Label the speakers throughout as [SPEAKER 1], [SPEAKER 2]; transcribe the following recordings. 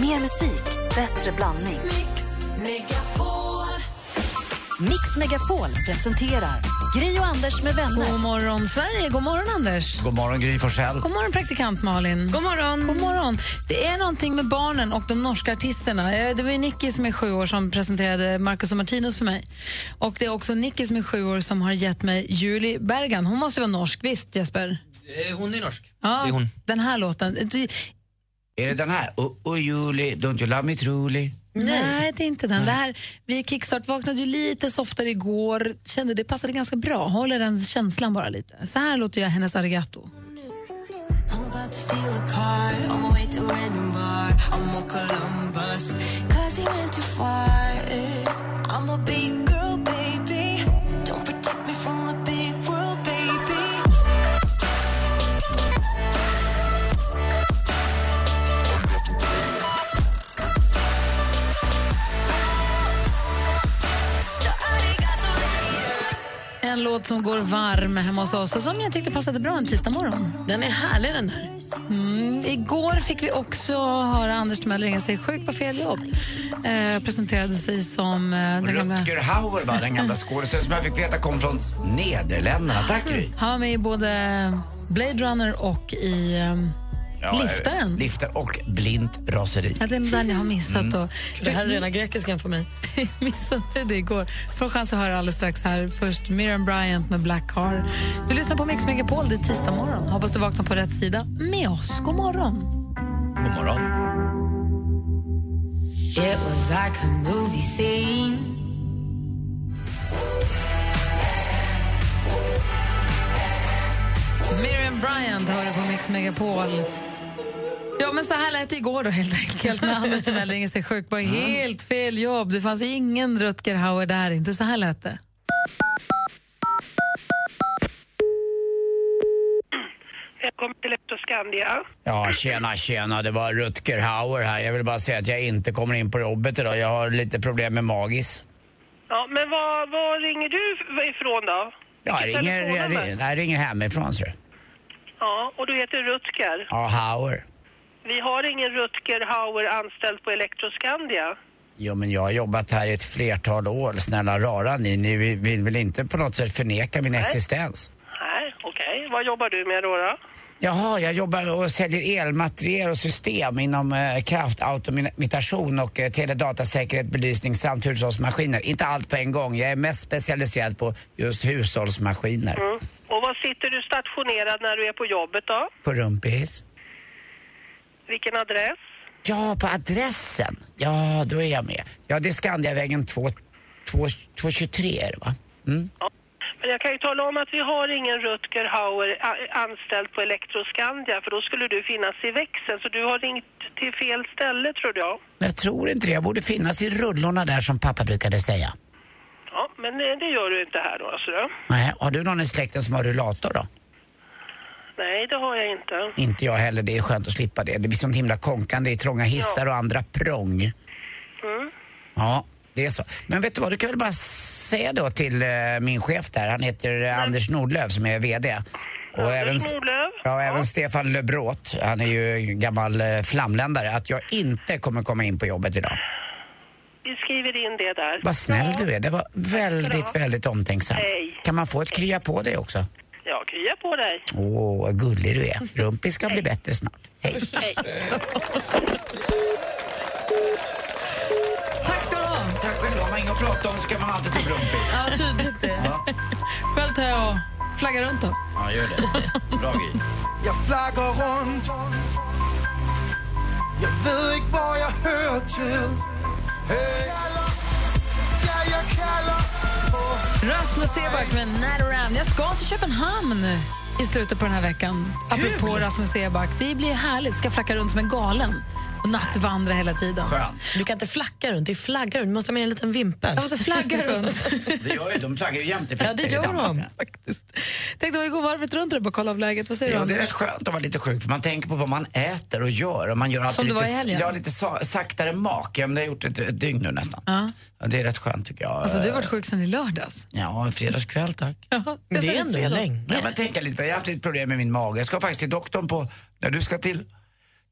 [SPEAKER 1] Mer musik, bättre blandning.
[SPEAKER 2] Mix Megapol.
[SPEAKER 1] Mix Megapol presenterar Gri och Anders med vänner.
[SPEAKER 3] God morgon, Sverige. God morgon, Anders.
[SPEAKER 4] God morgon Gry Forssell.
[SPEAKER 3] God morgon, praktikant Malin.
[SPEAKER 5] God morgon.
[SPEAKER 3] God morgon. Det är någonting med barnen och de norska artisterna. Eh, Det var ju Nicky som är sju år som presenterade Marcus och Martinus för mig. Och det är också Nicky som är sju år som har gett mig Julie Bergan. Hon måste ju vara norsk, visst Jesper?
[SPEAKER 6] Eh,
[SPEAKER 7] Hon är norsk.
[SPEAKER 3] Ja,
[SPEAKER 7] Det är hon.
[SPEAKER 3] Den här låten. Du,
[SPEAKER 4] Är det den här? Oh, oh Julie, don't you love me truly?
[SPEAKER 3] nej. det är inte den. Det här, vi kickstart vaknade ju lite softare igår. Kände det passade ganska bra. Håller den känslan bara lite. Så här låter jag hennes Arigato.
[SPEAKER 8] I'm about to steal a car on my way to a random bar. I'm on Columbus, cause he went too far. I'm a big girl, baby. Don't protect me from the big world, baby.
[SPEAKER 3] En låt som går varm hemma hos oss och som jag tyckte passade bra en tisdag morgon.
[SPEAKER 5] Den är härlig den här.
[SPEAKER 3] Mm, igår fick vi också höra Anders Timell ringa sig sjuk på fel jobb. Eh, presenterade sig som eh, den gamla...
[SPEAKER 4] Rutger Hauer var den gamla skådespelaren som jag fick veta kom från Nederländerna. Tack Gry.
[SPEAKER 3] Han var med i både Blade Runner och i eh,
[SPEAKER 4] Ja,
[SPEAKER 3] Liftaren.
[SPEAKER 4] eh, Liftar och blint raseri. Mm.
[SPEAKER 3] Ja, det är den jag har missat. Då.
[SPEAKER 5] Mm. Det här är rena grekiskan för mig.
[SPEAKER 3] Jag missade det igår. Får chans att höra alldeles strax här. Först Miriam Bryant med Black Car. Du lyssnar på Mix Megapol, det är tisdag morgon. Hoppas du vaknar på rätt sida med oss. God morgon!
[SPEAKER 4] God morgon.
[SPEAKER 2] It was like a movie scene.
[SPEAKER 3] Miriam Bryant hör du på Mix Megapol. Ja, men så här lät det igår då helt enkelt när Anders Timell ringer sig sjuk. Bara helt fel jobb. Det fanns ingen Rutger Hauer där. Inte så här lät det.
[SPEAKER 9] Välkommen till Leptoskandia.
[SPEAKER 4] Ja, tjena, tjena. Det var Rutger Hauer här. Jag vill bara säga att jag inte kommer in på jobbet idag. Jag har lite problem med magis.
[SPEAKER 9] Ja, men var, var ringer du ifrån då?
[SPEAKER 4] Ja, jag
[SPEAKER 9] Vilket
[SPEAKER 4] ringer, jag,
[SPEAKER 9] telefonnummer?
[SPEAKER 4] ringer- jag ringer hemifrån, ser du.
[SPEAKER 9] Ja, och du heter Rutger.
[SPEAKER 4] Ja, Hauer.
[SPEAKER 9] Vi har ingen Rutger Hauer anställd på Elektroskandia.
[SPEAKER 4] Jo, men jag har jobbat här i ett flertal år. Snälla rara ni, ni vill- vill väl inte på något sätt förneka min existens?
[SPEAKER 9] Nej, okej. Vad jobbar du med då? då?
[SPEAKER 4] Jaha, jag jobbar och säljer elmateriel och system inom eh, kraftautomatation och eh, teledatasäkerhet, belysning samt hushållsmaskiner. Inte allt på en gång. Jag är mest specialiserad på just hushållsmaskiner.
[SPEAKER 9] Mm. Och var sitter du stationerad när du är på jobbet då?
[SPEAKER 4] På rumpis.
[SPEAKER 9] Vilken adress?
[SPEAKER 4] Ja, på adressen. Ja, då är jag med. Ja, det är Skandiavägen 2 2 223 är det va? Mm.
[SPEAKER 9] Men jag kan ju tala om att vi har ingen Rutger Hauer a- anställd på Elektroskandia för då skulle du finnas i växeln. Så du har ringt till fel ställe tror jag.
[SPEAKER 4] Men jag tror inte det. Jag borde finnas i rullorna där som pappa brukade säga.
[SPEAKER 9] Ja, men eh, det gör du inte här då alltså. Då.
[SPEAKER 4] Nej, har du någon i släkten som har rullator då?
[SPEAKER 9] Nej, det har jag inte.
[SPEAKER 4] Inte jag heller. Det är skönt att slippa det. Det blir sånt himla konkande i trånga hissar och andra prång.
[SPEAKER 9] Mm.
[SPEAKER 4] Ja, det är så. Men vet du vad, du kan väl bara säga då till eh, min chef där, han heter eh, Anders Nordlöf som är VD. Och även,
[SPEAKER 9] Mm. Anders Nordlöf.
[SPEAKER 4] ja, och även Stefan Lebrot, han är ju gammal eh, flamländare, att jag inte kommer komma in på jobbet idag.
[SPEAKER 9] Vi skriver in det där.
[SPEAKER 4] Vad snäll
[SPEAKER 9] ja.
[SPEAKER 4] du är, det var väldigt,
[SPEAKER 9] Bra.
[SPEAKER 4] väldigt omtänksamt.
[SPEAKER 9] Hej.
[SPEAKER 4] Kan man få ett krya på dig också?
[SPEAKER 9] Ja, krya på dig.
[SPEAKER 4] Åh, vad gullig du är. Rumpi ska bli bättre snart. Hej.
[SPEAKER 3] Tack ska du ha!
[SPEAKER 4] Tack själv, har man inget att prata om så kan man alltid ta rumpis.
[SPEAKER 3] Ja, tydligt det. Själv tar jag och flaggar runt då.
[SPEAKER 4] Ja, gör det. Bra Gry.
[SPEAKER 10] Jeg flakker rundt Jeg ved ikke, hvor jeg hører til hey. Ja, jeg kalder på
[SPEAKER 3] Rasmus Seback med Nataram. Jag ska till Köpenhamn i slutet på den här veckan. Apropå Rasmus Seback. Det blir härligt. Ska flacka runt som en galen och nattvandra hela tiden.
[SPEAKER 4] Skönt.
[SPEAKER 5] Du kan inte flacka runt, det är flagga runt. Du måste ha med en liten vimpel.
[SPEAKER 3] Jag måste flagga runt.
[SPEAKER 4] Det gör ju, de flaggar ju jämt i
[SPEAKER 5] Ja, det gör de.
[SPEAKER 3] faktiskt. Tänkte vi går varvet runt och bara kolla av läget. Vad säger du?
[SPEAKER 4] Ja, det är
[SPEAKER 3] Anders?
[SPEAKER 4] rätt skönt att vara lite sjuk för man tänker på vad man äter och gör. Och man gör alltid
[SPEAKER 3] Som det var
[SPEAKER 4] lite,
[SPEAKER 3] i helgen.
[SPEAKER 4] Ja, lite sa, saktare mak. Ja, men det har jag gjort ett, ett dygn nu nästan.
[SPEAKER 3] Ja.
[SPEAKER 4] Ja, det är rätt skönt tycker jag.
[SPEAKER 3] Alltså, du har varit sjuk sedan i lördags.
[SPEAKER 4] Ja, en fredagskväll tack.
[SPEAKER 3] Ja,
[SPEAKER 5] Men det är ändå
[SPEAKER 3] fredags.
[SPEAKER 5] länge.
[SPEAKER 4] Ja, men tänka lite på det. Jag har haft lite problem med min mage. Jag ska faktiskt till doktorn på, när du ska till,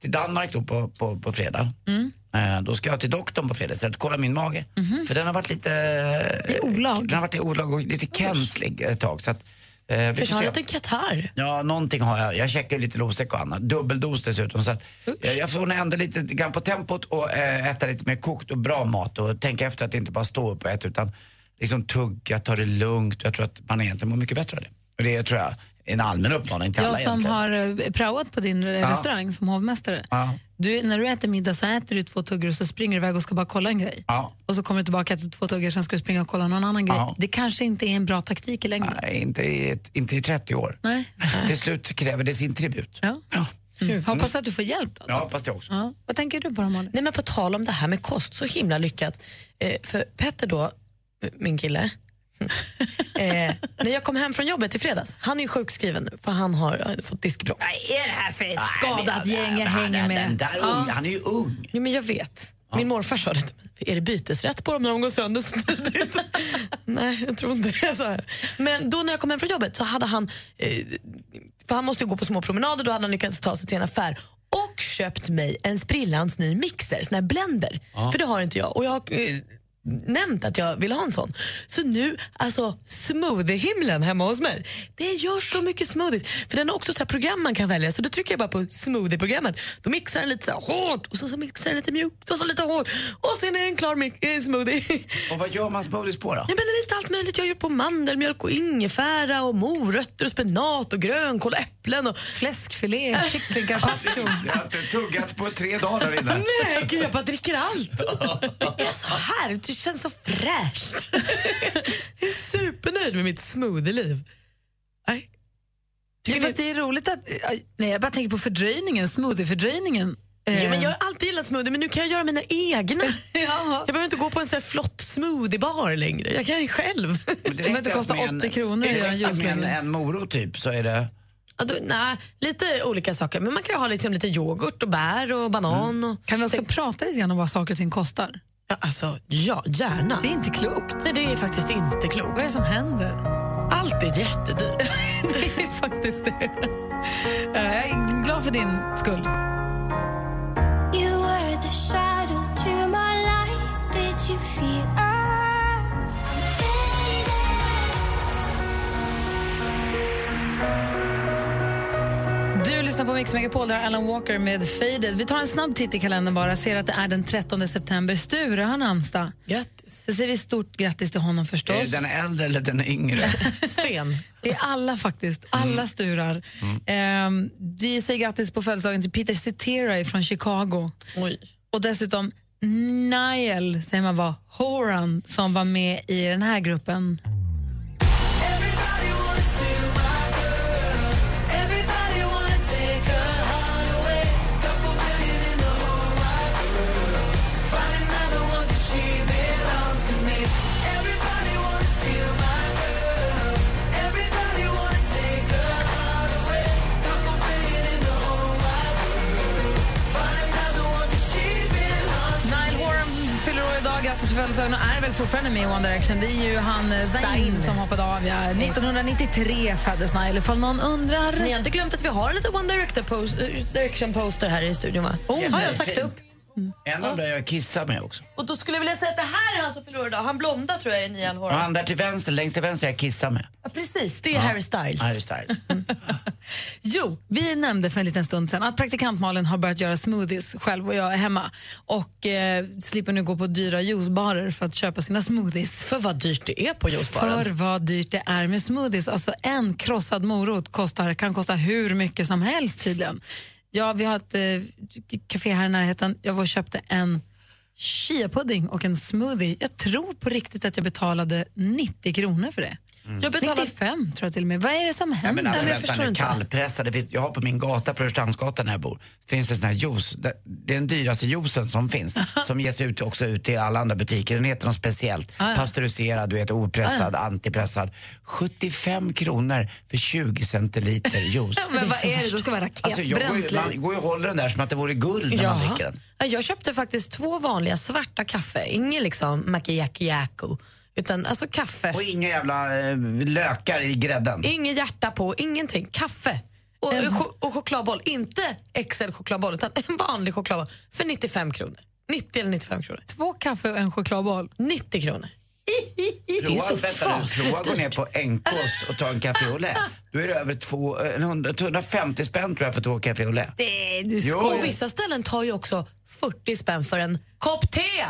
[SPEAKER 4] till Danmark då på, på, på fredag.
[SPEAKER 3] Mm.
[SPEAKER 4] Eh, Då ska jag till doktorn på fredag så att kolla min mage. För den har varit lite...
[SPEAKER 3] I olag?
[SPEAKER 4] Den har varit i olag och lite känslig ett tag. Så att, eh, vi
[SPEAKER 5] Kanske
[SPEAKER 4] får
[SPEAKER 5] har
[SPEAKER 4] se.
[SPEAKER 5] en liten katarr.
[SPEAKER 4] Ja, någonting har jag. Jag checkar ju lite Losec och annat. Dubbeldos dessutom. Så att eh, jag, jag får nog ändra lite grann på tempot och eh, äta lite mer kokt och bra mat och tänka efter att inte bara stå upp och äta utan liksom tugga, ta det lugnt. Jag tror att man egentligen mår mycket bättre av det. Och det är, tror jag en allmän uppmaning till alla
[SPEAKER 3] Jag som
[SPEAKER 4] egentligen.
[SPEAKER 3] har eh, praoat på din eh, restaurang som hovmästare.
[SPEAKER 4] Ja.
[SPEAKER 3] Du, när du äter middag så äter du två tuggor och så springer du iväg och ska bara kolla en grej.
[SPEAKER 4] Ja.
[SPEAKER 3] Och så kommer du tillbaka till två tuggor sen ska du springa och kolla någon annan grej.
[SPEAKER 4] Ja.
[SPEAKER 3] Det kanske inte är en bra taktik i längden.
[SPEAKER 4] Nej, inte i, ett- inte i 30 år.
[SPEAKER 3] Nej.
[SPEAKER 4] Till slut kräver det sin tribut.
[SPEAKER 3] Ja. Mm. Hoppas att du får hjälp. Då.
[SPEAKER 4] Jag hoppas det också.
[SPEAKER 3] Ja. Vad tänker du på då, Malin?
[SPEAKER 5] Nej, men på tal om det här med kost, så himla lyckat. Eh, för Petter då, m- min kille, eh, när jag kom hem från jobbet i fredags, han är ju sjukskriven för han har eh, fått diskbråck.
[SPEAKER 3] är det här för ett
[SPEAKER 4] Nej,
[SPEAKER 3] skadat
[SPEAKER 4] men-
[SPEAKER 3] gäng jag
[SPEAKER 4] han-
[SPEAKER 3] hänger
[SPEAKER 4] Den
[SPEAKER 3] med?
[SPEAKER 4] där
[SPEAKER 3] Ja.
[SPEAKER 4] ung, han är ju ung.
[SPEAKER 5] Jo, men jag vet. Min morfar sa det till mig. Är det bytesrätt på dem när de går sönder så tidigt? Nej, jag tror inte det. Sa jag. Men då när jag kom hem från jobbet så hade han, eh, för han måste ju gå på små promenader, då hade han lyckats ta sig till en affär och köpt mig en sprillans ny mixer, sån här blender. För det har inte jag. Och jag har eh, nämnt att jag vill ha en sån. Så nu, alltså smoothie-himlen hemma hos mig. Det gör så mycket smoothie. För den har också så här program man kan välja. Så då trycker jag bara på smoothie-programmet. Då mixar den lite så här hårt och så, så mixar den lite mjukt och så lite hårt. Och sen är den klar mix- eh, smoothie.
[SPEAKER 4] Och vad gör man smoothies på då?
[SPEAKER 5] Nej, men det är lite allt möjligt. Jag har gjort på mandelmjölk och ingefära och morötter och spenat och grönkål och äpplen. Och... Äh.
[SPEAKER 3] Fläskfilé, kyckling, carpaccio.
[SPEAKER 4] Jag har inte tuggat på tre dagar där inne.
[SPEAKER 5] Nej, gud, jag bara dricker allt. Det är så härligt. Det känns så fräscht. Jag är supernöjd med mitt smoothie-liv. Nej.
[SPEAKER 3] Ja, fast det är roligt att... aj, Nej, jag bara tänker på fördröjningen, smoothie-fördröjningen.
[SPEAKER 5] Ja, men
[SPEAKER 3] Eh,
[SPEAKER 5] jag har alltid gillat smoothie, men nu kan jag göra mina egna.
[SPEAKER 3] ja.
[SPEAKER 5] Jag behöver inte gå på en sån här flott smoothiebar längre. Jag kan själv.
[SPEAKER 3] Om
[SPEAKER 4] Men
[SPEAKER 3] det
[SPEAKER 4] räcker
[SPEAKER 3] inte kostar
[SPEAKER 4] med en-
[SPEAKER 3] 80 kronor att
[SPEAKER 4] det
[SPEAKER 3] göra en
[SPEAKER 4] räcker med en,
[SPEAKER 3] juice.
[SPEAKER 4] en morot typ så är det...
[SPEAKER 5] Ja, då, nej, lite olika saker. Men man kan ju ha liksom lite yoghurt och bär och banan.
[SPEAKER 4] Mm.
[SPEAKER 5] Och...
[SPEAKER 3] Kan vi också prata lite grann om vad saker och ting kostar?
[SPEAKER 5] Ja, alltså, ja, gärna.
[SPEAKER 3] Det är inte klokt.
[SPEAKER 5] Nej, det är faktiskt inte klokt.
[SPEAKER 3] Vad är det som händer?
[SPEAKER 5] Allt är jättedyrt.
[SPEAKER 3] det är faktiskt det. Eh, Jag är glad för din skull.
[SPEAKER 7] You were the shadow to my light. Did you feel us?
[SPEAKER 3] Du lyssnar på Mix Megapol, där Alan Walker med Faded. Vi tar en snabb titt i kalendern bara, ser att det är den 13 september. Sture har namnsdag.
[SPEAKER 5] Grattis.
[SPEAKER 3] Så säger vi stort grattis till honom
[SPEAKER 4] Är det
[SPEAKER 3] förstås.
[SPEAKER 4] Eh, den äldre eller den yngre?
[SPEAKER 5] Sten.
[SPEAKER 3] Det är alla faktiskt, alla Sturar.
[SPEAKER 4] Mm.
[SPEAKER 3] Ehm, vi säger grattis på födelsedagen till Peter Cetera från Chicago.
[SPEAKER 5] Oj.
[SPEAKER 3] Och dessutom Niall, säger man var, Horan som var med i den här gruppen. Niall Horan fyller år idag, grattis på födelsedagen och är väl fortfarande med i One Direction. Det är ju han eh, Zayn
[SPEAKER 5] Zayn.
[SPEAKER 3] som hoppade av. Ja. 1993 föddes Niall, ifall någon undrar.
[SPEAKER 5] Ni har inte glömt att vi har en liten One Director post, eh, Direction-poster här i studion, va?
[SPEAKER 3] Oh,
[SPEAKER 5] har jag
[SPEAKER 4] nej,
[SPEAKER 5] sagt
[SPEAKER 4] fin.
[SPEAKER 5] upp?
[SPEAKER 3] Mm.
[SPEAKER 4] En av dem jag kissar med också.
[SPEAKER 5] Och då skulle jag vilja säga att det här är han som förlorar idag. Han blonda tror jag är Niall
[SPEAKER 4] Och
[SPEAKER 5] Horan.
[SPEAKER 4] han där till vänster, längst till vänster jag kissar med.
[SPEAKER 5] Ja, precis, det är Harry Styles.
[SPEAKER 4] Harry Styles.
[SPEAKER 3] Jo, vi nämnde för en liten stund sedan att praktikant Malin har börjat göra smoothies själv och jag är hemma och eh, slipper nu gå på dyra juicebarer för att köpa sina smoothies.
[SPEAKER 5] För vad dyrt det är på
[SPEAKER 3] För
[SPEAKER 5] juicebaren.
[SPEAKER 3] vad dyrt det är med smoothies. Alltså en krossad morot kostar, kan kosta hur mycket som helst tydligen. Ja, vi har ett eh, café här i närheten. Jag var och köpte en chia-pudding och en smoothie. Jag tror på riktigt att jag betalade 90 kronor för det.
[SPEAKER 5] Mm. Jag betalar
[SPEAKER 3] 95 tror jag till och med. Vad är det som händer?
[SPEAKER 4] Men alltså
[SPEAKER 5] men jag
[SPEAKER 4] vänta
[SPEAKER 5] förstår
[SPEAKER 4] nu,
[SPEAKER 5] inte.
[SPEAKER 4] kallpressade. finns- Jag har på min gata, på Rörstrandsgatan där jag bor, finns det sån här juice. Det- Det är den dyraste juicen som finns. Som ges ut också ut till alla andra butiker. Den heter något speciellt.
[SPEAKER 5] Ah,
[SPEAKER 4] Pasteuriserad, du vet opressad, antipressad. 75 kronor för 20 centiliter juice.
[SPEAKER 3] Men vad är det? Det ska vara
[SPEAKER 4] Alltså, jag går, ju,
[SPEAKER 3] raketbränsle i.
[SPEAKER 4] man går ju och håller den där som att det vore guld när man
[SPEAKER 5] Ja.
[SPEAKER 4] dricker den.
[SPEAKER 5] Ja, Jag köpte faktiskt två vanliga svarta kaffe. Ingen liksom macchiacchiaco. Utan alltså kaffe.
[SPEAKER 4] Och inga jävla eh, lökar i grädden.
[SPEAKER 5] Inget hjärta på, ingenting. Kaffe. och, ch- och chokladboll. Inte XL chokladboll utan en vanlig chokladboll för 95 kronor. 90 eller 95 kronor.
[SPEAKER 3] Två kaffe och en chokladboll.
[SPEAKER 5] 90 kronor. Det är
[SPEAKER 4] Prova,
[SPEAKER 5] så
[SPEAKER 4] vänta nu, prova att gå ner
[SPEAKER 5] fasligt
[SPEAKER 4] på NKs och ta en café au lait. Då är det över två, eh, 100, 150 spänn tror jag för två café au lait.
[SPEAKER 3] Nej, du
[SPEAKER 4] Jo.
[SPEAKER 3] skojar.
[SPEAKER 5] Och vissa ställen tar ju också 40 spänn för en kopp te.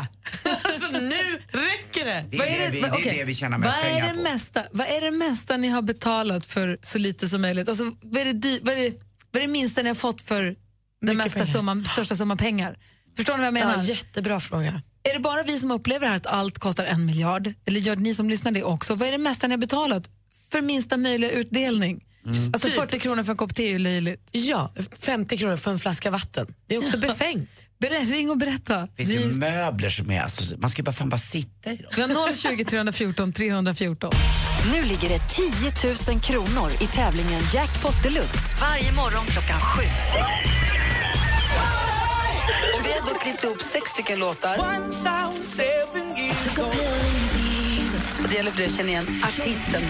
[SPEAKER 5] alltså nu räcker det.
[SPEAKER 4] Det är det, vi, det,
[SPEAKER 3] okej.
[SPEAKER 4] är det vi tjänar mest
[SPEAKER 3] vad är
[SPEAKER 4] pengar
[SPEAKER 3] det
[SPEAKER 4] på.
[SPEAKER 3] Mesta, vad är det mesta ni har betalat för så lite som möjligt? Alltså, vad, är det, dy- vad, är det, vad är det minsta ni har fått för den mesta
[SPEAKER 5] pengar.
[SPEAKER 3] summan, största summan pengar? Förstår ni vad jag menar?
[SPEAKER 5] Ja, jättebra fråga.
[SPEAKER 3] Är det bara vi som upplever här att allt kostar en miljard? Eller gör ni som lyssnar det också? Vad är det mesta ni har betalat för minsta möjliga utdelning?
[SPEAKER 4] Mm.
[SPEAKER 3] Alltså
[SPEAKER 5] Typ.
[SPEAKER 3] 40 kronor för en kopp te är ju löjligt.
[SPEAKER 5] Ja, 50 kronor för en flaska vatten. Det är också befängt.
[SPEAKER 3] Berä- Ring och berätta.
[SPEAKER 4] Det finns ju möbler som är, alltså, man ska ju bara fan bara sitta i dem.
[SPEAKER 3] Vi har 020 314 314.
[SPEAKER 1] Nu ligger det 10 000 kronor i tävlingen Jackpot Deluxe varje morgon klockan sju.
[SPEAKER 5] Och vi har då klippt ihop sex stycken låtar.
[SPEAKER 8] One sound, seven years old.
[SPEAKER 5] Och det gäller för dig att känna igen artisten.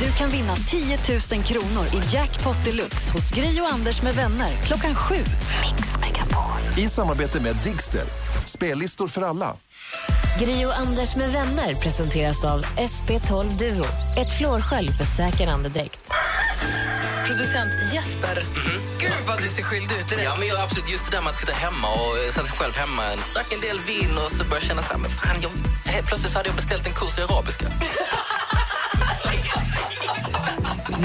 [SPEAKER 1] Du kan vinna 10 000 kronor i Jackpot Deluxe hos Gry och Anders med vänner klockan sju. Mix Megapol.
[SPEAKER 11] I samarbete med Digster. Spellistor för alla.
[SPEAKER 12] Gri och Anders med vänner presenteras av SP12 Duo. Ett flårskölj för säker andedräkt.
[SPEAKER 5] Producent Jesper. Gud vad du ser skyldig ut.
[SPEAKER 13] Mhm. Ja, men jag, absolut. Just det där med att sitta hemma och eh, sätta sig själv hemma. Drack en del vin och så började jag känna så här, men fan, jag, helt plötsligt så hade jag beställt en kurs i arabiska.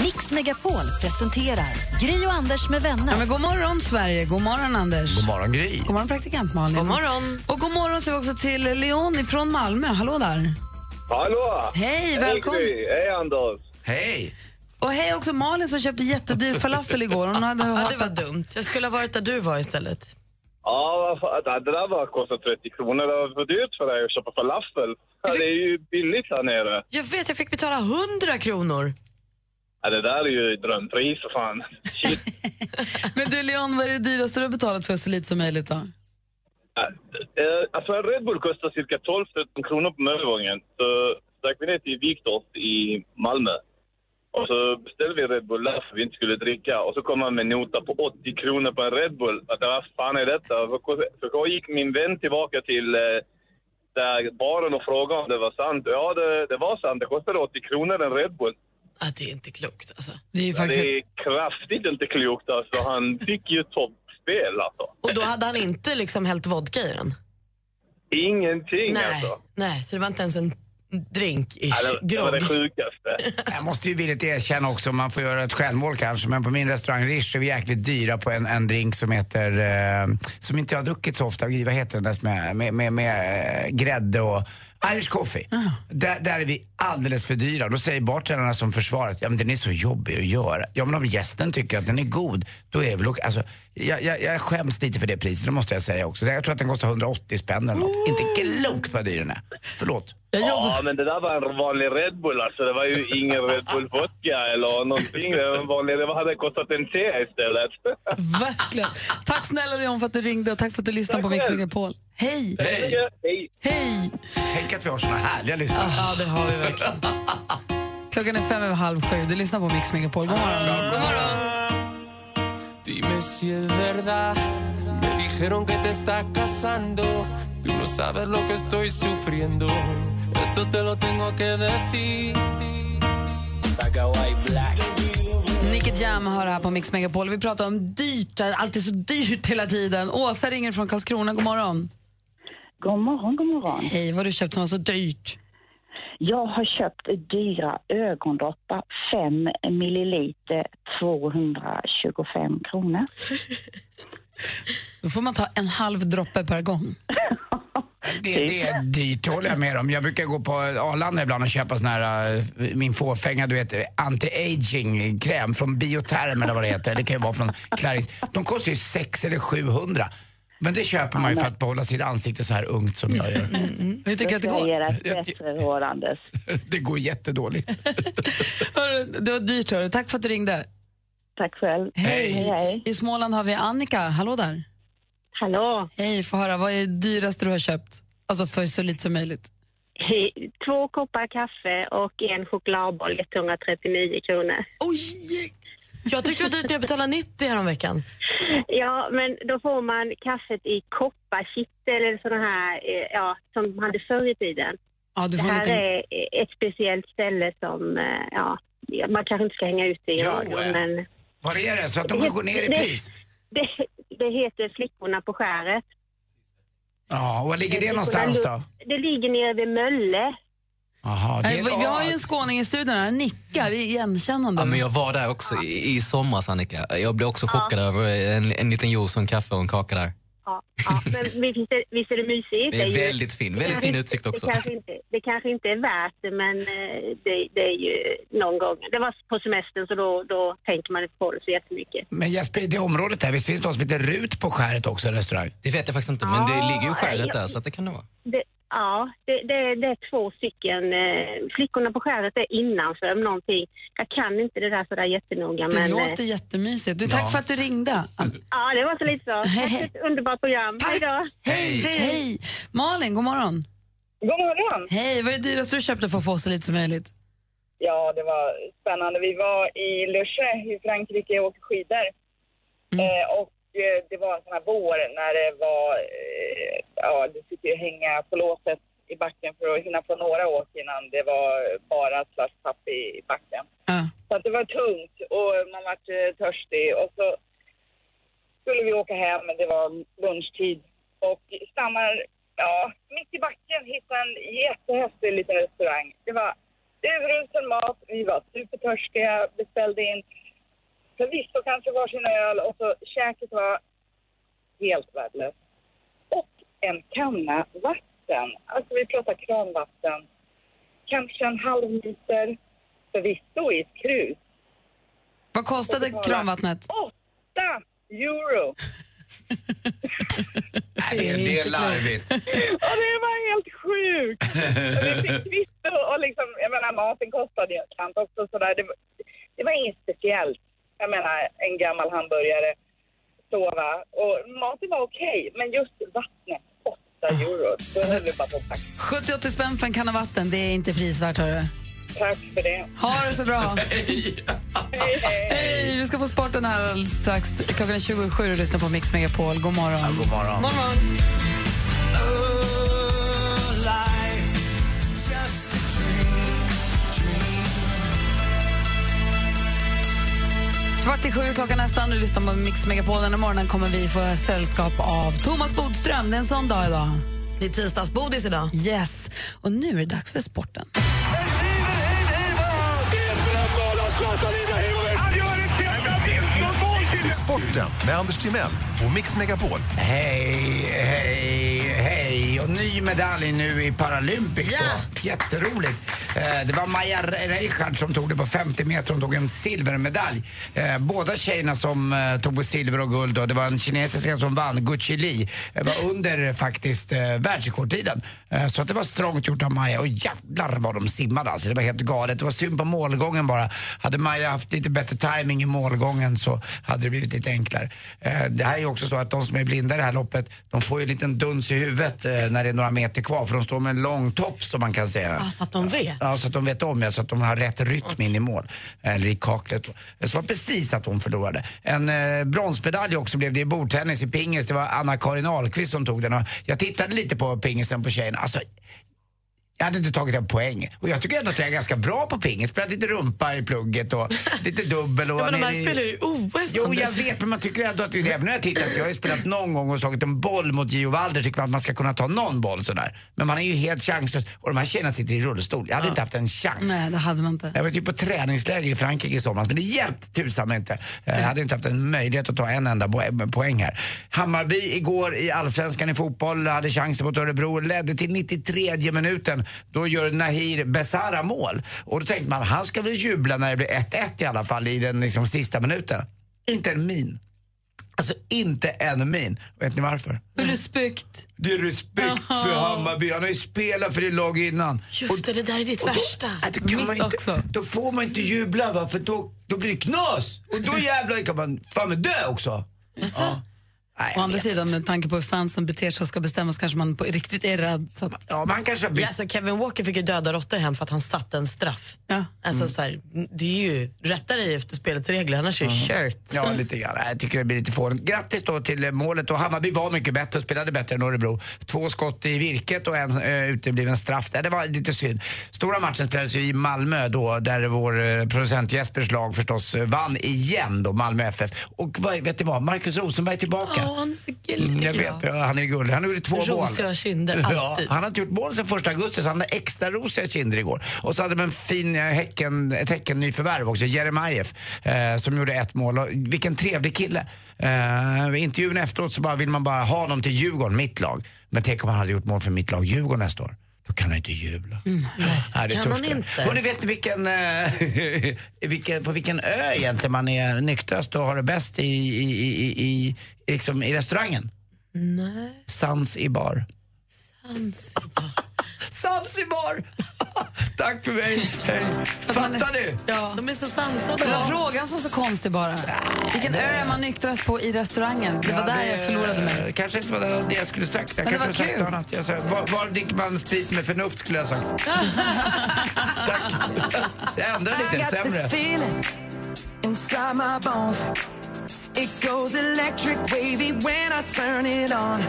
[SPEAKER 1] Mix Megapol presenterar Gry och Anders med vänner.
[SPEAKER 3] Ja, men god morgon, Sverige. God morgon, Anders. God
[SPEAKER 14] morgon, Gry.
[SPEAKER 3] God morgon, praktikant Malin.
[SPEAKER 5] God morgon.
[SPEAKER 3] Och god morgon säger vi också till Leon från Malmö. Hallå där.
[SPEAKER 15] Hallå!
[SPEAKER 3] Hej, välkommen.
[SPEAKER 15] Hej, Gry. Hej Anders!
[SPEAKER 4] Hej!
[SPEAKER 3] Och hej också Malin som köpte jättedyr falafel igår. Hon hade
[SPEAKER 5] Ja, det
[SPEAKER 3] hatat-
[SPEAKER 5] var dumt. Jag skulle ha varit där du var istället.
[SPEAKER 15] Ja, vad fan, det där var kostat 30 kronor. Det var för dyrt för dig att köpa falafel. Ja, det är ju billigt här nere.
[SPEAKER 5] Jag vet, jag fick betala 100 kronor.
[SPEAKER 15] Ja, det där är ju drömpris för fan.
[SPEAKER 3] Men du Leon, vad är det dyraste du har betalat för så lite som möjligt då?
[SPEAKER 15] Ja, eh, Alltså en Red Bull kostar cirka 12-13 kronor på övergången. Så stack vi ner till Viktor's i Malmö. Och så beställde vi Red Bull där för vi inte skulle dricka. Och så kom han med en nota på 80 kronor på en Red Bull. Att, vad fan är detta? Så så då gick min vän tillbaka till eh, där baren och frågade om det var sant. Ja, det, det var sant. Det kostade 80 kronor en Red Bull.
[SPEAKER 5] Ja, det är inte klokt alltså.
[SPEAKER 3] Det är ju
[SPEAKER 15] Ja,
[SPEAKER 3] faktiskt...
[SPEAKER 15] Det är kraftigt inte klokt alltså. Han fick ju toppspel alltså.
[SPEAKER 5] Och då hade han inte liksom hällt vodka i den?
[SPEAKER 15] Ingenting
[SPEAKER 5] Nej,
[SPEAKER 15] alltså.
[SPEAKER 5] nej så det var inte ens en drink-ish
[SPEAKER 15] Ja, det, det var det
[SPEAKER 5] grogg.
[SPEAKER 15] sjukaste.
[SPEAKER 4] Jag måste ju villigt erkänna också, man får göra ett självmål kanske, men på min restaurang Rish är vi jäkligt dyra på en, en drink som heter, eh, som inte jag har druckit så ofta, Gud, vad heter den där som är, med, med, med eh, grädde och Irish coffee. Där, där är vi alldeles för dyra. Då säger bartendrarna som försvaret, ja men den är så jobbig att göra. Ja men om gästen tycker att den är god, då är det väl okej. Alltså, jag, jag, jag skäms lite för det priset, det måste jag säga också. Jag tror att den kostar 180 spänn eller något. Inte klokt vad dyr den är. Förlåt.
[SPEAKER 15] Ja, men det där var en vanlig Red Bull alltså. Det var ju ingen Red Bull vodka eller någonting. Det, var en vanlig, det hade kostat en te istället.
[SPEAKER 3] Verkligen. Tack snälla Leon för att du ringde och tack för att du lyssnade på Mix Megapol. Hej!
[SPEAKER 15] Hej!
[SPEAKER 3] Hej!
[SPEAKER 4] Tänk att vi har såna härliga lyssnare.
[SPEAKER 3] Ja, det har vi verkligen. Klockan är fem över halv sju. Du lyssnar på Mix Megapol. God morgon. God morgon.
[SPEAKER 6] Dime si es verdad. Me dijeron que te estás casando. Tú no sabes lo que estoy sufriendo. Esto te lo tengo que decir. Saga White Black.
[SPEAKER 3] Nicky Jam har det här på Mix Megapol. Vi pratar om dyrt, allt är så dyrt hela tiden. Åsa ringer från Karlskrona. God morgon.
[SPEAKER 16] God morgon, god morgon.
[SPEAKER 3] Hej, vad har du köpt som var så dyrt?
[SPEAKER 16] Jag har köpt dyra ögondroppar, 5 milliliter, 225 kronor.
[SPEAKER 3] Då får man ta en halv droppe per gång.
[SPEAKER 4] Det, det är dyrt, det håller jag med om. Jag brukar gå på Arlanda ibland och köpa sån här, eh, min fåfänga, du vet, anti-aging-kräm från Bioterm eller vad det heter. Det kan ju vara från Clarins. De kostar ju 6 eller 700. Men det köper man ju för att behålla sitt ansikte så här ungt som jag gör.
[SPEAKER 3] Hur tycker du att det
[SPEAKER 16] Jag ska
[SPEAKER 3] går?
[SPEAKER 16] ge dig ett bättre råd, Anders.
[SPEAKER 4] Det går jättedåligt.
[SPEAKER 3] Hörru, Det var dyrt, hörru. Tack för att du ringde.
[SPEAKER 16] Tack själv.
[SPEAKER 3] Hej.
[SPEAKER 16] Hej, hej.
[SPEAKER 3] I Småland har vi Annika. Hallå där.
[SPEAKER 16] Hallå.
[SPEAKER 3] Hej, få höra. Vad är det dyraste du har köpt? Alltså för så lite som möjligt.
[SPEAKER 17] Hej. Två koppar kaffe och en chokladboll, 139 kronor.
[SPEAKER 5] Jag tyckte det var dyrt när jag betalade 90 häromveckan.
[SPEAKER 17] Ja, men då får man kaffet i kopparkittel eller sådana här, eh, ja, som man hade förr i tiden.
[SPEAKER 3] Ja, du får
[SPEAKER 17] det här
[SPEAKER 3] en liten-
[SPEAKER 17] är ett speciellt ställe som, eh, ja, man kanske inte ska hänga ut det i
[SPEAKER 4] Jo,
[SPEAKER 17] radion,
[SPEAKER 4] eh,
[SPEAKER 17] men...
[SPEAKER 4] Vad är det? Så att de går ner i
[SPEAKER 17] Det-
[SPEAKER 4] pris?
[SPEAKER 17] Det, det heter Flickorna på skäret.
[SPEAKER 4] Ja, och var ligger det någonstans då?
[SPEAKER 17] Det ligger nere vid Mölle.
[SPEAKER 4] Jaha,
[SPEAKER 3] Nej, vi, vi har ju en skåning i studion här, han nickar igenkännande.
[SPEAKER 6] Ja, men jag var där också i, i somras, Annika. Jag blev också
[SPEAKER 17] Ja.
[SPEAKER 6] chockad över en, en liten juice och en kaffe och en kaka där.
[SPEAKER 17] Ja, ja, men visst är, visst är det mysigt?
[SPEAKER 6] Det är
[SPEAKER 17] ju-
[SPEAKER 6] väldigt fin. Väldigt
[SPEAKER 17] kanske
[SPEAKER 6] fin
[SPEAKER 17] inte-
[SPEAKER 6] utsikt också.
[SPEAKER 17] Det kanske, inte, det kanske inte är värt det, men eh, det, det är ju någon gång. Det var på semestern, så då, då tänker man inte på det så jättemycket.
[SPEAKER 4] Men Jesper, i det området där, visst finns det något som heter Rut på skäret också, en restaurang?
[SPEAKER 6] Det vet jag faktiskt inte,
[SPEAKER 17] men det ligger ju i
[SPEAKER 6] skäret
[SPEAKER 17] där,
[SPEAKER 6] så att det kan det vara.
[SPEAKER 17] Det, ja, det, det, det är två stycken. eh, Flickorna på skäret är innanför någonting. Jag kan inte det där sådär jättenoga,
[SPEAKER 3] Det
[SPEAKER 17] men...
[SPEAKER 3] låter
[SPEAKER 17] eh,
[SPEAKER 3] jättemysigt. Du, tack
[SPEAKER 17] Ja.
[SPEAKER 3] för att du ringde.
[SPEAKER 17] Ja, det var så lite så. Tack för ett underbart program. Hej då!
[SPEAKER 3] Hej! Hej! Malin, god morgon.
[SPEAKER 16] God morgon.
[SPEAKER 3] Hej, vad är det dyraste du köpte för att få så lite som möjligt?
[SPEAKER 16] Ja, det var spännande. Vi var i Luche i Frankrike och åkte skidor. Eh, och eh, det var en sån här vår när det var... Eh, ja, du fick ju hänga på låset i backen för att hinna på några åk innan det var bara slash tapp i, i backen. Så att det var tungt och man var törstig och så skulle vi åka hem, men det var lunchtid. Och stannar, ja, mitt i backen hittar en jättehäftig liten restaurang. Det var urusel mat, vi var supertörstiga, beställde in förvisso kanske varsin öl och så käket var helt värdelöst. Och en kanna vatten, alltså vi pratar kranvatten, kanske en halv liter, förvisso i ett krus.
[SPEAKER 3] Vad kostade kranvattnet?
[SPEAKER 16] Åtta euro!
[SPEAKER 4] Det är, det är larvigt.
[SPEAKER 16] Och det var helt sjukt! Och vi fick kvitto och liksom, jag menar maten kostade ju en slant också sådär. Det, var- det var inget speciellt. Jag menar en gammal hamburgare, sova. Och maten var okej, men just vattnet, 8 euro. Då
[SPEAKER 18] Alltså-
[SPEAKER 16] höll vi bara på att packa.
[SPEAKER 3] 70-80 spänn för en kanna vatten, det är inte prisvärt hörru.
[SPEAKER 16] Tack för det.
[SPEAKER 3] Ha det så bra. Hej, vi ska få sporten här alldeles strax. Klockan är 27 och lyssnar på Mix Megapol. God morgon. god
[SPEAKER 4] morgon.
[SPEAKER 3] Kvart i sju klockan nästan och lyssnar på Mix Megapol. Den här morgonen kommer vi få sällskap av Thomas Bodström. Det är en sån dag idag.
[SPEAKER 5] Det är tisdagsbodis idag.
[SPEAKER 3] Yes. Och nu är det dags för sporten.
[SPEAKER 15] Sporten med Anders Timell och Mix Megapol.
[SPEAKER 4] Hej, hej, hej. Och ny medalj nu i Paralympics
[SPEAKER 15] Ja.
[SPEAKER 4] då. Jätteroligt. Eh, Det var Maja Re- Reichardt som tog det på 50 meter. Hon tog en silvermedalj. Eh, Båda tjejerna som eh, tog på silver och guld och det var en kinesiska som vann, Gucci Li. Det var under eh, faktiskt eh, världsrekordtiden. Eh, Så att det var strångt gjort av Maja. Och jävlar vad de simmade alltså. Det var helt galet. Det var synd på målgången bara. Hade Maja haft lite bättre timing i målgången så hade det blivit lite enklare. Eh, Det här är ju också så att de som är blinda i det här loppet, de får ju en liten duns i huvudet eh, när det är några meter kvar för de står med en lång topp som man kan säga.
[SPEAKER 5] Ja, så att de vet. Mm.
[SPEAKER 4] Ja, så att de vet om det, så att de har rätt rytm in i mål. Eller i kaklet. Så det var precis att hon förlorade. En eh, bronsmedalj också blev det i bordtennis i pingis. Det var Anna-Karin Ahlqvist som tog den. Och jag tittade lite på pingisen på tjejerna. Alltså, jag hade inte tagit en poäng. Och jag tycker ändå att jag är ganska bra på pingis. Spelat lite rumpa i plugget och lite dubbel. Och
[SPEAKER 5] Ja, men de här
[SPEAKER 4] nere i-
[SPEAKER 5] spelar ju OS.
[SPEAKER 4] Jo, jag
[SPEAKER 5] Anders.
[SPEAKER 4] vet, men man tycker ändå att det är även när jag tittat, jag har ju spelat någon gång och slagit en boll mot Gio Walder, tycker man att man ska kunna ta någon boll sådär. Men man är ju helt chanslös. Och de här tjejerna sitter i rullstol. Jag hade inte haft en chans.
[SPEAKER 3] Nej, det hade man inte.
[SPEAKER 4] Jag var typ på träningsläger i Frankrike i somras, men det hjälpte tusan mig inte. Jag hade inte haft en möjlighet att ta en enda po- poäng här. Hammarby igår i allsvenskan i fotboll hade chansen mot Örebro och ledde till 93 minuten. Då gör Nahir Besara mål. Och då tänkte man, han ska väl jubla när det blir 1-1 i alla fall i den liksom, sista minuten. Inte en min. Alltså inte en min. Vet ni varför?
[SPEAKER 3] Respekt.
[SPEAKER 4] Det är respekt för Hammarby. Han har ju spelat för det lag innan.
[SPEAKER 5] Just det, det där är ditt
[SPEAKER 4] och då-
[SPEAKER 5] värsta.
[SPEAKER 4] att Ah, då kan man inte, Då får man inte jubla va, för då, då blir det knas. Och då jävlar kan man fan med dö också.
[SPEAKER 3] Å andra sidan, med tanke på hur fansen beter sig och ska bestämmas kanske man på riktigt är rädd. Så att...
[SPEAKER 4] Ja, man kanske
[SPEAKER 5] Ja, alltså Kevin Walker fick ju döda råttor hem för att han satte en straff.
[SPEAKER 3] Ja.
[SPEAKER 5] Alltså,
[SPEAKER 4] Mm.
[SPEAKER 5] så här, det är ju rätta dig efter spelets regler, annars är det kört.
[SPEAKER 4] Ja, lite grann. Jag tycker det blir lite fånigt. Grattis då till eh, målet och Hammarby var mycket bättre och spelade bättre än Örebro. Två skott i virket och en eh, utebliven straff. Ja, Det var lite synd. Stora matchen spelades ju i Malmö då där vår eh, producent Jespers lag förstås eh, vann igen då, Malmö FF. Och vad, vet du vad, Markus Rosenberg är tillbaka.
[SPEAKER 5] Ja, han är så gullig
[SPEAKER 4] Mm,
[SPEAKER 5] tycker
[SPEAKER 4] jag vet, ja, han är gullig. Han gjorde två mål.
[SPEAKER 5] Rosiga kinder, alltid.
[SPEAKER 4] han har inte gjort mål sedan första augusti så han hade extra rosiga kinder igår. Och så hade de en fin eh, häcken, ett häcken nyförvärv också, Jeremejeff, eh, som gjorde ett mål. Och vilken trevlig kille. Eh, I intervjun efteråt så bara vill man bara ha honom till Djurgården, mitt lag. Men tänk om han hade gjort mål för mitt lag, Djurgården, nästa år. Då kan han inte jubla.
[SPEAKER 6] Ah,
[SPEAKER 4] Nej, det är
[SPEAKER 5] Mm. Kan
[SPEAKER 4] tufft.
[SPEAKER 5] han
[SPEAKER 4] det.
[SPEAKER 5] inte?
[SPEAKER 4] Och ni vet vilken, eh, vilken, på vilken ö egentligen man är nyktrast och har det bäst i, i, i, i, i, liksom i restaurangen?
[SPEAKER 5] Nej,
[SPEAKER 4] Zanzibar. Zanzibar! Tack för mig. Hej. Fattar du?
[SPEAKER 3] Ja.
[SPEAKER 5] De är så sansade.
[SPEAKER 3] Det var frågan som var så konstig bara. Vilken ö är man nyktrast på i restaurangen? Det var
[SPEAKER 4] Ja,
[SPEAKER 3] där jag förlorade mig.
[SPEAKER 4] Eh, Kanske inte var det jag skulle sagt. Jag
[SPEAKER 3] Men det var
[SPEAKER 4] kanske hade sagt
[SPEAKER 3] kul.
[SPEAKER 4] något annat. Jag sa, var, var dricker man sprit med förnuft skulle jag ha sagt. Tack. Jag ändrar
[SPEAKER 8] I
[SPEAKER 4] lite,
[SPEAKER 8] got this
[SPEAKER 4] sämre.
[SPEAKER 8] feeling inside my bones. It goes electric wavy when I turn it on.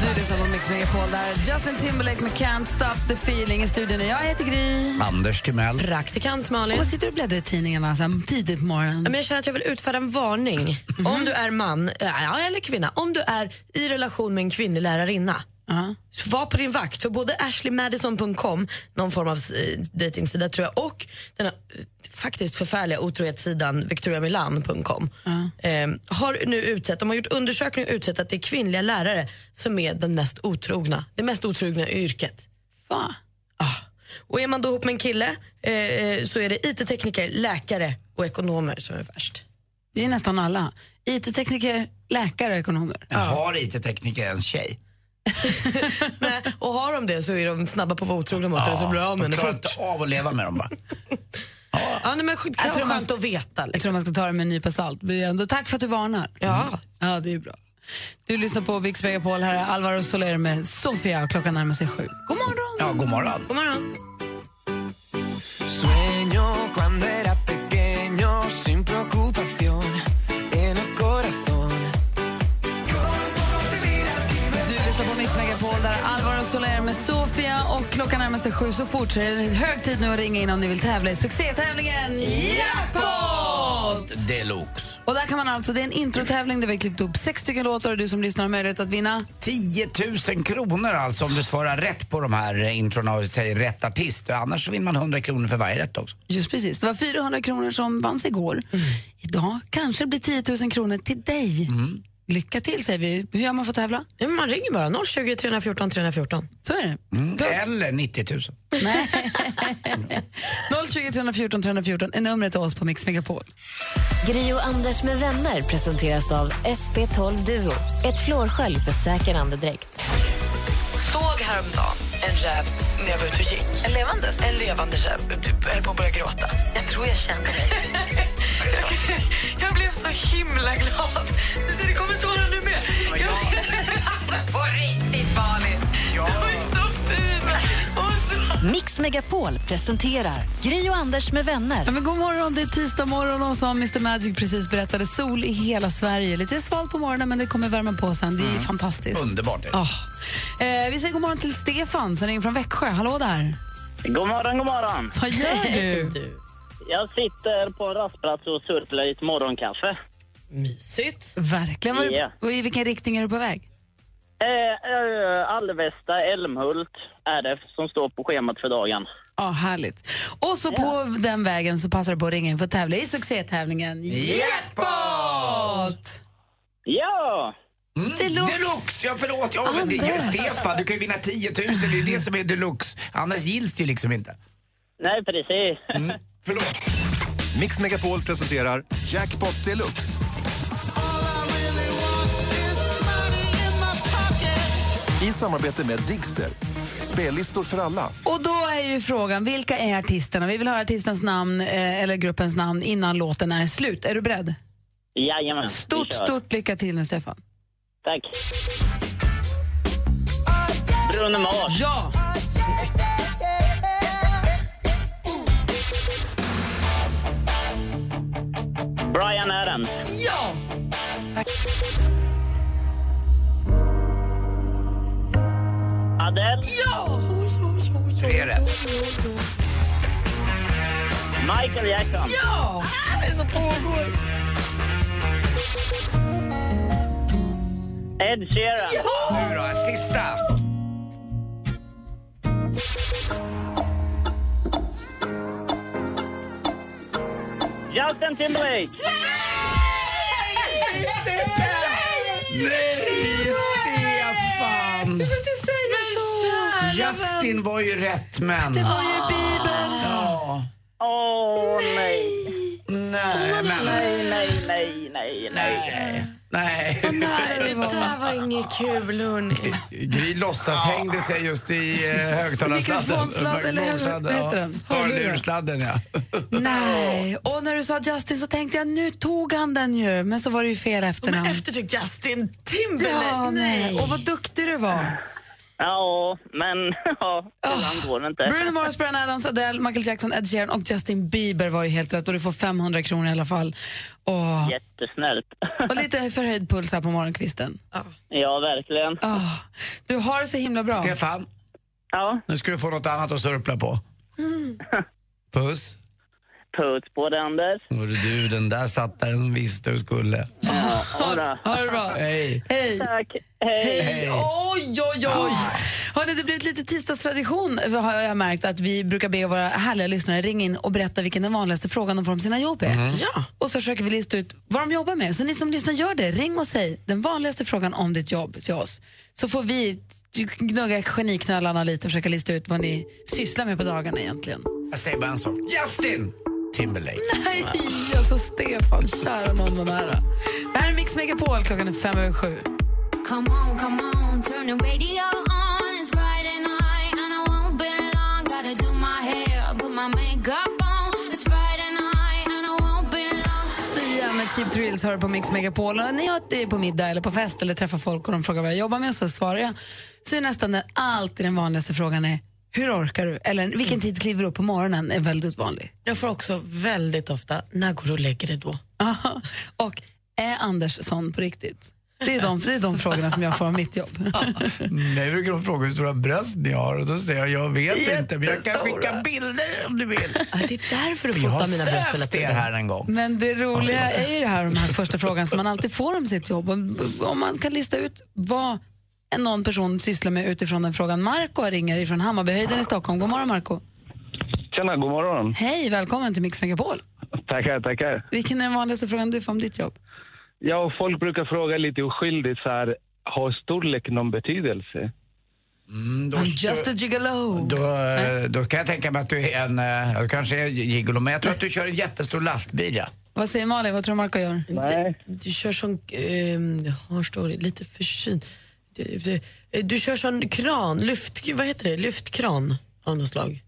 [SPEAKER 3] Du lyssnar på Mix Megapol där. Justin Timberlake med Can't Stop the Feeling i studion. Jag heter Gry.
[SPEAKER 4] Anders Timell.
[SPEAKER 5] Praktikant Malin.
[SPEAKER 3] Och sitter du och bläddrar i tidningarna så här, tidigt på morgonen? Mhm.
[SPEAKER 5] Men jag känner att jag vill utfärda en varning. Om du är man, äh, ja, eller kvinna, om du är i relation med en kvinnlig lärarinna, så var på din vakt. För både ashleymadison.com, någon form av eh, dejtingsida tror jag, och den här, eh, faktiskt förfärliga otrohetssidan victoriamilan.com eh, har nu utsett, de har gjort undersökning och utsett att det är kvinnliga lärare som är den mest otrogna, det mest otrogna yrket.
[SPEAKER 3] Fan.
[SPEAKER 5] Och är man då ihop med en kille eh, eh, så är det IT-tekniker, läkare och ekonomer som är värst.
[SPEAKER 3] Det är nästan alla. IT-tekniker, läkare, ekonomer.
[SPEAKER 4] Har IT-tekniker en tjej?
[SPEAKER 5] Och har de det så är de snabba på att vara otrogna mot
[SPEAKER 4] Ja,
[SPEAKER 5] det så blir av med
[SPEAKER 4] de
[SPEAKER 5] det
[SPEAKER 4] klarar
[SPEAKER 5] fort.
[SPEAKER 4] inte av att leva med dem bara.
[SPEAKER 5] Ja, nej, men skit,
[SPEAKER 3] Jag
[SPEAKER 5] jag
[SPEAKER 3] tror
[SPEAKER 5] tror
[SPEAKER 3] man-
[SPEAKER 5] skönt att veta.
[SPEAKER 3] Jag tror man ska ta det med en nypa salt. Men ändå, tack för att du varnar.
[SPEAKER 5] Ja.
[SPEAKER 3] Ja, det är bra. Du lyssnar på Mix Megapol. Här är Alvaro Soler med Sofia och klockan närmar sig sju. God morgon!
[SPEAKER 4] Ja, god morgon.
[SPEAKER 5] God morgon.
[SPEAKER 10] Sueño cuando era pequeño sin preocupación en el corazón.
[SPEAKER 3] Du lyssnar på Mix Megapol där Alvaro Soler med Sofia och klockan närmar sig sju så fort så är det hög tid nu att ringa in om ni vill tävla i succétävlingen Jackpot!
[SPEAKER 4] Deluxe.
[SPEAKER 3] Och där kan man alltså, det är en introtävling där vi har klippt upp sex stycken låtar och du som lyssnar har möjlighet att vinna.
[SPEAKER 4] 10 000 kronor alltså om du svarar rätt på de här eh, introna och säger rätt artist. Annars så vinner man 100 kronor för varje rätt också.
[SPEAKER 3] Just precis, det var 400 kronor som vanns igår. Idag kanske det blir 10 000 kronor till dig. Lycka till säger vi. Hur gör man för att tävla?
[SPEAKER 5] Man ringer bara 020 314 314.
[SPEAKER 3] Så är det.
[SPEAKER 4] Mm. Eller 90 000.
[SPEAKER 3] 020 314 314 är numret till oss på Mix Megapol.
[SPEAKER 12] Gri och Anders med vänner presenteras av SP12 Duo. Ett flårskölj för säker andedräkt.
[SPEAKER 19] Såg häromdagen en räv när jag var ute och gick. En levandes? En levande räv. Typ höll på att börja gråta. Jag tror jag känner dig. jag, jag blev så himla glad. Du ser, det kommer tårar nu med.
[SPEAKER 4] Oh
[SPEAKER 19] Jag, alltså, på riktigt, Malin. Ja.
[SPEAKER 1] Mix Megapol presenterar Gri och Anders med vänner.
[SPEAKER 3] Ja, men god morgon, det är tisdag morgon och som Mr Magic precis berättade, sol i hela Sverige. Lite svalt på morgonen men det kommer värma på sen. Det är fantastiskt.
[SPEAKER 4] Underbart.
[SPEAKER 3] Ja. Eh, vi säger god morgon till Stefan som ringer från Växjö. Hallå där!
[SPEAKER 20] God morgon, god morgon.
[SPEAKER 3] Vad gör du?
[SPEAKER 20] Jag sitter på en rastplats och surplar lite morgonkaffe.
[SPEAKER 5] Mysigt.
[SPEAKER 3] Verkligen. Var
[SPEAKER 20] Ja.
[SPEAKER 3] du, och I vilken riktning är du på väg?
[SPEAKER 20] Eh, eh, Alvesta, Älmhult, RF som står på schemat för dagen.
[SPEAKER 3] Ja, härligt. Och så på den vägen så passar du på att ringa in för att tävla i succétävlingen Jackpot!
[SPEAKER 20] Ja!
[SPEAKER 4] Mm. Deluxe. Ja, förlåt.
[SPEAKER 3] Ah,
[SPEAKER 4] Ja, men det, ja,
[SPEAKER 20] Anders.
[SPEAKER 4] Stefan, du kan ju vinna 10 000. Det är det som är deluxe. Annars gills det ju liksom inte.
[SPEAKER 20] Nej, precis.
[SPEAKER 3] Mm.
[SPEAKER 11] Mix Megapol presenterar Jackpot Deluxe. I samarbete med Digster. Spellistor för alla.
[SPEAKER 3] Och då är ju frågan, vilka är artisterna? Vi vill höra artistens namn eh, eller gruppens namn innan låten är slut. Är du beredd?
[SPEAKER 20] Jajamän, vi
[SPEAKER 3] Stort,
[SPEAKER 20] kör.
[SPEAKER 3] stort lycka till nu, Stefan.
[SPEAKER 20] Tack. Bruno Mars.
[SPEAKER 3] Ja!
[SPEAKER 20] Brian Adams.
[SPEAKER 3] Ja!
[SPEAKER 20] Adele.
[SPEAKER 3] Ja!
[SPEAKER 4] Tre rätt.
[SPEAKER 20] Michael Jackson.
[SPEAKER 3] Ja!
[SPEAKER 5] Vad är det som pågår?
[SPEAKER 20] Ed Sheeran.
[SPEAKER 4] Nu då, sista.
[SPEAKER 20] Justin Timberlake.
[SPEAKER 4] Nej, Stefan! Du får
[SPEAKER 3] inte säga
[SPEAKER 4] så! Justin var ju rätt, men...
[SPEAKER 3] Det var ju i Bibeln.
[SPEAKER 4] Ja.
[SPEAKER 20] Åh, nej.
[SPEAKER 4] Nej, men...
[SPEAKER 20] Nej, nej, nej, nej, nej.
[SPEAKER 4] Nej.
[SPEAKER 5] Nej, det där var inget kul, hörni.
[SPEAKER 4] Gry låtsas hängde sig just i eh, högtalarsladden.
[SPEAKER 3] Mikrofonsladden, eller hur-
[SPEAKER 4] Mikrofonsladden,
[SPEAKER 3] vad heter den?
[SPEAKER 4] Ja.
[SPEAKER 3] Hörlurar.
[SPEAKER 4] Hörlursladden, ja.
[SPEAKER 3] Nej, och när du sa Justin så tänkte jag nu tog han den ju, men så var det ju fel efternamn.
[SPEAKER 5] Men efter typ Justin Timberlake.
[SPEAKER 3] Ja, nej. Och vad duktig du var.
[SPEAKER 20] Ja, men ja, ibland går det inte.
[SPEAKER 3] Bruno Mars, Brian Adams, Adele, Michael Jackson, Ed Sheeran och Justin Bieber var ju helt rätt och du får 500 kronor i alla fall. Åh.
[SPEAKER 20] Jättesnällt.
[SPEAKER 3] Och lite förhöjd puls här på morgonkvisten.
[SPEAKER 20] Ja, verkligen.
[SPEAKER 3] Åh, Ah, Du har det så himla bra.
[SPEAKER 4] Stefan,
[SPEAKER 20] Ja,
[SPEAKER 4] nu ska du få något annat att sörpla på. Puss.
[SPEAKER 20] puss på dig, Anders.
[SPEAKER 4] Och du, den där satt där som visste hur det skulle.
[SPEAKER 20] Ja, hurra.
[SPEAKER 3] Ha det bra.
[SPEAKER 4] Hej.
[SPEAKER 3] Hej.
[SPEAKER 20] Tack.
[SPEAKER 3] Hej.
[SPEAKER 4] Hej. Ah.
[SPEAKER 3] Oj, oj, oj. Hörrni, det blir lite tisdagstradition har jag märkt att vi brukar be våra härliga lyssnare ringa in och berätta vilken den vanligaste frågan de får om sina jobb är.
[SPEAKER 4] Mm-hmm.
[SPEAKER 3] Ja. Och så försöker vi lista ut vad de jobbar med. Så ni som lyssnar, gör det. Ring och säg den vanligaste frågan om ditt jobb till oss. Så får vi gnugga geniknölarna lite och försöka lista ut vad ni sysslar med på dagarna egentligen.
[SPEAKER 4] Jag säger bara en sak. Justin Timberlake.
[SPEAKER 3] Nej, alltså Stefan, kära någon man nära. Det här är Mix Megapol, klockan är fem över sju.
[SPEAKER 7] Come on, come on, turn the radio on. It's Friday night, and I won't be long. Gotta do my hair, put my makeup on. It's Friday night, and I won't be long.
[SPEAKER 3] Sia med Cheap Thrills hör på Mix Megapol. Och när jag är på middag eller på fest eller träffar folk och de frågar vad jag jobbar med så svarar jag. Så är nästan den, alltid den vanligaste frågan är hur orkar du? Eller vilken tid kliver du upp på morgonen? är väldigt vanlig.
[SPEAKER 5] Jag får också väldigt ofta, när går du och lägger dig då?
[SPEAKER 3] och är Anders sån på riktigt? Det är de, det är de frågorna som jag får av mitt jobb.
[SPEAKER 4] Mig brukar de fråga hur stora bröst ni har och då säger jag jag vet inte men jag kan skicka bilder om du vill.
[SPEAKER 5] Det är därför du
[SPEAKER 4] Vi har
[SPEAKER 5] fotar mina bröst hela
[SPEAKER 4] sövt er
[SPEAKER 5] tiden.
[SPEAKER 4] här en gång.
[SPEAKER 3] Men det roliga är ju det här, de här första frågan som man alltid får om sitt jobb. Om om man kan lista ut vad en- någon person sysslar med utifrån den frågan. Marco ringer ifrån Hammarbyhöjden i Stockholm. God morgon Marco.
[SPEAKER 21] Tjena, god morgon.
[SPEAKER 3] Hej, välkommen till Mix Megapol.
[SPEAKER 21] Tackar, tackar.
[SPEAKER 3] Vilken är den vanligaste frågan du får om ditt jobb?
[SPEAKER 21] Ja, folk brukar fråga lite oskyldigt så här, har storlek någon betydelse?
[SPEAKER 4] Mm, då,
[SPEAKER 3] I'm just a gigolo.
[SPEAKER 4] då, eh, då kan jag tänka mig att du är en, eh, du kanske är gigolo, men jag tror att du kör en jättestor lastbil ja.
[SPEAKER 3] Vad säger Malin? Vad tror du Marco gör?
[SPEAKER 21] Nej.
[SPEAKER 5] Du kör sån, ehm, jag har står lite förkyld. Du, du, du kör sån kran, lyft, vad heter det, lyftkran av något slag?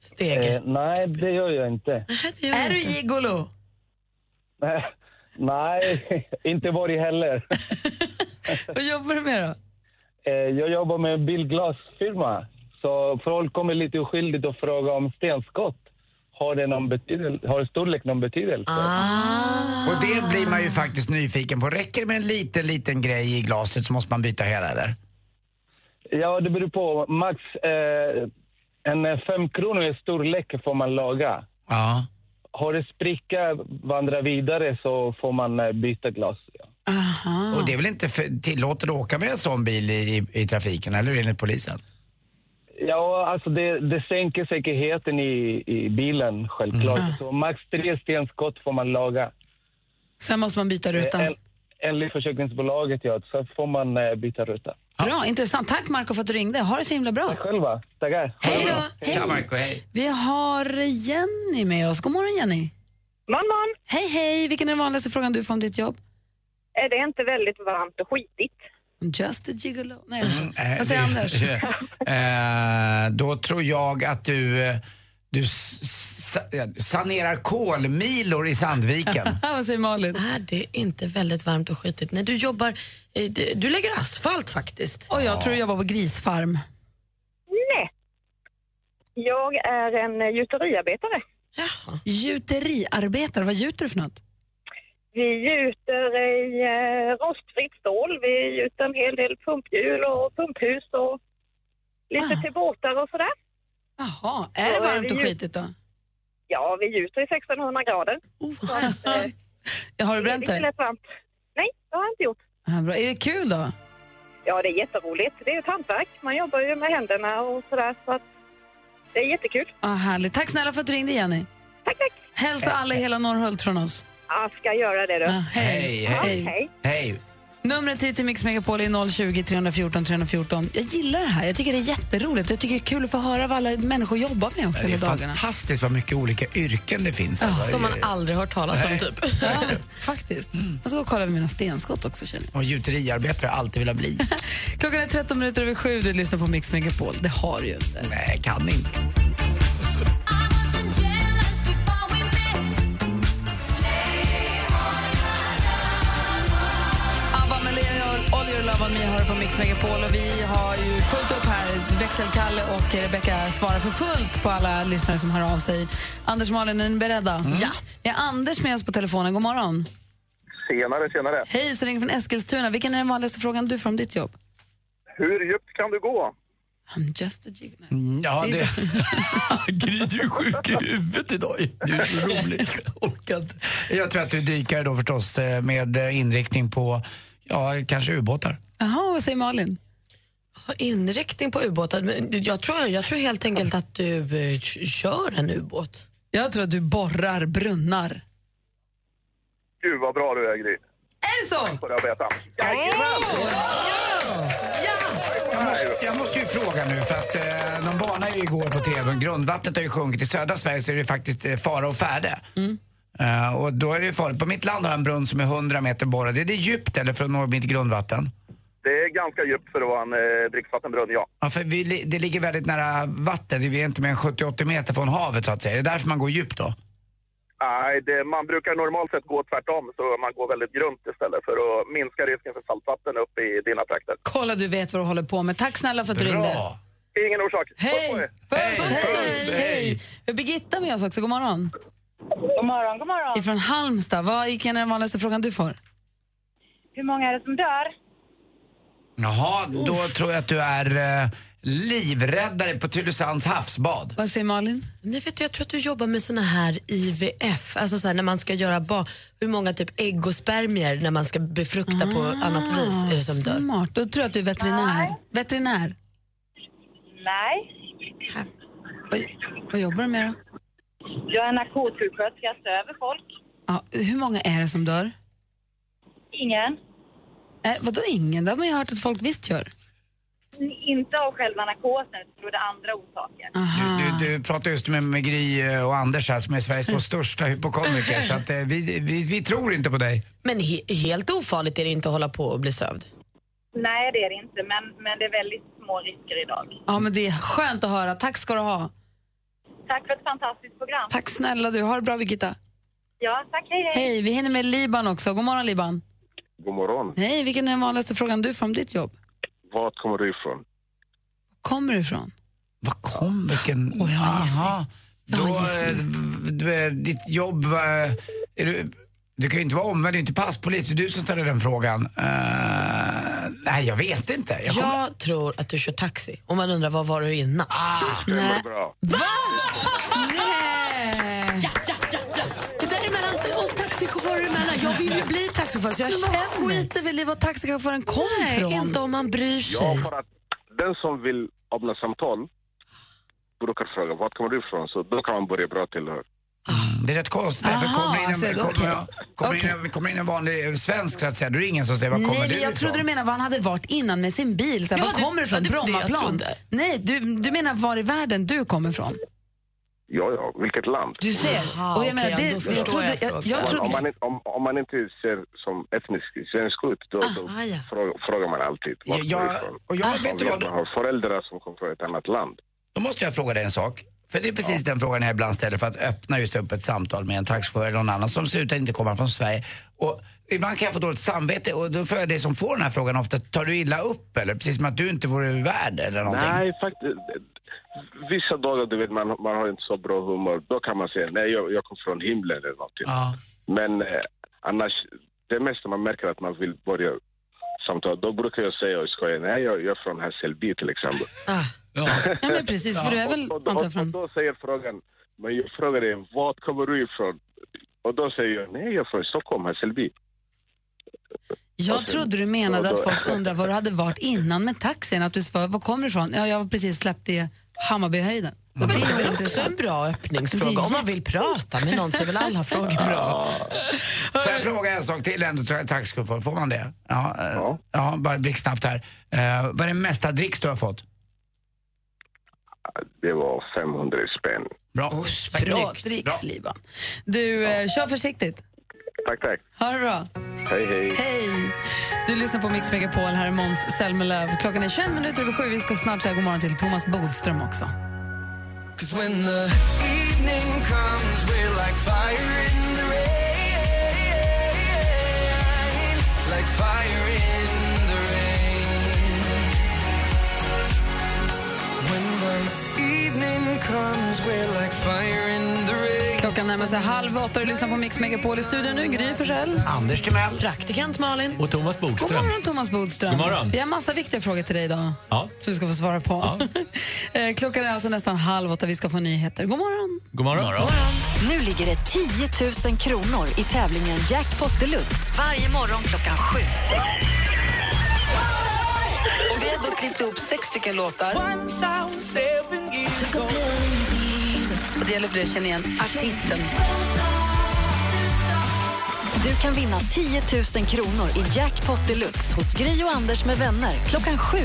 [SPEAKER 5] Stege.
[SPEAKER 21] Eh, nej, det gör jag inte.
[SPEAKER 3] Är du gigolo?
[SPEAKER 21] nej, inte varit heller.
[SPEAKER 3] Vad jobbar du med då?
[SPEAKER 21] Eh, jag jobbar med en bilglasfirma. Så folk kommer lite oskyldigt och frågar om stenskott. Har, det någon betydelse, har storlek någon betydelse?
[SPEAKER 3] Ah.
[SPEAKER 4] Och det blir man ju faktiskt nyfiken på. Räcker det med en liten, liten grej i glaset så måste man byta hela eller?
[SPEAKER 21] Ja, det beror på. Max eh, en fem kronor i storlek får man laga.
[SPEAKER 4] Ja.
[SPEAKER 21] Har det spricka, vandra vidare så får man eh, byta glas.
[SPEAKER 4] Och det är väl inte för, tillåtet att åka med en sån bil i, i, i trafiken, eller hur, enligt polisen?
[SPEAKER 21] Ja, alltså det, det sänker säkerheten i, i bilen självklart.
[SPEAKER 3] Mm.
[SPEAKER 21] Så max tre stenskott får man laga.
[SPEAKER 3] Sen måste man byta ruta.
[SPEAKER 21] Eh, en- Enligt försäkringsbolaget ja, så får man eh, byta ruta.
[SPEAKER 3] Bra, intressant. Tack Marco för att du ringde. Ha det så himla bra.
[SPEAKER 21] Själva, tackar.
[SPEAKER 3] Hej då.
[SPEAKER 4] Tja Marco, hej.
[SPEAKER 3] Vi har Jenny med oss. God morgon Jenny.
[SPEAKER 22] Morgon, morgon.
[SPEAKER 3] Hej, hej. Vilken är den vanligaste frågan du får om ditt jobb? Eh,
[SPEAKER 22] Är det inte väldigt varmt och skitigt?
[SPEAKER 3] Just a gigolo. Nej, jag skojar.
[SPEAKER 4] Eh,
[SPEAKER 3] Vad säger
[SPEAKER 4] det-
[SPEAKER 3] Anders?
[SPEAKER 4] eh, då tror jag att du, eh, Du s- sa- sanerar kolmilor i Sandviken.
[SPEAKER 3] Vad säger Malin?
[SPEAKER 5] Är det inte väldigt varmt och skitigt? Nej, du jobbar... eh, d- Du lägger asfalt faktiskt.
[SPEAKER 3] Och jag tror du jobbar på grisfarm.
[SPEAKER 22] Nej. Jag är en eh, gjuteriarbetare.
[SPEAKER 3] Gjuteriarbetare, vad gjuter du för något?
[SPEAKER 22] Vi gjuter i eh, rostfritt stål. Vi gjuter en hel del pumphjul och pumphus och
[SPEAKER 3] Ah.
[SPEAKER 22] lite till båtar och sådär.
[SPEAKER 3] Jaha, Är det
[SPEAKER 22] Ja,
[SPEAKER 3] varmt
[SPEAKER 22] vi
[SPEAKER 3] och
[SPEAKER 22] gjut-
[SPEAKER 3] skitigt då?
[SPEAKER 22] Ja, vi gjuter i 1600 grader. Så att, eh,
[SPEAKER 3] Oh, Har du
[SPEAKER 22] det är
[SPEAKER 3] bränt
[SPEAKER 22] inte
[SPEAKER 3] dig?
[SPEAKER 22] lätt varmt. Nej, det har jag inte gjort.
[SPEAKER 3] Ja, bra. Är det kul då?
[SPEAKER 22] Ja, det är jätteroligt. Det är ett hantverk. Man jobbar ju med händerna och sådär. Så att det är jättekul.
[SPEAKER 3] Ah, härligt. Tack snälla för att du ringde, Jenny. Tack, tack. Hälsa alla i hela Norrhult från oss.
[SPEAKER 22] Ja, ska jag göra det då.
[SPEAKER 3] Ah, hej,
[SPEAKER 22] Ja,
[SPEAKER 3] hej.
[SPEAKER 4] Hej.
[SPEAKER 3] Numret hit till Mix Megapol är 020 314 314. Jag gillar det här. Jag tycker det är jätteroligt. Jag tycker det är kul att få höra vad alla människor jobbar med också
[SPEAKER 4] Det är
[SPEAKER 3] hela dagarna.
[SPEAKER 4] fantastiskt vad mycket olika yrken det finns.
[SPEAKER 3] Ja,
[SPEAKER 4] alltså.
[SPEAKER 3] som man
[SPEAKER 5] aldrig hört talas
[SPEAKER 4] Nej.
[SPEAKER 5] om, typ.
[SPEAKER 3] Faktiskt. Jag ska gå och kolla över mina stenskott också känner jag.
[SPEAKER 4] Och gjuteriarbetare Mm. har jag alltid velat bli.
[SPEAKER 3] Klockan är 13 minuter över sju. Du lyssnar på Mix Megapol. Det har du ju inte.
[SPEAKER 4] Nej, kan inte.
[SPEAKER 3] ABBA med Lea All- All Your Love On Me hör på Mix Megapol och vi har ju fullt upp här. Växelkalle och Rebecca svarar för fullt på alla lyssnare som hör av sig. Anders och Malin, är ni beredda? Ja. Vi har Anders med oss på telefonen. God morgon.
[SPEAKER 2] Senare, senare.
[SPEAKER 3] Hej, så ringer från Eskilstuna. Vilken är den vanligaste frågan du får om ditt jobb?
[SPEAKER 2] Hur djupt kan du gå?
[SPEAKER 3] I'm just a jig...
[SPEAKER 4] Ja,
[SPEAKER 3] det...
[SPEAKER 4] Gry, du är sjuk i huvudet idag. Du är så rolig. Jag orkar inte. Jag tror att du dyker då förstås eh, med eh, inriktning på, ja, kanske ubåtar.
[SPEAKER 3] Jaha, vad säger Malin?
[SPEAKER 5] Inriktning på ubåtar. Men Jag tror, jag tror helt enkelt att du eh, k- kör en ubåt.
[SPEAKER 3] Jag tror att du borrar brunnar.
[SPEAKER 2] Gud vad bra du är Gry.
[SPEAKER 3] Är det så?
[SPEAKER 2] får jag veta.
[SPEAKER 4] Jag måste, jag måste ju fråga nu, för att eh, de varnade ju igår på tv, grundvattnet har ju sjunkit. I södra Sverige så är det faktiskt eh, fara och färde. Eh, och då är det ju farligt. På mitt land har jag en brunn som är 100 meter borrad. Är det djupt eller för att nå mitt grundvatten?
[SPEAKER 2] Det är ganska djupt för att vara en eh, dricksvattenbrunn, ja.
[SPEAKER 4] Ja, för vi, li- det ligger väldigt nära vatten. Vi är inte mer än 70-80 meter från havet så att säga. Det är därför man går djupt då.
[SPEAKER 2] Nej, det, man brukar normalt sett gå tvärtom, så man går väldigt grunt istället för att minska risken för saltvatten upp i dina trakter.
[SPEAKER 3] Kolla, du vet vad du håller på med. Tack snälla för att du
[SPEAKER 2] Bra.
[SPEAKER 3] ringde.
[SPEAKER 2] Ingen orsak.
[SPEAKER 3] Hej!
[SPEAKER 2] Puss på er.
[SPEAKER 3] Puss!
[SPEAKER 2] Puss,
[SPEAKER 3] Hej! Hej! Vi har Birgitta med oss också. God morgon.
[SPEAKER 18] God morgon, god morgon.
[SPEAKER 3] Ifrån Halmstad. Vad gick den vanligaste frågan du får?
[SPEAKER 18] Hur många är det som dör?
[SPEAKER 4] Jaha, då tror jag att du är eh, livräddare på Tylösands havsbad.
[SPEAKER 3] Vad säger Malin?
[SPEAKER 5] Nej, vet du, jag tror att du jobbar med såna här IVF, alltså så här, när man ska göra ba- hur många typ ägg och spermier när man ska befrukta på
[SPEAKER 3] Ah,
[SPEAKER 5] annat vis är det som dör.
[SPEAKER 3] Smart. Då tror jag att du är veterinär. Veterinär.
[SPEAKER 18] Nej.
[SPEAKER 3] Vad jobbar du med då?
[SPEAKER 18] Jag är narkossjuksköterska, jag söver folk.
[SPEAKER 3] Ja, hur många är det som dör?
[SPEAKER 18] Ingen.
[SPEAKER 3] Är, vadå ingen? Det har man ju hört att folk visst gör.
[SPEAKER 18] Inte av själva narkosen, utan tror det är andra orsaker.
[SPEAKER 4] Du, du pratade just med, med Gry eh, och Anders här som är Sveriges två största hypokondriker så att eh, vi, vi, vi tror inte på dig.
[SPEAKER 5] Men he- helt ofarligt är det inte att hålla på och bli sövd.
[SPEAKER 18] Nej, det är det inte, men, men det är väldigt små risker idag.
[SPEAKER 3] Ja, men det är skönt att höra. Tack ska du ha.
[SPEAKER 18] Tack för ett fantastiskt program.
[SPEAKER 3] Tack snälla du. Ha det bra, Birgitta.
[SPEAKER 18] Ja, tack. Hej, hej.
[SPEAKER 3] Hej, vi hinner med Liban också. God morgon, Liban.
[SPEAKER 23] God morgon.
[SPEAKER 3] Hej, vilken är den vanligaste frågan du får om ditt jobb?
[SPEAKER 23] Var kommer du ifrån?
[SPEAKER 3] Kommer du ifrån?
[SPEAKER 4] Vad kom, vilken... Oh, Aha. Då, eh, du, eh, ditt jobb, eh, är du, du kan ju inte vara omvänd, du är inte passpolis, det är du som ställer den frågan. Eh, nej, jag vet inte.
[SPEAKER 5] Jag,
[SPEAKER 4] Jag kommer...
[SPEAKER 5] tror att du kör taxi. Om man undrar vad var du innan?
[SPEAKER 4] stämmer
[SPEAKER 23] bra.
[SPEAKER 5] Va? Nej! Ja, ja, ja, ja. Det där är mellan oss taxichaufförer emellan. Jag vill ju bli taxichaufför så jag
[SPEAKER 3] Men vad
[SPEAKER 5] känner.
[SPEAKER 3] skiter väl i var taxichauffören kom
[SPEAKER 5] Nej,
[SPEAKER 3] ifrån?
[SPEAKER 5] inte om man bryr sig.
[SPEAKER 23] Ja, för att den som vill öppna samtal brukar fråga var kommer du ifrån? Så då kan man börja bra tillhör.
[SPEAKER 4] Det är rätt konstigt. därför
[SPEAKER 3] Aha,
[SPEAKER 4] kommer, in en,
[SPEAKER 3] alltså,
[SPEAKER 4] kommer,
[SPEAKER 3] okej.
[SPEAKER 4] kommer, in en, kommer in en vanlig eh, svensk så att säga, då är det ingen som säger var kommer
[SPEAKER 3] Nej,
[SPEAKER 4] du
[SPEAKER 3] men jag
[SPEAKER 4] ifrån?
[SPEAKER 3] trodde du menade var han hade varit innan med sin bil. Så här,
[SPEAKER 5] Ja,
[SPEAKER 3] var
[SPEAKER 5] det-
[SPEAKER 3] kommer du ifrån?
[SPEAKER 5] ja, det var det jag
[SPEAKER 3] Brommaplan?
[SPEAKER 5] trodde.
[SPEAKER 3] Nej, du, du menar var i världen du kommer ifrån?
[SPEAKER 23] Ja, ja, vilket land?
[SPEAKER 3] Du ser.
[SPEAKER 4] Mm.
[SPEAKER 3] och jag menar,
[SPEAKER 4] Ah,
[SPEAKER 3] det, jag trodde... Jag, jag
[SPEAKER 23] om, man
[SPEAKER 3] trodde
[SPEAKER 23] inte, om, om man inte ser som etnisk svensk ut, då, då
[SPEAKER 3] Ah, ja.
[SPEAKER 23] frå, frågar man alltid var
[SPEAKER 4] Ja,
[SPEAKER 23] kommer
[SPEAKER 4] jag-
[SPEAKER 23] du ifrån? Ah,
[SPEAKER 4] och jag
[SPEAKER 23] Om
[SPEAKER 4] vet
[SPEAKER 23] vi
[SPEAKER 4] vad-
[SPEAKER 23] har föräldrar som kommer från ett annat land.
[SPEAKER 4] Då måste jag fråga dig en sak. För det är precis den frågan jag ibland ställer för att öppna just upp ett samtal med en taxichaufför eller någon annan som ser ut att inte komma från Sverige. Och ibland kan jag få dåligt samvete och då frågar jag dig som får den här frågan ofta, tar du illa upp eller? Precis som att du inte vore värd eller någonting.
[SPEAKER 23] Nej, faktiskt. Vissa dagar du vet, man, man har inte så bra humör. Då kan man säga nej, jag, jag kom från himlen eller någonting.
[SPEAKER 4] Ja.
[SPEAKER 23] Men eh, annars, det mesta man märker att man vill börja samtala, då brukar jag säga och skoja, nej, jag, jag är från Hässelby till exempel.
[SPEAKER 3] Ah. Ja, men precis, för du är väl,
[SPEAKER 23] Och,
[SPEAKER 3] antar
[SPEAKER 23] och,
[SPEAKER 3] jag,
[SPEAKER 23] och, och
[SPEAKER 3] från...
[SPEAKER 23] då säger frågan, men jag frågar dig, var kommer du ifrån? Och då säger jag, nej, jag är från Stockholm, Hässelby.
[SPEAKER 3] Jag trodde du menade att folk undrar var du hade varit innan med taxin, att du svarade, var kommer du ifrån? Ja, jag har precis släppt i Hammarbyhöjden.
[SPEAKER 5] Men det är väl också en bra öppningsfråga. Om man vill prata med någon så är väl alla frågor bra.
[SPEAKER 4] Får jag fråga en sak till ändå, tra- taxichaufför? Får man det? Ja, eh, ja. bara blixtsnabbt här. Eh, vad är den mesta dricks du har fått?
[SPEAKER 23] Det var 500 spänn.
[SPEAKER 4] Bra.
[SPEAKER 3] Bra dricks, Liban. Du, eh, kör försiktigt.
[SPEAKER 23] Tack, tack.
[SPEAKER 3] Ha det bra.
[SPEAKER 23] Hej, hej.
[SPEAKER 3] Hej! Du lyssnar på Mix Megapol. Här är Måns Zelmerlöw. Klockan är 21 minuter över sju. Vi ska snart säga god morgon till Thomas Bodström också.
[SPEAKER 10] 'Cause when the evening comes, we're like fire in the rain. Like fire in the rain. When the evening comes, we're like fire in the rain.
[SPEAKER 3] Klockan närmar sig halv åtta och du lyssnar på Mix Megapol i studion nu. Gry Forssell.
[SPEAKER 4] Anders Timell.
[SPEAKER 3] Praktikant Malin.
[SPEAKER 9] Och Thomas
[SPEAKER 3] God
[SPEAKER 9] Bodström.
[SPEAKER 3] morgon, Thomas Bodström.
[SPEAKER 9] God morgon.
[SPEAKER 3] Vi har massa viktiga frågor till dig idag
[SPEAKER 9] Ja,
[SPEAKER 3] som du ska få svara på. Eh, Klockan är alltså nästan halv åtta. Vi ska få nyheter. God morgon!
[SPEAKER 9] god morgon.
[SPEAKER 1] Nu ligger det 10 000 kronor i tävlingen Jackpot Deluxe varje morgon klockan sju.
[SPEAKER 19] Och vi har då klippt ihop sex stycken låtar.
[SPEAKER 1] Och det gäller för dig att känna igen artisten. Du kan vinna 10 000 kronor i Jackpot Deluxe hos Gry och Anders med vänner klockan sju.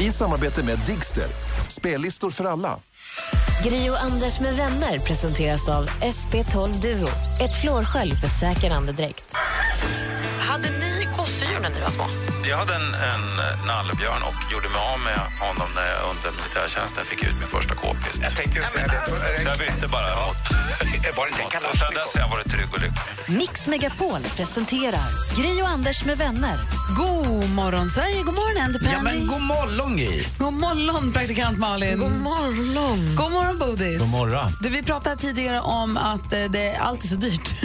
[SPEAKER 11] I samarbete med Digster. Spellistor för alla.
[SPEAKER 12] Gri och Anders med vänner presenteras av SP12 Duo. Ett flårskölj för säker andedräkt.
[SPEAKER 19] Hade ni gosedjur när ni var små?
[SPEAKER 15] Jag hade en, en eh, nallebjörn och gjorde mig av med honom när jag under militärtjänsten fick ut min första k-pist. Jag tänkte just säga det. Så jag bytte bara mot. alltså- Var det inte och sen dess har jag varit trygg och lycklig.
[SPEAKER 1] Mix Megapol presenterar Gry och Anders med vänner.
[SPEAKER 3] God morgon, Sverige. God morgon, Andy Pandy.
[SPEAKER 1] Ja, men
[SPEAKER 4] god morgon, Gry.
[SPEAKER 3] God morgon, praktikant Malin. God morgon. God morgon, Bodis.
[SPEAKER 9] God morgon.
[SPEAKER 3] Du, vi pratade tidigare om att eh, det, allt är så dyrt.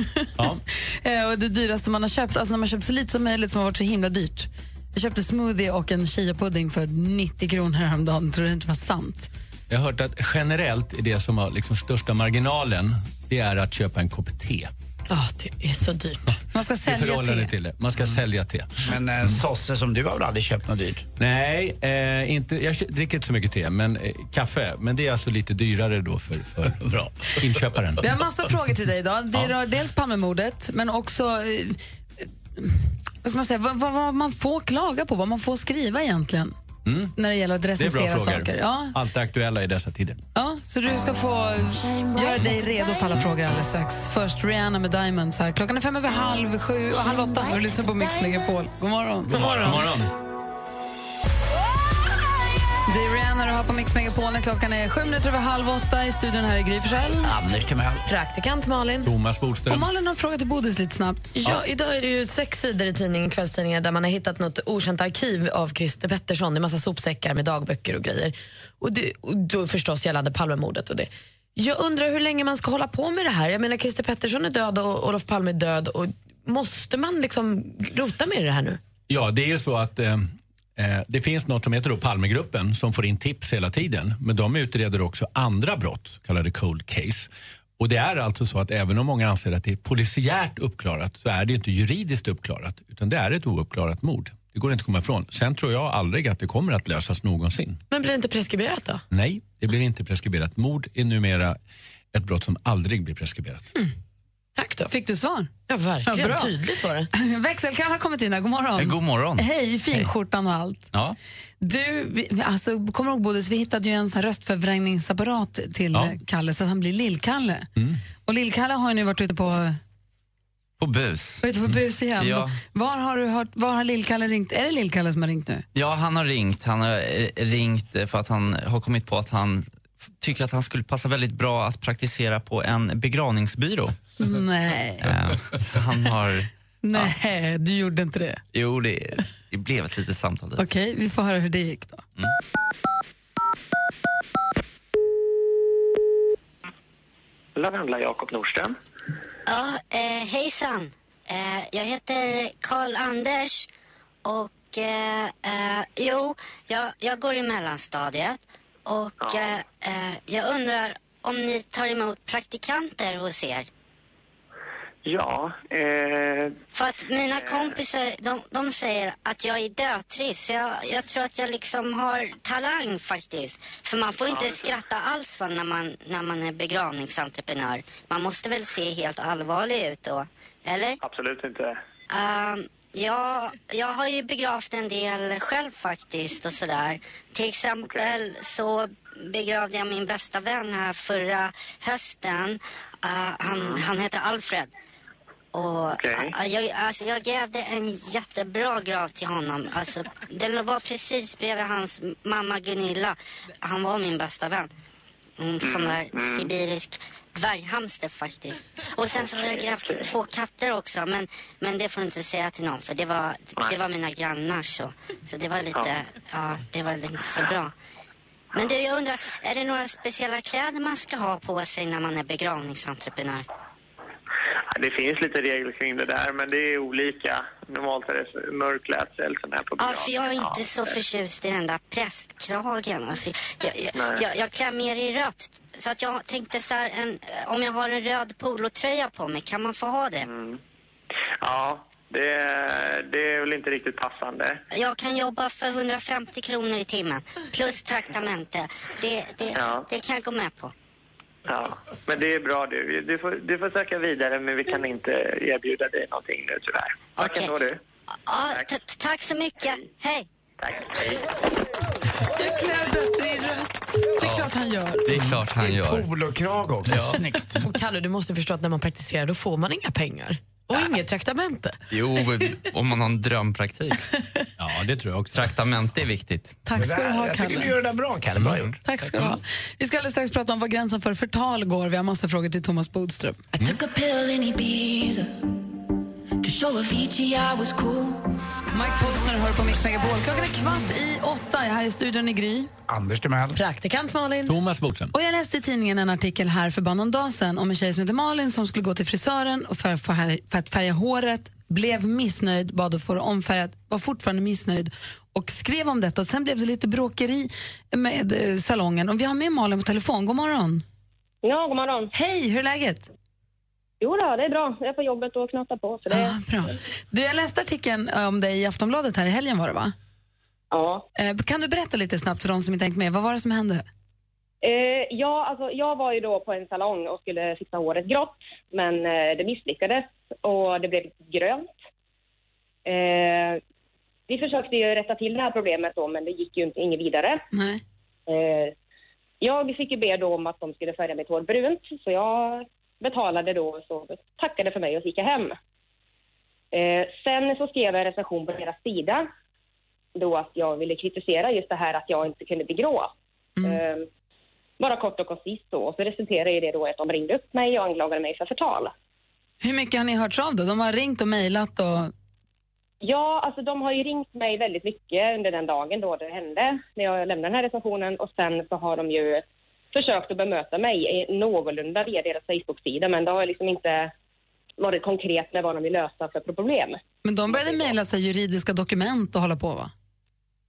[SPEAKER 3] Eh, och det dyraste man har köpt, alltså när man köpt så lite som möjligt som har varit så himla dyrt. Jag köpte smoothie och en chia-pudding för 90 kronor häromdagen. Tror det inte var sant.
[SPEAKER 9] Jag har hört att generellt är det som har liksom största marginalen, det är att köpa en kopp te.
[SPEAKER 5] Ja, det är så dyrt.
[SPEAKER 3] Man ska
[SPEAKER 9] I
[SPEAKER 3] sälja
[SPEAKER 9] förhållande
[SPEAKER 3] te.
[SPEAKER 9] till det. Man ska sälja te.
[SPEAKER 4] Men eh, sosse som du har väl aldrig köpt något dyrt?
[SPEAKER 9] Nej, eh, inte, jag kö- dricker inte så mycket te, men eh, kaffe. Men det är alltså lite dyrare då för, för Bra. inköparen.
[SPEAKER 3] Vi har massa frågor till dig idag. Det rör dels Palmemordet, men också eh, vad, ska man säga, vad, vad, vad man får klaga på, vad man får skriva egentligen
[SPEAKER 9] Mm.
[SPEAKER 3] när det gäller att
[SPEAKER 9] Det är bra
[SPEAKER 3] recensera
[SPEAKER 9] frågor.
[SPEAKER 3] saker. Ja,
[SPEAKER 9] Allt är aktuella i dessa tider.
[SPEAKER 3] ja, så du ska få göra dig redo för alla frågor alldeles strax. Först Rihanna med Diamonds. Här. Klockan är fem över halv sju och halv åtta. Du lyssnar på Mix Megapol. God morgon.
[SPEAKER 9] God morgon.
[SPEAKER 3] Det är Rihanna du har på Mix Megapol. Klockan är sju minuter över halv åtta. I studion här är Gry Forssell.
[SPEAKER 4] Anders Timell.
[SPEAKER 5] Praktikant Malin.
[SPEAKER 9] Thomas
[SPEAKER 3] Och
[SPEAKER 9] Bodström.
[SPEAKER 3] Malin har en fråga till Bodis lite snabbt.
[SPEAKER 5] Ja, idag är det ju sex sidor i tidningen kvällstidningar där man har hittat något okänt arkiv av Christer Pettersson. Det är massa sopsäckar med dagböcker och grejer. Och, det, och då förstås gällande Palmemordet och det. Jag undrar hur länge man ska hålla på med det här. Jag menar Christer Pettersson är död och Olof Palme är död. Och måste man liksom rota med det här nu?
[SPEAKER 9] Ja, det är ju så att eh, eh, det finns något som heter då Palmegruppen som får in tips hela tiden. Men de utreder också andra brott, så kallade cold case. Och det är alltså så att även om många anser att det är polisiärt uppklarat så är det ju inte juridiskt uppklarat utan det är ett ouppklarat mord. Det går inte att komma ifrån. Sen tror jag aldrig att det kommer att lösas någonsin.
[SPEAKER 5] Men blir det inte preskriberat då?
[SPEAKER 9] Nej, det blir inte preskriberat. Mord är numera ett brott som aldrig blir preskriberat.
[SPEAKER 5] Tack då.
[SPEAKER 3] Fick du svar?
[SPEAKER 5] Ja, verkligen.
[SPEAKER 3] bra.
[SPEAKER 5] Tydligt var det.
[SPEAKER 3] Växelkall har kommit in här. God morgon.
[SPEAKER 6] Eh, god morgon.
[SPEAKER 3] Hej, finskjortan och allt.
[SPEAKER 6] Ja.
[SPEAKER 3] Du, vi- alltså, kommer du ihåg Bodis, vi hittade ju en sån här röstförvrängningsapparat till
[SPEAKER 6] Ja.
[SPEAKER 3] eh, Kalle så att han blir Lill-Kalle. Och Lill-Kalle har ju nu varit ute på,
[SPEAKER 6] Mm. På bus. Mm.
[SPEAKER 3] ute på bus igen.
[SPEAKER 6] Ja.
[SPEAKER 3] Var har du hört, var har Lill-Kalle ringt? Är det Lill-Kalle som har ringt nu?
[SPEAKER 6] Ja, han har ringt. Han har eh, ringt eh, för att han har kommit på att han tycker att han skulle passa väldigt bra att praktisera på en begravningsbyrå.
[SPEAKER 3] Nej.
[SPEAKER 6] Eh, Så han har...
[SPEAKER 3] Nej, du gjorde inte det.
[SPEAKER 6] Jo, det, det blev ett litet samtal. dit.
[SPEAKER 3] Okej, vi får höra hur det gick då.
[SPEAKER 13] Lavendla Jakob Nordström.
[SPEAKER 14] Ja, eh, hejsan. Eh, jag heter Karl Anders och eh, eh, jo, jag, jag går i mellanstadiet och eh, eh, jag undrar om ni tar emot praktikanter hos er?
[SPEAKER 13] Ja, eh,
[SPEAKER 14] För att mina kompisar, de, de säger att jag är dötrist. Så jag, jag tror att jag liksom har talang faktiskt. För man får inte skratta alls va, när, man, när man är begravningsentreprenör. Man måste väl se helt allvarlig ut då, eller?
[SPEAKER 13] absolut inte.
[SPEAKER 14] Ehm, ja, jag har ju begravt en del själv faktiskt och sådär. Till exempel så begravde jag min bästa vän här förra hösten. Eh, han, han heter Alfred. Och
[SPEAKER 13] Okej.
[SPEAKER 14] eh, jag, alltså, jag grävde en jättebra grav till honom. Alltså, den var precis bredvid hans mamma Gunilla. Han var min bästa vän. En sån där
[SPEAKER 13] Mm.
[SPEAKER 14] sibirisk dvärghamster faktiskt. Och sen så har jag grävt två katter också. Men, men det får du inte säga till någon för det var, det var mina grannar så. Så det var lite, ja det var inte så bra. Men du jag undrar, är det några speciella kläder man ska ha på sig när man är begravningsentreprenör?
[SPEAKER 13] Det finns lite regler kring det där, men det är olika. Normalt är det mörklätt sån här på
[SPEAKER 14] Ja, för jag är
[SPEAKER 13] begravningen.
[SPEAKER 14] inte så förtjust i den där prästkragen. Alltså, jag,
[SPEAKER 13] Nej.
[SPEAKER 14] jag, jag, jag klär mer i rött. Så att jag tänkte så här, en, om jag har en röd polotröja på mig, kan man få ha det?
[SPEAKER 13] Ja, det, det är väl inte riktigt passande.
[SPEAKER 14] Jag kan jobba för 150 kronor i timmen, plus traktamente. Det, det,
[SPEAKER 13] Ja.
[SPEAKER 14] det kan jag gå med på.
[SPEAKER 13] Ja, men det är bra du. Du får, du får söka vidare, men vi kan inte erbjuda dig någonting nu tyvärr. Tack ändå du.
[SPEAKER 14] Ja, ta- ta- tack så mycket. Hej!
[SPEAKER 3] Jag klär bättre i rött. Det är klart han gör.
[SPEAKER 6] Det är klart han gör.
[SPEAKER 4] Polokrag också. Snyggt.
[SPEAKER 5] Och Kalle, du måste förstå att när man praktiserar då får man inga pengar. Och inget traktamente.
[SPEAKER 6] Jo, om man har en drömpraktik. Ja, det tror jag också. Traktamente är viktigt.
[SPEAKER 3] Tack ska du ha,
[SPEAKER 6] Jag tycker
[SPEAKER 3] Kalle.
[SPEAKER 6] du gör det
[SPEAKER 4] bra,
[SPEAKER 6] Kalle. Bra gjort.
[SPEAKER 3] Tack ska du ha. Vi ska alldeles strax prata om var gränsen för förtal går. Vi har massa frågor till Thomas Bodström.
[SPEAKER 16] Took a pill in Ibiza to show Avicii I was cool.
[SPEAKER 3] Mike Postner hör på Mix Megapol. Klockan är kvart i åtta. Jag är här i studion i Gry.
[SPEAKER 4] Anders Timell.
[SPEAKER 3] Praktikant Malin.
[SPEAKER 9] Thomas Bodström.
[SPEAKER 3] Och jag läste i tidningen en artikel här för bara någon dag sedan om en tjej som heter Malin som skulle gå till frisören och för, för, här, för att färga håret, blev missnöjd, bad att få det omfärgat, var fortfarande missnöjd och skrev om detta. Och sen blev det lite bråkeri med eh, salongen. Och vi har med Malin på telefon. God morgon.
[SPEAKER 24] Ja, god morgon.
[SPEAKER 3] Hej, hur är läget?
[SPEAKER 24] Jo då, det är bra. Jag är på jobbet och knatar på. Så det...
[SPEAKER 3] Bra. Du, jag läste artikeln eh, om dig i Aftonbladet här i helgen var det va? Eh,
[SPEAKER 24] Ja.
[SPEAKER 3] Kan du berätta lite snabbt för de som inte hängt med, vad var det som hände?
[SPEAKER 24] Eh, ja, alltså, jag var ju då på en salong och skulle fixa håret grått, men eh, det misslyckades och det blev grönt. Eh, vi försökte ju rätta till det här problemet då, men det gick ju inte, inget vidare.
[SPEAKER 3] Nej.
[SPEAKER 24] Eh, jag fick ju be då om att de skulle färga mitt hår brunt, så jag betalade då så tackade för mig och så gick jag hem. Eh, sen så skrev jag en recension på deras sida då att jag ville kritisera just det här att jag inte kunde bli grå. Eh, bara kort och koncist då. Och så resulterade ju det då i att de ringde upp mig och anklagade mig för förtal.
[SPEAKER 3] Hur mycket har ni hört av då? De har ringt och mejlat och...
[SPEAKER 24] Ja, alltså de har ju ringt mig väldigt mycket under den dagen då det hände, när jag lämnade den här recensionen. Och sen så har de ju försökt att bemöta mig i- någorlunda via deras Facebook-sida, men det har liksom inte varit konkret med vad de vill lösa för problem.
[SPEAKER 3] Men de började mejla sig juridiska dokument och hålla på va?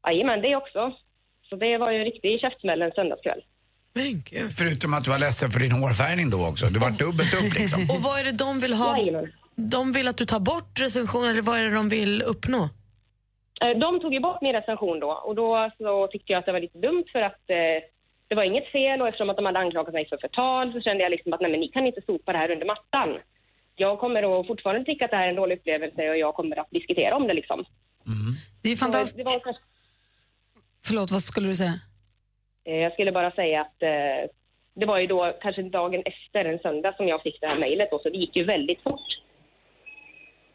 [SPEAKER 24] Jajamän, det också. Så det var ju en riktig käftsmäll en söndagskväll.
[SPEAKER 4] Förutom att du var ledsen för din hårfärgning då också. Du var dubbelt upp liksom.
[SPEAKER 5] Och vad är det de vill ha? De vill att du tar bort recensionen eller vad är det de vill uppnå?
[SPEAKER 24] Eh, De tog ju bort min recension då och då så tyckte jag att det var lite dumt för att eh, det var inget fel och eftersom att de hade anklagat mig för förtal så kände jag liksom att nej men ni kan inte sopa det här under mattan. Jag kommer då fortfarande tycka att det här är en dålig upplevelse och jag kommer att diskutera om det liksom.
[SPEAKER 3] Det är ju fantastiskt.
[SPEAKER 24] Det var kanske-
[SPEAKER 3] Förlåt, vad skulle du säga?
[SPEAKER 24] eh, Jag skulle bara säga att eh, det var ju då kanske dagen efter en söndag som jag fick det här mejlet då så det gick ju väldigt fort.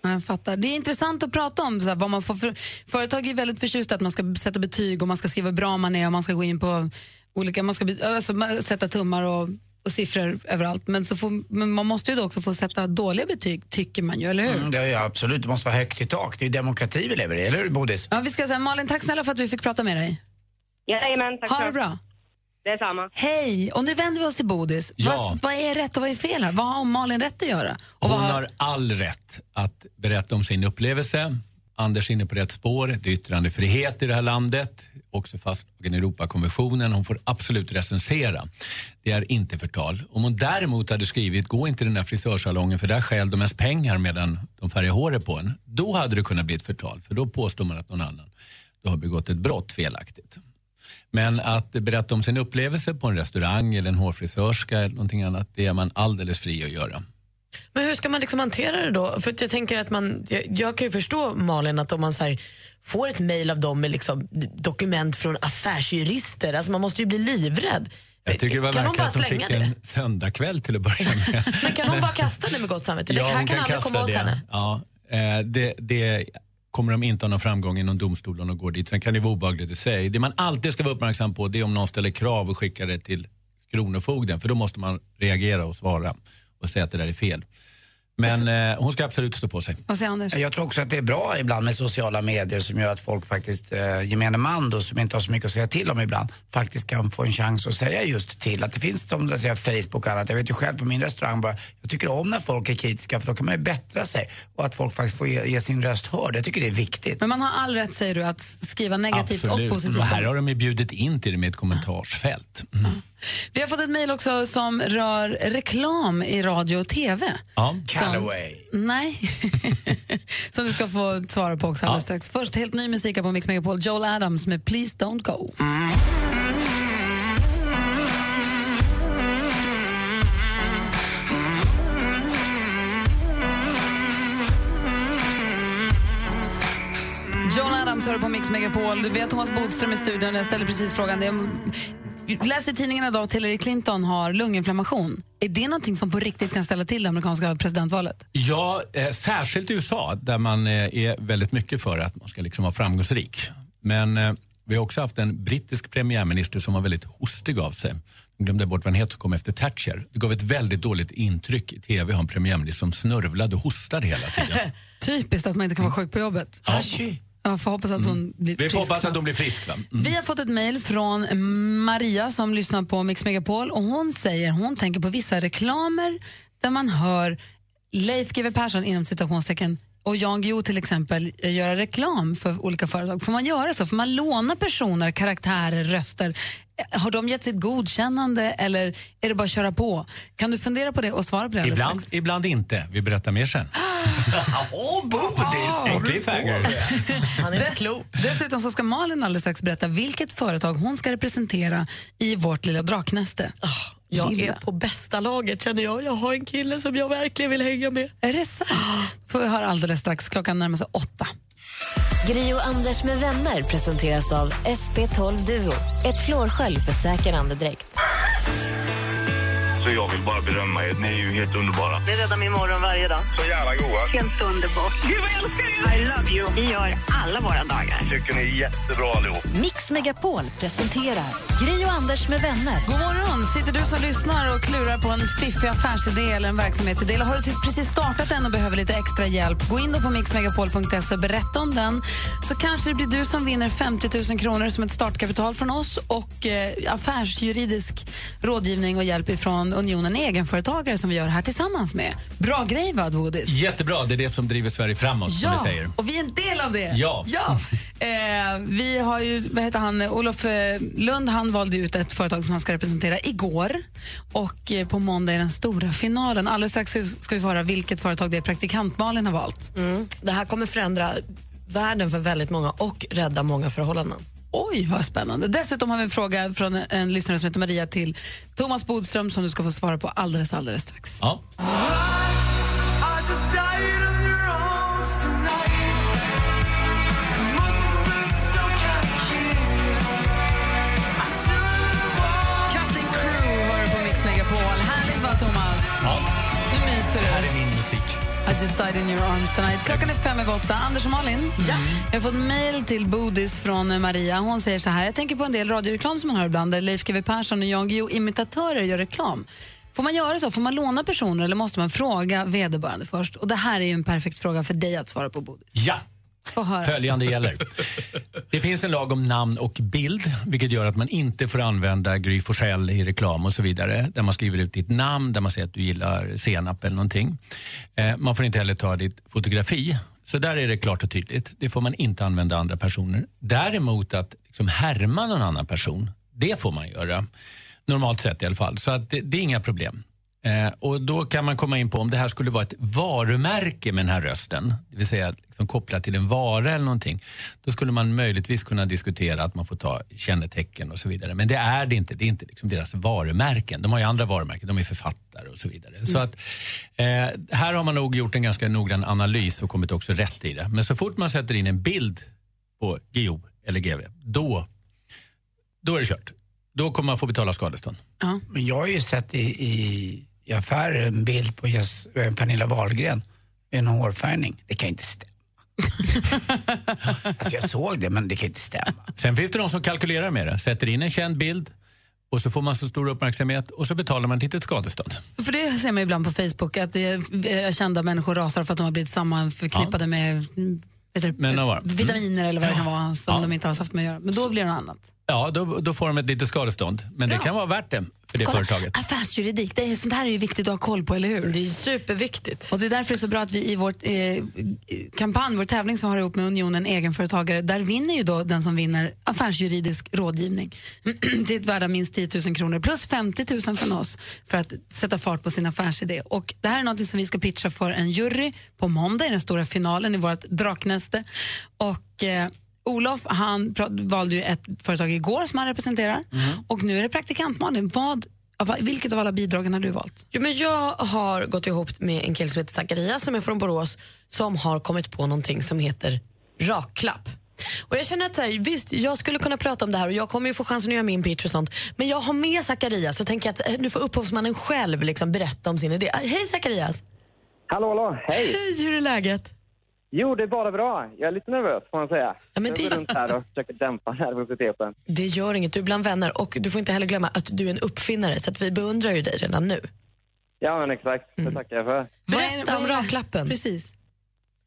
[SPEAKER 3] Ja, Jag fattar. Det är intressant att prata om så här, vad man får för... Företag är ju väldigt förtjusta att man ska sätta betyg och man ska skriva hur bra man är och man ska gå in på olika, man ska by- alltså, man- sätta tummar och, och siffror överallt. Men, så får, men man måste ju då också få sätta dåliga betyg, tycker man ju, eller hur?
[SPEAKER 4] Mm, det är ju absolut, det måste vara högt i tak. Det är ju demokrati vi lever i, eller hur Bodis?
[SPEAKER 3] Ja, vi ska säga, Malin, tack snälla för att vi fick prata med dig.
[SPEAKER 24] Jajamän, tack
[SPEAKER 3] ha
[SPEAKER 24] själv.
[SPEAKER 3] det bra.
[SPEAKER 24] Detsamma.
[SPEAKER 3] Hej! Och nu vänder vi oss till Bodis.
[SPEAKER 9] Ja.
[SPEAKER 3] Vad, vad är rätt och vad är fel här? Vad har Malin rätt att göra? Och vad
[SPEAKER 9] Hon har all rätt att berätta om sin upplevelse. Anders är inne på rätt spår. Det är yttrandefrihet i det här landet. Också fastslagen i Europakonventionen. Hon får absolut recensera. Det är inte förtal. Om hon däremot hade skrivit gå inte till den här frisörsalongen för där stjäl de ens pengar medan de färgar håret på en. Då hade det kunnat bli ett förtal. För då påstår man att någon annan då har begått ett brott felaktigt. Men att berätta om sin upplevelse på en restaurang eller en hårfrisörska eller någonting annat, det är man alldeles fri att göra.
[SPEAKER 5] Men hur ska man liksom hantera det då? För att jag tänker att man, jag, jag kan ju förstå Malin att om man så här, får ett mejl av dem med liksom d- dokument från affärsjurister, alltså man måste ju bli livrädd.
[SPEAKER 9] Jag tycker det var
[SPEAKER 5] Kan hon
[SPEAKER 9] märkligt
[SPEAKER 5] bara
[SPEAKER 9] att hon
[SPEAKER 5] slänga
[SPEAKER 9] fick en söndagkväll till att börja med.
[SPEAKER 5] Men kan hon bara kasta det med gott samvete? det här kan aldrig komma åt henne.
[SPEAKER 9] Ja, eh, det, det kommer de inte ha någon framgång i någon domstol om de går dit. Sen kan det vara obehagligt i sig. Det man alltid ska vara uppmärksam på det är om någon ställer krav och skickar det till Kronofogden. För då måste man reagera och svara och säga att det där är fel. Men eh, hon ska absolut stå på sig.
[SPEAKER 3] Vad säger Anders?
[SPEAKER 4] Jag tror också att det är bra ibland med sociala medier som gör att folk faktiskt, eh, gemene man då, som inte har så mycket att säga till om ibland, faktiskt kan få en chans att säga just till. Att det finns som där säger Facebook och annat. Jag vet ju själv på min restaurang bara, jag tycker om när folk är kritiska för då kan man ju bättra sig. Och att folk faktiskt får ge, ge sin röst hörd. Jag tycker det är viktigt.
[SPEAKER 3] Men man har all rätt, säger du, att skriva negativt
[SPEAKER 9] Absolut.
[SPEAKER 3] och positivt.
[SPEAKER 9] Och här har de ju bjudit in till det med ett kommentarsfält. Mm.
[SPEAKER 3] Vi har fått ett mejl också som rör reklam i radio och TV.
[SPEAKER 9] Ja.
[SPEAKER 3] Callaway. Nej. som du ska få svara på också alldeles strax. Först helt ny musik här på Mix Megapol. Joel Adams med Please Don't Go. John Adams hör på Mix Megapol. Vi har Thomas Bodström i studion. Jag ställer precis frågan. Jag läste i tidningen idag att Hillary Clinton har lunginflammation. Är det någonting som på riktigt kan ställa till det amerikanska presidentvalet?
[SPEAKER 9] Ja, eh, särskilt i USA där man eh, är väldigt mycket för att man ska liksom vara framgångsrik. Men eh, vi har också haft en brittisk premiärminister som var väldigt hostig av sig. Jag glömde bort vad han hette som kom efter Thatcher. Det gav ett väldigt dåligt intryck i tv att ha en premiärminister som snörvlade och hostade hela tiden.
[SPEAKER 3] Typiskt att man inte kan vara sjuk på jobbet.
[SPEAKER 9] Ja. Mm.
[SPEAKER 3] Jag får hoppas att hon blir
[SPEAKER 9] Vi får
[SPEAKER 3] frisk
[SPEAKER 9] hoppas
[SPEAKER 3] snart.
[SPEAKER 9] att hon blir frisk. Va? Mm.
[SPEAKER 3] Vi har fått ett mejl från Maria som lyssnar på Mix Megapol och hon säger hon tänker på vissa reklamer där man hör Leif GW Persson inom citationstecken och Jan Guillou till exempel eh, göra reklam för olika företag. Får man göra så? Får man låna personer, karaktärer, röster? Eh, Har de gett sitt godkännande eller är det bara att köra på? Kan du fundera på det och svara på det alldeles
[SPEAKER 9] Ibland,
[SPEAKER 3] strax?
[SPEAKER 9] ibland inte. Vi berättar mer sen.
[SPEAKER 4] Åh, oh,
[SPEAKER 5] Ah.
[SPEAKER 4] Bodis!
[SPEAKER 9] En cliffhanger.
[SPEAKER 3] Dess- Dessutom så ska Malin alldeles strax berätta vilket företag hon ska representera i vårt lilla draknäste.
[SPEAKER 5] Ah, Jag är
[SPEAKER 3] Gilla.
[SPEAKER 5] på bästa laget känner jag. Jag har en kille som jag verkligen vill hänga med.
[SPEAKER 3] Är det sant? får vi höra alldeles strax. Klockan närmar sig åtta.
[SPEAKER 12] Gri och Anders med vänner presenteras av SP12 Duo. Ett flårskölj för säker andedräkt.
[SPEAKER 7] Så jag vill bara berömma er. Ni är ju helt underbara.
[SPEAKER 8] Ni räddar min morgon varje dag.
[SPEAKER 7] Så jävla goa.
[SPEAKER 8] Helt underbart. Gud, vad jag älskar er! I love you. Vi gör alla våra dagar.
[SPEAKER 7] tycker ni är jättebra allihop.
[SPEAKER 1] Mix Megapol presenterar Gri och Anders med vänner.
[SPEAKER 3] God morgon! Sitter du som lyssnar och klurar på en fiffig affärsidé eller en verksamhetsidé eller har du typ precis startat den och behöver lite extra hjälp, gå in då på mixmegapol.se och berätta om den. Så kanske det blir du som vinner 50 000 kronor som ett startkapital från oss och eh, affärsjuridisk rådgivning och hjälp ifrån Unionen Egenföretagare som vi gör här tillsammans med. Bra grej, va, Bodis?
[SPEAKER 9] Jättebra, det är det som driver Sverige framåt som vi säger.
[SPEAKER 3] och vi är en del av det.
[SPEAKER 9] Ja.
[SPEAKER 3] Eh, vi har ju, vad heter han, Olof eh, Lund, han valde ut ett företag som han ska representera igår. Och eh, på måndag är den stora finalen. Alldeles strax så ska vi få höra vilket företag det är praktikant-Malin har valt.
[SPEAKER 5] Mm. Det här kommer förändra världen för väldigt många och rädda många förhållanden.
[SPEAKER 3] Oj, vad spännande. Dessutom har vi en fråga från en lyssnare som heter Maria till Thomas Bodström som du ska få svara på alldeles, alldeles strax.
[SPEAKER 9] Ja.
[SPEAKER 10] I just died of neurons tonight. Must have been some kind of kiss. I should've walked
[SPEAKER 3] Cutting Crew hör du på Mix Megapol. Härligt va, Thomas?
[SPEAKER 9] Ja.
[SPEAKER 3] Nu myser du.
[SPEAKER 9] Här är min musik.
[SPEAKER 3] I just Just Died In Your Arms Tonight. Klockan är fem över åtta. Anders och Malin, ja. jag har fått mejl till Bodis från eh, Maria. Hon säger så här, jag tänker på en del radioreklam som man hör ibland där Leif GW Persson och Jan Guillou imitatörer gör reklam. Får man göra så? Får man låna personer eller måste man fråga vederbörande först? Och det här är ju en perfekt fråga för dig att svara på, Bodis.
[SPEAKER 9] Ja,
[SPEAKER 3] Få höra.
[SPEAKER 9] Följande gäller. Det finns en lag om namn och bild vilket gör att man inte får använda Gry Forssell i reklam och så vidare. Där man skriver ut ditt namn, där man säger att du gillar senap eller någonting. Eh, man får inte heller ta ditt fotografi. Så där är det klart och tydligt. Det får man inte använda andra personer. Däremot att liksom härma någon annan person, det får man göra. Normalt sett i alla fall. Så att det, det är inga problem. Eh, och Då kan man komma in på om det här skulle vara ett varumärke med den här rösten, det vill säga liksom kopplat till en vara eller någonting. Då skulle man möjligtvis kunna diskutera att man får ta kännetecken och så vidare. Men det är det inte. Det är inte liksom deras varumärken. De har ju andra varumärken. De är författare och så vidare. Så att, eh, här har man nog gjort en ganska noggrann analys och kommit också rätt i det. Men så fort man sätter in en bild på GO eller GV, då, då är det kört. Då kommer man få betala skadestånd.
[SPEAKER 4] Men jag har ju sett i, i, i affärer en bild på just, eh, Pernilla Wahlgren med en hårfärgning. Det kan ju inte stämma. alltså jag såg det, men det kan ju inte stämma.
[SPEAKER 9] Sen finns det de som kalkylerar med det. Sätter in en känd bild och så får man så stor uppmärksamhet och så betalar man ett litet skadestånd.
[SPEAKER 3] För det ser man ibland på Facebook, att det är eh, kända människor rasar för att de har blivit sammanförknippade med mm, vet du,
[SPEAKER 5] Eh,
[SPEAKER 9] Men vad var det? Mm.
[SPEAKER 3] vitaminer eller vad det kan vara som de inte alls haft med att göra. Men då blir det något annat.
[SPEAKER 9] Ja, då, då får de ett litet skadestånd. Men det kan vara värt det för det
[SPEAKER 3] Kolla,
[SPEAKER 9] företaget.
[SPEAKER 3] Affärsjuridik, det är, sånt här är ju viktigt att ha koll på, eller hur? Det är superviktigt. Och det är därför det är så bra att vi i vår eh, kampanj, vår tävling som har ihop med Unionen egenföretagare, där vinner ju då den som vinner affärsjuridisk rådgivning. det är ett värde av minst 10 000 kronor plus 50 000 från oss för att sätta fart på sin affärsidé. Och det här är något som vi ska pitcha för en jury på måndag i den stora finalen i vårt draknäste. Och, eh, Olof han pra- valde ju ett företag igår som han representerar. Och nu är det praktikant Malin. Vad, av- vilket av alla bidragen har du valt?
[SPEAKER 5] Jo, men jag har gått ihop med en kille som heter Zacharias som är från Borås som har kommit på någonting som heter rakklapp. Och jag känner att så här, visst, jag skulle kunna prata om det här och jag kommer ju få chansen att göra min pitch och sånt. Men jag har med Zacharias så tänker jag att eh, nu får upphovsmannen själv liksom berätta om sin idé. Ah, Hej Zacharias!
[SPEAKER 13] Hallå, hallå, hej!
[SPEAKER 5] Hej, hur är läget?
[SPEAKER 13] Jo, det är bara bra. Jag är lite nervös får man säga.
[SPEAKER 5] Ja, men
[SPEAKER 13] jag
[SPEAKER 5] det-
[SPEAKER 13] går runt här och försöker dämpa nervositeten.
[SPEAKER 5] Det gör inget, du är bland vänner och du får inte heller glömma att du är en uppfinnare så att vi beundrar ju dig redan nu.
[SPEAKER 13] Ja, men exakt. Det tackar jag för.
[SPEAKER 5] Mm. Berätta om raklappen.
[SPEAKER 3] Precis.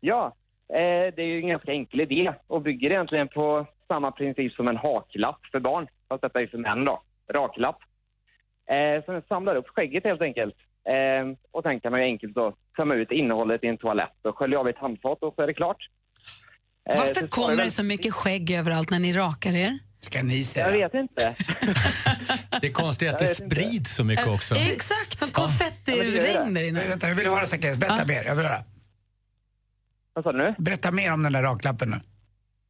[SPEAKER 13] Ja, eh, det är ju en ganska enkel idé och bygger egentligen på samma princip som en haklapp för barn. Fast detta är för män då. Raklapp. Eh, så den samlar upp skägget helt enkelt. Eh, och sen kan man ju enkelt då tömma ut innehållet i en toalett och skölja av i ett handfat och så är det klart. Eh, så
[SPEAKER 3] Varför
[SPEAKER 13] står
[SPEAKER 3] kommer
[SPEAKER 13] väl-
[SPEAKER 3] det så mycket skägg överallt när ni rakar er?
[SPEAKER 4] Ska ni
[SPEAKER 13] Jag vet inte.
[SPEAKER 9] Det är konstigt att det sprids så mycket också.
[SPEAKER 3] Eh, Exakt! Som
[SPEAKER 4] Ja,
[SPEAKER 3] konfettiregn
[SPEAKER 4] men
[SPEAKER 3] där
[SPEAKER 4] det gör det.
[SPEAKER 3] inne.
[SPEAKER 4] Vänta, jag vill höra Zacharias. Berätta mer. Jag vill höra.
[SPEAKER 13] Vad sa du nu?
[SPEAKER 4] Berätta mer om den där raklappen nu.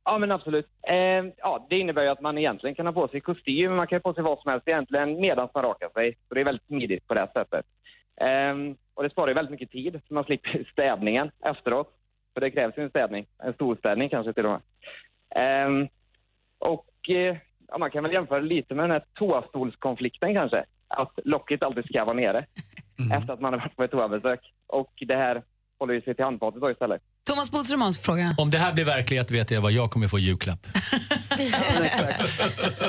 [SPEAKER 13] Ja, men absolut. Eh, ja, det innebär ju att man egentligen kan ha på sig kostym, man kan ha på sig vad som helst egentligen medan man rakar sig. Så det är väldigt smidigt på det här sättet. Ehm, och det sparar ju väldigt mycket tid, så man slipper städningen efteråt. För det krävs ju en städning, en stor städning kanske till och med. Ehm, och eh, ja, man kan väl jämföra lite med den här toastolskonflikten kanske. Att locket alltid ska vara nere efter att man har varit på ett toabesök. Och det här håller ju sig till handfatet då istället.
[SPEAKER 3] Thomas Bodström har en fråga.
[SPEAKER 9] Om det här blir verklighet vet jag vad jag kommer få i julklapp.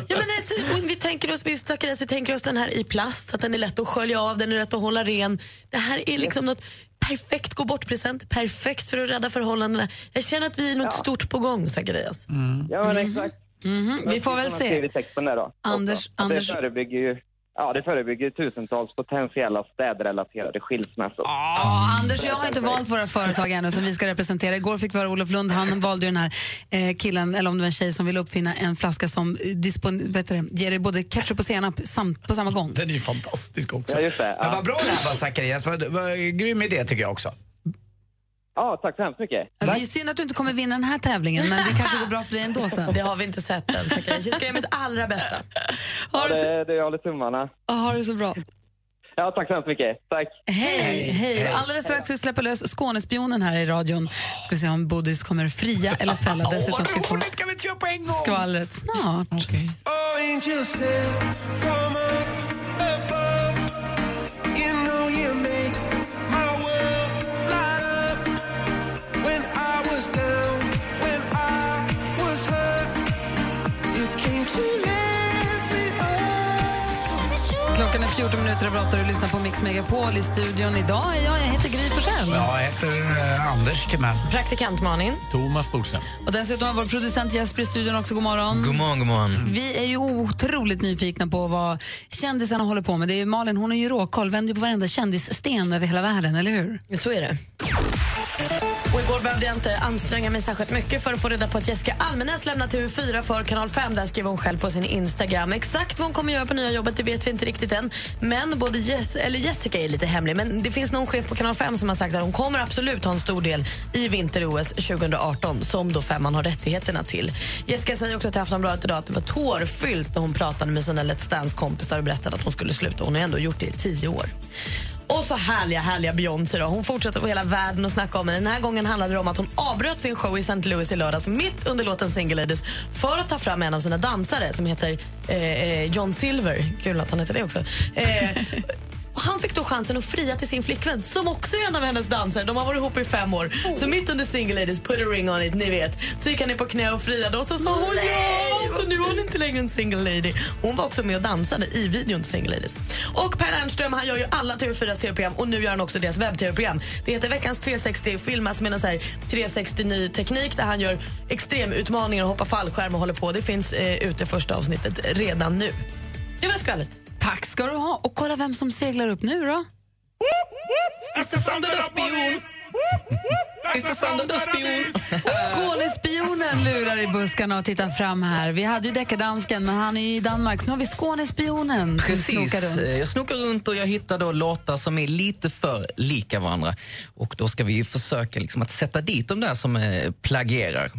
[SPEAKER 5] Ja, men alltså, och vi tänker oss, vi Zacharias, vi tänker oss den här i plast, så att den är lätt att skölja av, den är lätt att hålla ren. Det här är liksom något perfekt gå bort-present, perfekt för att rädda förhållandena. Jag känner att vi är något stort på gång, Zacharias. Mm-hmm.
[SPEAKER 13] Ja, men exakt.
[SPEAKER 3] Mhm, Vi får väl
[SPEAKER 13] Jag har
[SPEAKER 3] se.
[SPEAKER 13] skrivit texten där då.
[SPEAKER 3] Anders-
[SPEAKER 13] Också. Att
[SPEAKER 3] Anders-
[SPEAKER 13] Det förebygger ju Ja, det förebygger tusentals potentiella städrelaterade skilsmässor.
[SPEAKER 3] Ja, Anders och jag har inte valt våra företag ännu som vi ska representera. Igår fick vi höra Olof Lund, han valde ju den här eh, killen, eller om det var en tjej som ville uppfinna en flaska som eh, dispon- vet du, det, ger dig både ketchup och senap samt, på samma gång.
[SPEAKER 4] Den är ju fantastisk också.
[SPEAKER 13] Ja, just det.
[SPEAKER 4] Men
[SPEAKER 13] Ja.
[SPEAKER 4] vad bra det här var Zacharias. Vad, vad grym idé tycker jag också.
[SPEAKER 13] Ja, tack så hemskt mycket.
[SPEAKER 3] Ja, Det är ju synd att du inte kommer vinna den här tävlingen, men det kanske går bra för dig ändå sen.
[SPEAKER 5] Det har vi inte sett än, Zacharias. Jag ska göra mitt allra bästa.
[SPEAKER 13] Ja, det, det, jag håller tummarna.
[SPEAKER 3] Ja, ha det så bra.
[SPEAKER 13] Ja, tack så hemskt mycket. Tack.
[SPEAKER 3] Hej, hej. Alldeles strax ska vi släppa lös Skånespionen här i radion. Ska vi se om Bodis kommer fria eller fälla. Dessutom ska vi få
[SPEAKER 4] Kan vi inte köra på en gång?
[SPEAKER 3] skvallret snart.
[SPEAKER 11] Oh, angels said from up above, you know you make my world light up.
[SPEAKER 3] 14 minuter över åtta och du lyssnar på Mix Megapol i studion. Idag är jag, jag heter Gry Forssell.
[SPEAKER 4] Jag heter eh, Anders Timell.
[SPEAKER 3] Praktikant Malin.
[SPEAKER 9] Thomas Bodström.
[SPEAKER 3] Och dessutom har vår producent Jesper i studion också. God morgon.
[SPEAKER 6] God morgon, god
[SPEAKER 4] Mm.
[SPEAKER 6] morgon.
[SPEAKER 3] Vi är ju otroligt nyfikna på vad kändisarna håller på med. Det är ju Malin, hon är ju råkoll, vänder ju på varenda kändissten över hela världen, eller hur?
[SPEAKER 5] Så är det. Och igår behövde jag inte anstränga mig särskilt mycket för att få reda på att Jessica Almenäs lämnat TV4 för Kanal 5. Där skrev hon själv på sin Instagram. Exakt vad hon kommer göra på nya jobbet det vet vi inte riktigt än. Men både Jess, eller Jessica är lite hemlig, men det finns någon chef på Kanal 5 som har sagt att hon kommer absolut ha en stor del i vinter-OS 2018 som då Femman har rättigheterna till. Jessica säger också till Aftonbladet idag att det var tårfyllt när hon pratade med sina Let's Dance-kompisar och berättade att hon skulle sluta. Hon har ändå gjort det i tio år. Och så härliga, härliga Beyoncé då. Hon fortsätter på hela världen att snacka om henne. Den här gången handlade det om att hon avbröt sin show i St. Louis i lördags mitt under låten Single Ladies för att ta fram en av sina dansare som heter eh, John Silver. Kul att han heter det också. Eh, och han fick då chansen att fria till sin flickvän som också är en av hennes dansare. De har varit ihop i fem år. Så mitt under Single Ladies, put a ring on it, ni vet, så gick han ner på knä och friade och så sa hon ja! Så nu är hon inte längre en single lady. Hon var också med och dansade i videon till Single Ladies. Och Per Ernström, han gör ju alla TV4s TV-program och nu gör han också deras webb-TV-program. Det heter Veckans 360 filmas med en så här 360 ny teknik där han gör extremutmaningar och hoppar fallskärm och håller på. Det finns eh, ute första avsnittet redan nu. Det var skvallret.
[SPEAKER 3] Tack ska du ha. Och kolla vem som seglar upp nu då. Skånespionen lurar i buskarna och tittar fram här. Vi hade ju deckardansken, men han är ju i Danmark. Så nu har vi Skånespionen som
[SPEAKER 6] Precis. Eh,
[SPEAKER 3] snokar
[SPEAKER 9] Eh,
[SPEAKER 3] runt.
[SPEAKER 6] Jag snokar runt och jag hittar då låtar som är lite för lika varandra. Och då ska vi ju försöka liksom att sätta dit de där som eh, plagierar.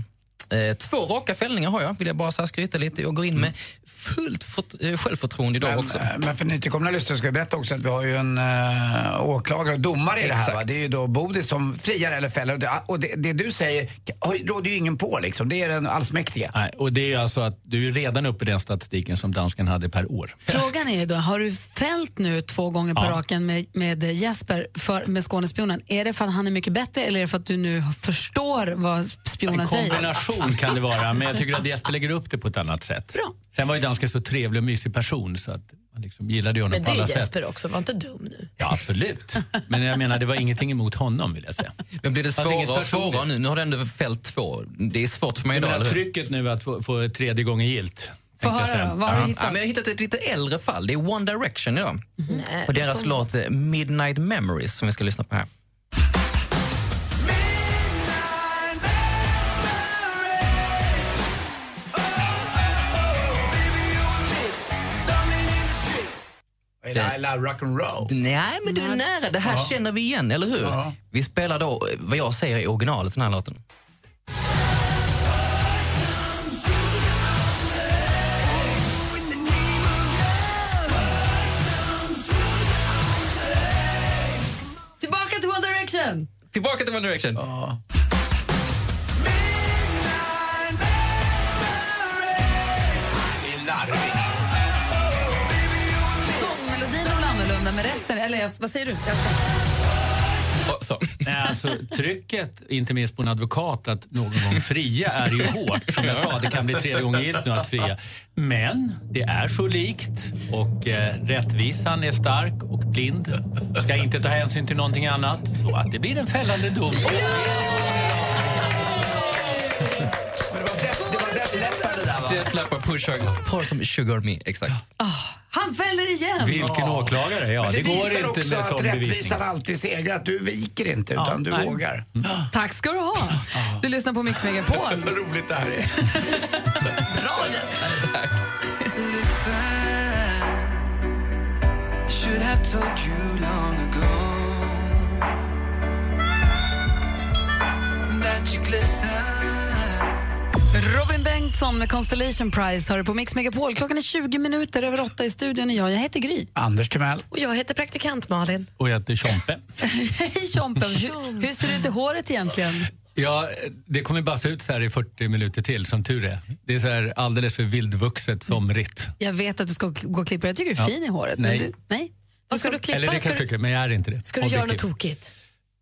[SPEAKER 6] Eh, två raka fällningar har jag, vill jag bara så här skryta lite. Jag går in med fullt fort, eh, självförtroende idag också.
[SPEAKER 4] Men för nytillkomna lyssnare ska vi berätta också att vi har ju en eh, åklagare och domare i det här. Va?
[SPEAKER 6] Exakt.
[SPEAKER 4] Det är ju då Bodis som friar eller fäller. Och det, och det, det du säger har- råder ju ingen på liksom. Det är den allsmäktiga.
[SPEAKER 9] Nej, och det är alltså att du är redan uppe i den statistiken som dansken hade per år.
[SPEAKER 3] Frågan är då, har du fällt nu två gånger på
[SPEAKER 9] Ja.
[SPEAKER 3] raken med, med Jesper, för, med Skånespionen? Är det för att han är mycket bättre eller är det för att du nu förstår vad spionen
[SPEAKER 9] En
[SPEAKER 3] säger?
[SPEAKER 9] kombination kan det vara, men jag tycker att Jesper lägger upp det på ett annat sätt. Sen var ju dansken så trevlig och mysig person så att man liksom gillade ju honom
[SPEAKER 5] Men det
[SPEAKER 9] på alla
[SPEAKER 5] är
[SPEAKER 9] sätt.
[SPEAKER 5] Jesper också, var inte dum nu.
[SPEAKER 9] Ja, absolut. Men jag menar, det var ingenting emot honom vill jag säga.
[SPEAKER 6] Men blir det
[SPEAKER 9] Fast inget
[SPEAKER 6] svårare och
[SPEAKER 9] personligt.
[SPEAKER 6] svårare nu? Nu har du ändå fällt två. Det är svårt för mig
[SPEAKER 9] Jag
[SPEAKER 6] idag,
[SPEAKER 9] menar
[SPEAKER 6] eller hur?
[SPEAKER 9] trycket nu att få, få tredje gången gilt.
[SPEAKER 6] Få
[SPEAKER 9] tänkte jag
[SPEAKER 6] höra
[SPEAKER 9] säga.
[SPEAKER 6] då, vad har du Ja. hittat? Ja, men jag har hittat ett lite äldre fall. Det är One Direction idag. Och deras låt eh, Midnight Memories som vi ska lyssna på här.
[SPEAKER 4] Är det alla rock'n'roll?
[SPEAKER 6] Nej, men du är nära. Det här känner vi igen, eller hur?
[SPEAKER 4] Ja.
[SPEAKER 6] Vi spelar då eh, vad jag säger i originalet, den här låten.
[SPEAKER 3] Tillbaka till One Direction!
[SPEAKER 6] Tillbaka till One Direction.
[SPEAKER 3] Sångmelodin är väl annorlunda, men resten... Eller jag- vad säger du? Jag ska...
[SPEAKER 9] Nej, alltså, trycket, inte minst på en advokat, att någon gång fria är ju hårt. Som jag sa, det kan bli tredje gången gillt nu att fria. Men det är så likt och eh, rättvisan är stark och blind. Ska inte ta hänsyn till någonting annat. Så att det blir en fällande dom.
[SPEAKER 6] Def Leppard, Push Sugar, Pour Some Sugar On Me. Exakt.
[SPEAKER 3] Han fäller igen!
[SPEAKER 9] Vilken åklagare, ja.
[SPEAKER 4] Men det,
[SPEAKER 9] Det går
[SPEAKER 4] visar
[SPEAKER 9] inte
[SPEAKER 4] också
[SPEAKER 9] med
[SPEAKER 4] att
[SPEAKER 9] sån
[SPEAKER 4] rättvisan
[SPEAKER 9] bevisning.
[SPEAKER 4] alltid segrar. Att du viker inte, utan du
[SPEAKER 3] nej.
[SPEAKER 4] vågar.
[SPEAKER 9] Mm.
[SPEAKER 3] Tack ska du ha.
[SPEAKER 5] Ah.
[SPEAKER 3] Du lyssnar på Mix Megapol.
[SPEAKER 4] Vad roligt det här är.
[SPEAKER 3] Bra Jesper!
[SPEAKER 10] Should have told you long ago that you glisten.
[SPEAKER 3] Robin Bengtsson med Constellation Prize hör du på Mix Megapol. Klockan är 20 minuter över åtta i studion och jag, jag heter Gry.
[SPEAKER 4] Anders Timell.
[SPEAKER 5] Och jag heter praktikant Malin.
[SPEAKER 9] Och jag heter Tjompe.
[SPEAKER 3] Hej Tjompen, hur, hur ser det ut i håret egentligen?
[SPEAKER 9] Ja, det kommer bara se ut så här i 40 minuter till, som tur är. Det är så här alldeles för vildvuxet somrigt.
[SPEAKER 3] Jag vet att du ska gå och klippa dig. Jag tycker du är
[SPEAKER 9] Ja.
[SPEAKER 3] fin i håret.
[SPEAKER 9] Nej.
[SPEAKER 3] Men du, nej.
[SPEAKER 5] Vad ska du klippa?
[SPEAKER 9] Eller
[SPEAKER 5] Ska
[SPEAKER 9] det kan jag
[SPEAKER 5] du-
[SPEAKER 9] tycka, men jag är inte det.
[SPEAKER 5] Ska du göra något
[SPEAKER 9] Objektiv.
[SPEAKER 5] tokigt?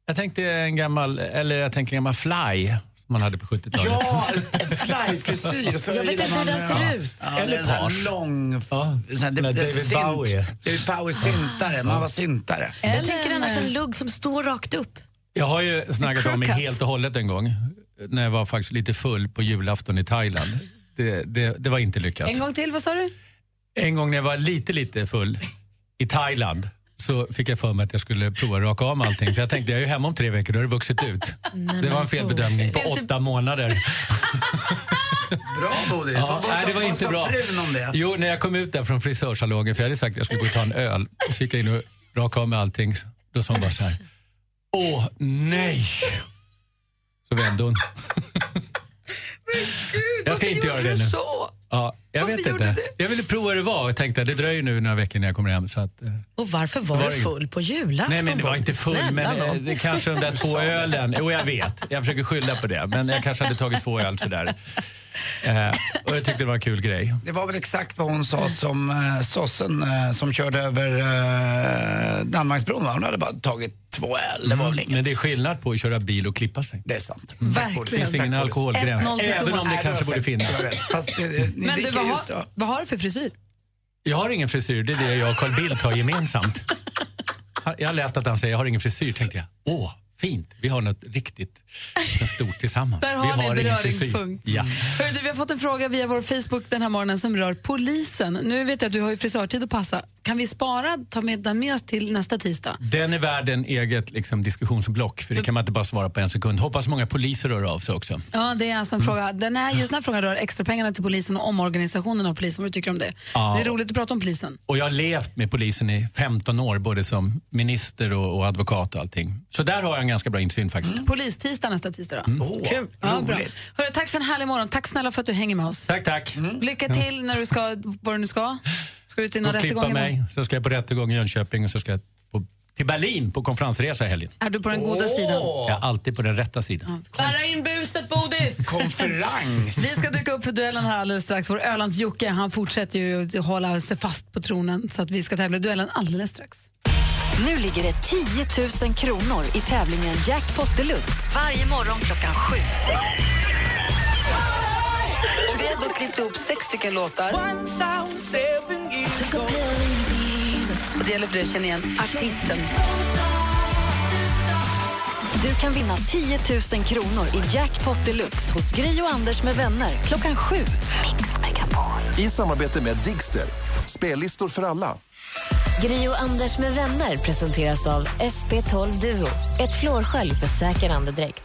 [SPEAKER 9] Jag tänkte en gammal, eller jag tänkte en gammal fly man hade på 70-talet.
[SPEAKER 4] Ja, en flyfrisyr. och så
[SPEAKER 5] Jag vet inte
[SPEAKER 4] gillar
[SPEAKER 5] hur
[SPEAKER 4] man-
[SPEAKER 5] den ser ut.
[SPEAKER 4] Ja,
[SPEAKER 9] Eller
[SPEAKER 4] Eller page.
[SPEAKER 9] page.
[SPEAKER 4] lång... Ja. Sån
[SPEAKER 9] Sån
[SPEAKER 4] där,
[SPEAKER 9] där
[SPEAKER 4] det,
[SPEAKER 9] David Bowie.
[SPEAKER 4] David Bowie syntare. Man var syntare.
[SPEAKER 5] Jag tänker annars en lugg som står rakt upp.
[SPEAKER 9] Jag har ju snaggat
[SPEAKER 5] En
[SPEAKER 9] om mig
[SPEAKER 5] crooked.
[SPEAKER 9] helt och hållet en gång. När jag var faktiskt lite full på julafton i Thailand. Det, det, det var inte lyckat.
[SPEAKER 3] En gång till, vad sa du?
[SPEAKER 9] En gång när jag var lite, lite full i Thailand så fick jag för mig att jag skulle prova att raka av mig allting. För jag tänkte, jag är ju hemma om tre veckor, då har det vuxit ut.
[SPEAKER 3] Nej,
[SPEAKER 9] Det var
[SPEAKER 3] men
[SPEAKER 9] en felbedömning på
[SPEAKER 3] Finns det-
[SPEAKER 9] åtta månader.
[SPEAKER 4] Bra, Bodil.
[SPEAKER 9] Ja, nej, det var inte bra. Jo, när jag kom ut där från frisörsalongen, för jag hade sagt att jag skulle gå och ta en öl, och så gick jag in och rakade av mig allting. Då sa hon bara så här, åh nej! Så vände hon. jag ska inte göra det nu. Ja, jag vet inte. Jag ville prova hur det var och tänkte att det dröjer nu några veckor när jag kommer hem. Så att, eh,
[SPEAKER 5] Och varför var,
[SPEAKER 9] Det var
[SPEAKER 5] du
[SPEAKER 9] ju-
[SPEAKER 5] full på julafton?
[SPEAKER 9] Nej, men det var
[SPEAKER 5] Bodil?
[SPEAKER 9] inte full,
[SPEAKER 5] Snälla
[SPEAKER 9] men eh,
[SPEAKER 5] nån.
[SPEAKER 9] det kanske de där två ölen. Jo, jag vet. Jag försöker skylla på det, men jag kanske hade tagit två öl sådär. Eh, och jag tyckte det var en kul grej.
[SPEAKER 4] Det var väl exakt vad hon sa som eh, sossen eh, som körde över eh, Danmarksbron. Va? Hon hade bara tagit två öl. Det var väl inget.
[SPEAKER 9] Mm, Men det är skillnad på att köra bil och klippa sig.
[SPEAKER 4] Det är sant.
[SPEAKER 9] Det finns ingen alkoholgräns, även om det kanske borde finnas.
[SPEAKER 4] Fast det, ni
[SPEAKER 3] Men du,
[SPEAKER 4] dricker
[SPEAKER 3] vad,
[SPEAKER 4] just då.
[SPEAKER 3] har, vad har du för frisyr?
[SPEAKER 9] Jag har ingen frisyr, det är det jag och Carl Bildt har gemensamt. Han- Jag har läst att han säger jag har ingen frisyr, tänkte jag. Åh, fint. Vi har något riktigt stort tillsammans.
[SPEAKER 3] Där
[SPEAKER 9] vi
[SPEAKER 3] har ni en
[SPEAKER 9] ingen frisyr.
[SPEAKER 3] beröringspunkt.
[SPEAKER 9] Ja.
[SPEAKER 3] Hörru, du, vi har fått en fråga via vår Facebook den här morgonen som rör polisen. Nu vet jag att du har ju frisörtid att passa. Kan vi spara, ta med den med oss till nästa tisdag?
[SPEAKER 9] Den är värd en eget liksom, diskussionsblock, för det kan man inte bara svara på en sekund. Hoppas många poliser hör av sig också.
[SPEAKER 3] Ja, det är alltså en fråga. Den här, just den här frågan rör extrapengarna till polisen och omorganisationen av polisen. Vad du tycker om det?
[SPEAKER 9] Ja.
[SPEAKER 3] Det är roligt att prata om polisen.
[SPEAKER 9] Och jag har levt med polisen i 15 år, både som minister och, och advokat och allting. Så där har jag en ganska bra insyn faktiskt.
[SPEAKER 3] Polistisdag nästa tisdag då.
[SPEAKER 9] Mm. Åh,
[SPEAKER 3] Kul. Ja, bra.
[SPEAKER 9] roligt.
[SPEAKER 3] Hörru, tack för en härlig morgon. Tack snälla för att du hänger med oss. Mm.
[SPEAKER 9] Tack, tack.
[SPEAKER 3] Lycka till när du ska, vad du nu ska. Ska du till någon
[SPEAKER 9] Och klippa
[SPEAKER 3] rättegång?
[SPEAKER 9] mig,
[SPEAKER 3] idag?
[SPEAKER 9] sen ska jag på rättegång i Jönköping och så ska jag på, till Berlin på konferensresa i helgen.
[SPEAKER 3] Är du på den goda sidan?
[SPEAKER 9] Jag är alltid på den rätta sidan.
[SPEAKER 5] Spärra in buset, Bodis!
[SPEAKER 4] Konferens!
[SPEAKER 3] Vi ska dyka upp för duellen här alldeles strax. Vår Ölands-Jocke han fortsätter ju att hålla sig fast på tronen så att vi ska tävla i duellen alldeles strax.
[SPEAKER 1] Nu ligger det 10 000 kronor i tävlingen Jackpot Deluxe varje morgon klockan sju.
[SPEAKER 19] Och vi har då klippt ihop sex stycken låtar. Och det gäller för dig att känna igen artisten.
[SPEAKER 1] Du kan vinna 10 000 kronor i Jackpot Deluxe hos Gri och Anders med vänner klockan sju.
[SPEAKER 11] I samarbete med Digster. Spellistor för alla.
[SPEAKER 12] Gri och Anders med vänner presenteras av SP12 Duo. Ett flårskölj för säker andedräkt.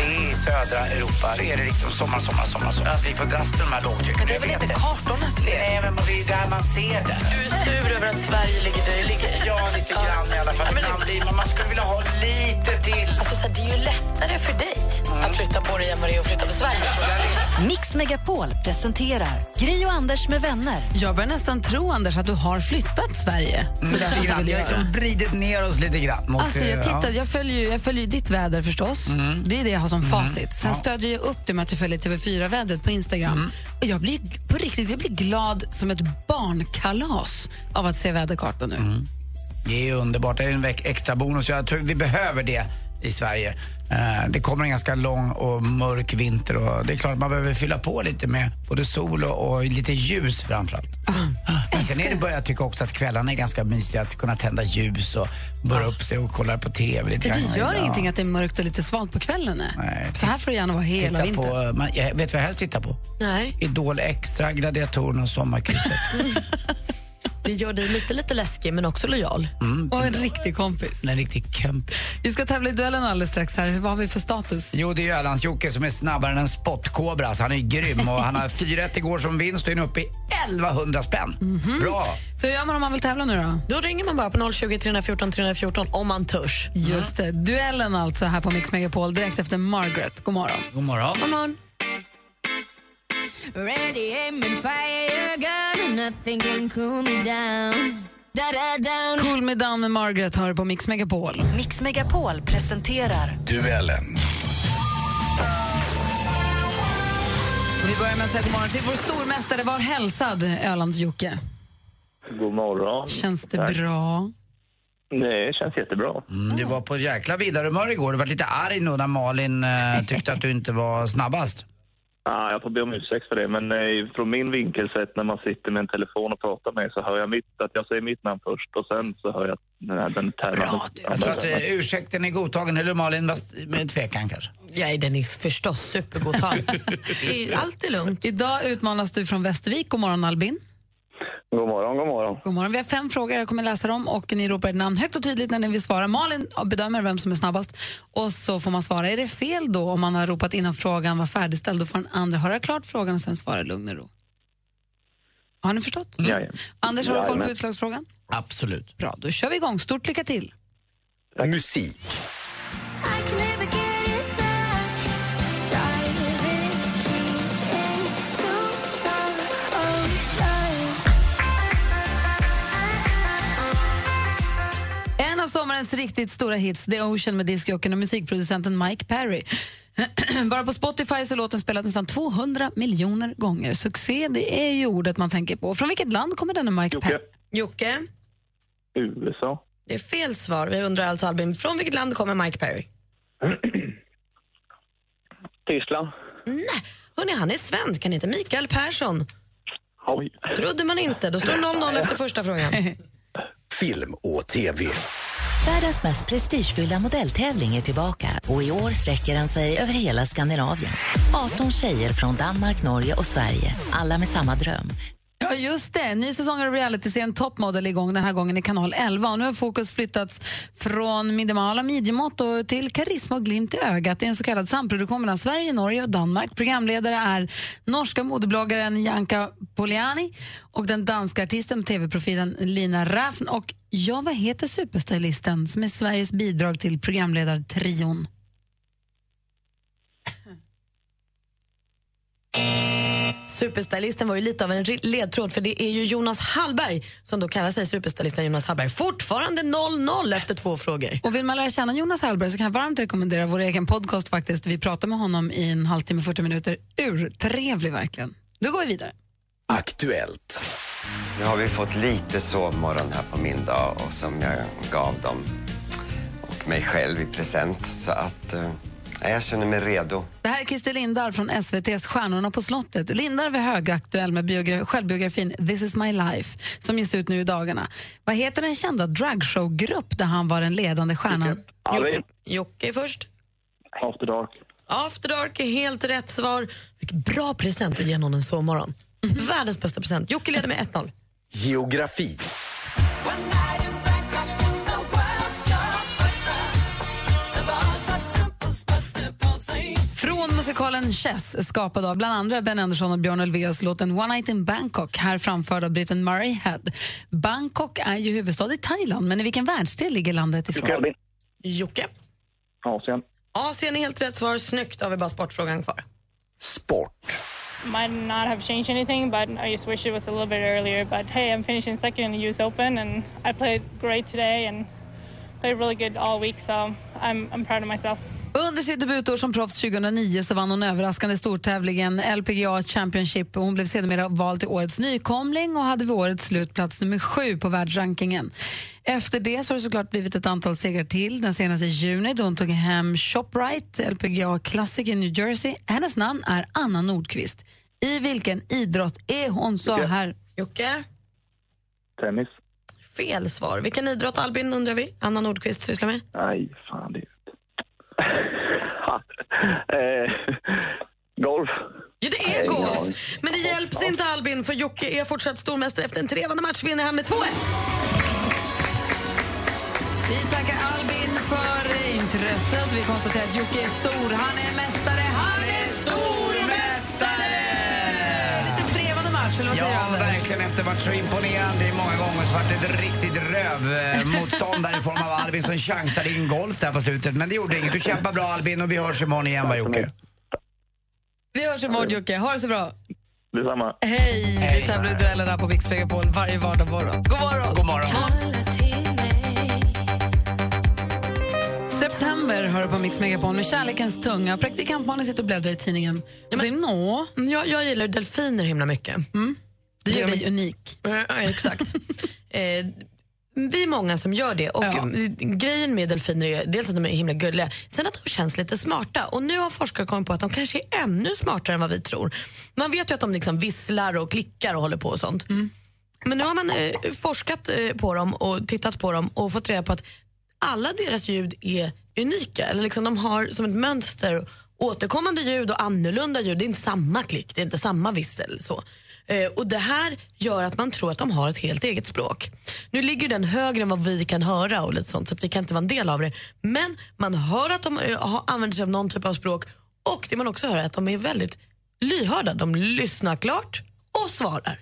[SPEAKER 4] I södra Europa är det liksom sommar, sommar, sommar. sommar. Alltså, vi får dras med de här lågtrycken.
[SPEAKER 19] Men det är väl inte kartornas fel?
[SPEAKER 4] Nej, men det är där man ser det.
[SPEAKER 19] Du är sur över att Sverige ligger där det ligger.
[SPEAKER 4] Ja, lite grann i alla fall. Ibland blir man, man skulle vilja ha lite till. Mm.
[SPEAKER 19] Alltså, så här, det är ju lättare för dig att flytta på dig än vad det är att flytta på Sverige.
[SPEAKER 1] Mix Megapol presenterar Gri och Anders med vänner.
[SPEAKER 3] Jag börjar nästan tro, Anders, att du har flyttat Sverige. Så där som
[SPEAKER 4] Lite
[SPEAKER 3] du
[SPEAKER 4] grann.
[SPEAKER 3] vill
[SPEAKER 4] Vi har liksom
[SPEAKER 3] göra.
[SPEAKER 4] vridit ner oss lite grann. Och,
[SPEAKER 3] Alltså jag,
[SPEAKER 4] eh,
[SPEAKER 3] tittar,
[SPEAKER 4] ja.
[SPEAKER 3] jag, följer ju, jag följer ju ditt väder förstås. Det är det jag har som facit. Sen stödjer jag upp det med att jag följer TV4-vädret på Instagram. Och jag blir på riktigt jag blir glad som ett barnkalas av att se väderkartan nu.
[SPEAKER 4] Det är ju underbart. Det är ju en veck- extra bonus. Jag tror vi behöver det i Sverige. Eh, Det kommer en ganska lång och mörk vinter och det är klart att man behöver fylla på lite med både sol och, och lite ljus framförallt.
[SPEAKER 3] Ah,
[SPEAKER 4] Men sen är det börjar jag tycka också att kvällarna är ganska mysiga, att kunna tända ljus och börja upp sig och kolla på TV lite grann.
[SPEAKER 3] Ah. Det gör
[SPEAKER 4] Ja.
[SPEAKER 3] ingenting att det är mörkt och lite svalt på kvällen. nej. Så här får det gärna vara hela
[SPEAKER 4] Titta
[SPEAKER 3] vintern.
[SPEAKER 4] på, eh, man, jag vet du vad jag helst tittar på?
[SPEAKER 5] Nej,
[SPEAKER 4] Idol Extra, Gladiatorerna och Sommarkrysset.
[SPEAKER 5] det gör dig lite, lite läskig men också lojal.
[SPEAKER 3] Och en riktig kompis.
[SPEAKER 4] Mm, En riktig kompis.
[SPEAKER 3] Vi ska tävla i duellen alldeles strax. här. Vad har vi för status?
[SPEAKER 4] Jo, det är ju Ölands-Jocke som är snabbare än en spottkobra. Så han är ju grym och han har 4-1 igår som vinst och är nu uppe i 1100 spänn.
[SPEAKER 3] Mhm.
[SPEAKER 4] Bra!
[SPEAKER 3] Så hur gör man om man vill tävla nu då?
[SPEAKER 5] Då ringer man bara på 020 314 314 om man törs.
[SPEAKER 3] Just det, duellen alltså här på Mix Megapol direkt efter Margaret. God morgon.
[SPEAKER 4] God morgon.
[SPEAKER 5] God morgon.
[SPEAKER 2] Ready, aim, and fire, gun. Nothing can cool me down. Da da down.
[SPEAKER 3] Cool me down med Margaret hör på Mix Megapol.
[SPEAKER 1] Mix Megapol presenterar
[SPEAKER 15] Duellen.
[SPEAKER 3] Och vi börjar med att säga god morgon till vår stormästare, var hälsad, Ölands-Jocke.
[SPEAKER 20] God morgon.
[SPEAKER 3] Känns det
[SPEAKER 20] Tack.
[SPEAKER 3] bra?
[SPEAKER 20] Det känns jättebra.
[SPEAKER 4] Mm, du var på jäkla vidarehumör igår. Du var lite arg nog när Malin eh, tyckte att du inte var snabbast.
[SPEAKER 20] Ah, jag får be om ursäkt för det, men eh, från min vinkel sett när man sitter med en telefon och pratar med så hör jag mitt, att jag säger mitt namn först och sen så hör jag den här den termen.
[SPEAKER 4] Jag tror att eh, ursäkten är godtagen, eller hur, Malin? Fast med tvekan kanske.
[SPEAKER 5] Nej, den är förstås supergodtagbar. Det är Allt är lugnt.
[SPEAKER 3] Idag utmanas du från Västervik. God morgon Albin.
[SPEAKER 20] God morgon, god morgon.
[SPEAKER 3] God morgon. Vi har fem frågor, jag kommer läsa dem och ni ropar ett namn högt och tydligt när ni vill svara. Malin bedömer vem som är snabbast och så får man svara. Är det fel då om man har ropat innan frågan var färdigställd, då får den andra höra klart frågan och sen svara i lugn och ro. Har ni förstått?
[SPEAKER 20] Mm.
[SPEAKER 3] Anders, har du koll på
[SPEAKER 4] Jajamän.
[SPEAKER 3] utslagsfrågan?
[SPEAKER 4] Absolut.
[SPEAKER 3] Bra, då kör vi igång. Stort lycka till.
[SPEAKER 4] Musik.
[SPEAKER 3] En av sommarens riktigt stora hits, The Ocean med discjockeyn och musikproducenten Mike Perry. Bara på Spotify så är låten spelat nästan 200 miljoner gånger. Succé, det är ju ordet man tänker på. Från vilket land kommer denne Mike Perry?
[SPEAKER 5] Jocke,
[SPEAKER 20] USA.
[SPEAKER 5] det är fel svar. Vi undrar alltså Albin, från vilket land kommer Mike Perry?
[SPEAKER 20] Tyskland.
[SPEAKER 5] Nej, hörni, han är svensk. Han heter Mikael Persson.
[SPEAKER 20] Oj.
[SPEAKER 5] Trodde man inte. Då står 0-0 efter första frågan.
[SPEAKER 21] Film och TV.
[SPEAKER 12] Världens mest prestigefyllda modelltävling är tillbaka och i år sträcker den sig över hela Skandinavien. 18 tjejer från Danmark, Norge och Sverige, alla med samma dröm.
[SPEAKER 3] Ja, just det. Ny säsong av realityserien Top Model är igång den här gången i kanal 11. Och nu har fokus flyttats från minimala midjemått och till karisma och glimt i ögat. Det är en så kallad samproduktion mellan Sverige, Norge och Danmark. Programledare är norska modebloggaren Janka Poliani och den danska artisten och tv-profilen Lina Räfn. Och ja, vad heter superstylisten som är Sveriges bidrag till programledartrion?
[SPEAKER 5] Superstylisten var ju lite av en ri- ledtråd för det är ju Jonas Hallberg som då kallar sig superstylisten Jonas Hallberg. Fortfarande 0-0 efter två frågor.
[SPEAKER 3] Och vill man lära känna Jonas Hallberg så kan jag varmt rekommendera vår egen podcast faktiskt. Vi pratar med honom i en halvtimme, 40 minuter. Urtrevlig verkligen. Nu går vi vidare.
[SPEAKER 22] Aktuellt. Nu har vi fått lite sovmorgon här på min dag och som jag gav dem och mig själv i present. Så att eh, jag känner mig redo.
[SPEAKER 3] Det här är Christer Lindar från SVTs Stjärnorna på slottet. Lindar var högaktuell med biogra- självbiografin This is my life som ges ut nu i dagarna. Vad heter den kända dragshowgrupp där han var den ledande stjärnan?
[SPEAKER 20] Albin.
[SPEAKER 5] Jocke först.
[SPEAKER 20] After dark.
[SPEAKER 5] After Dark är helt rätt svar. Vilken bra present att ge någon en sovmorgon.
[SPEAKER 20] Mm.
[SPEAKER 5] Världens bästa present. Jocke leder med 1-0.
[SPEAKER 21] Geografi.
[SPEAKER 3] Från musikalen Chess, skapad av bland andra Ben Andersson och Björn Ulvaeus, låten One Night in Bangkok, här framförd av britten Murray Head. Bangkok är ju huvudstad i Thailand, men i vilken världsdel ligger landet ifrån?
[SPEAKER 5] Jocke.
[SPEAKER 20] Asien.
[SPEAKER 5] Asien är helt rätt svar. Snyggt. Då har vi bara sportfrågan kvar.
[SPEAKER 18] might not have changed anything, but I just wish it was a little bit earlier. But hey, I'm finishing second in the U.S. Open, and I played great today and played really good all week, so I'm, I'm proud of myself.
[SPEAKER 3] Under sitt debutår som proffs 2009 så vann hon överraskande stortävlingen LPGA Championship och hon blev sedermera vald till årets nykomling och hade vid årets slut plats nummer sju på världsrankingen. Efter det så har det såklart blivit ett antal segrar till. Den senaste i juni då hon tog hem Shoprite LPGA Classic i New Jersey. Hennes namn är Anna Nordqvist. I vilken idrott är hon så
[SPEAKER 20] Jocke.
[SPEAKER 3] här?
[SPEAKER 5] Jocke?
[SPEAKER 20] Tennis.
[SPEAKER 5] Fel svar. Vilken idrott, Albin, undrar vi? Anna Nordqvist sysslar med?
[SPEAKER 20] Nej, fan det... eh, golf.
[SPEAKER 5] Ja, det är golf! Men det hjälps inte, Albin, för Jocke är fortsatt stormästare efter en trevande match. Vinner han med 2-1.
[SPEAKER 3] Vi tackar Albin för intresset. Vi konstaterar att Jocke är stor. Han är mästare. Han är stormästare! Lite trevande match, eller vad säger
[SPEAKER 4] Ja,
[SPEAKER 3] du, Anders?
[SPEAKER 4] verkligen. Efter varit så imponerande i många gånger så vart det ett riktigt rövmotstånd där i form av Albin som chansade in golf där på slutet. Men det gjorde inget. Du kämpar bra Albin och vi hörs imorgon igen va Jocke?
[SPEAKER 3] Vi hörs imorgon, Jocke. Ha det så bra.
[SPEAKER 20] Detsamma.
[SPEAKER 3] Hej! Vi tävlar i duellerna på Mix Megapol varje vardag morgon. God morgon!
[SPEAKER 4] God morgon.
[SPEAKER 3] September hör du på Mix Megapol med kärlekens tunga. Praktikantmannen sitter och bläddrar i tidningen. Och säger, Nå.
[SPEAKER 5] Mm, Jag, jag gillar delfiner himla mycket.
[SPEAKER 3] Mm. Det gör dig unik.
[SPEAKER 5] Ja, exakt. eh, Vi är många som gör det. Och mm, Grejen med delfiner är dels att de är himla gulliga, sen att de känns lite smarta. Och Nu har forskare kommit på att de kanske är ännu smartare än vad vi tror. Man vet ju att de liksom visslar och klickar och håller på och sånt. Men nu har man eh, forskat eh, på dem och tittat på dem och fått reda på att alla deras ljud är unika. Eller liksom de har som ett mönster återkommande ljud och annorlunda ljud. Det är inte samma klick, det är inte samma vissel. Så. Eh, och Det här gör att man tror att de har ett helt eget språk. Nu ligger den högre än vad vi kan höra och lite sånt, så att vi kan inte vara en del av det. Men man hör att de eh, har- använder sig av någon typ av språk och det man också hör är att de är väldigt lyhörda. De lyssnar klart och svarar.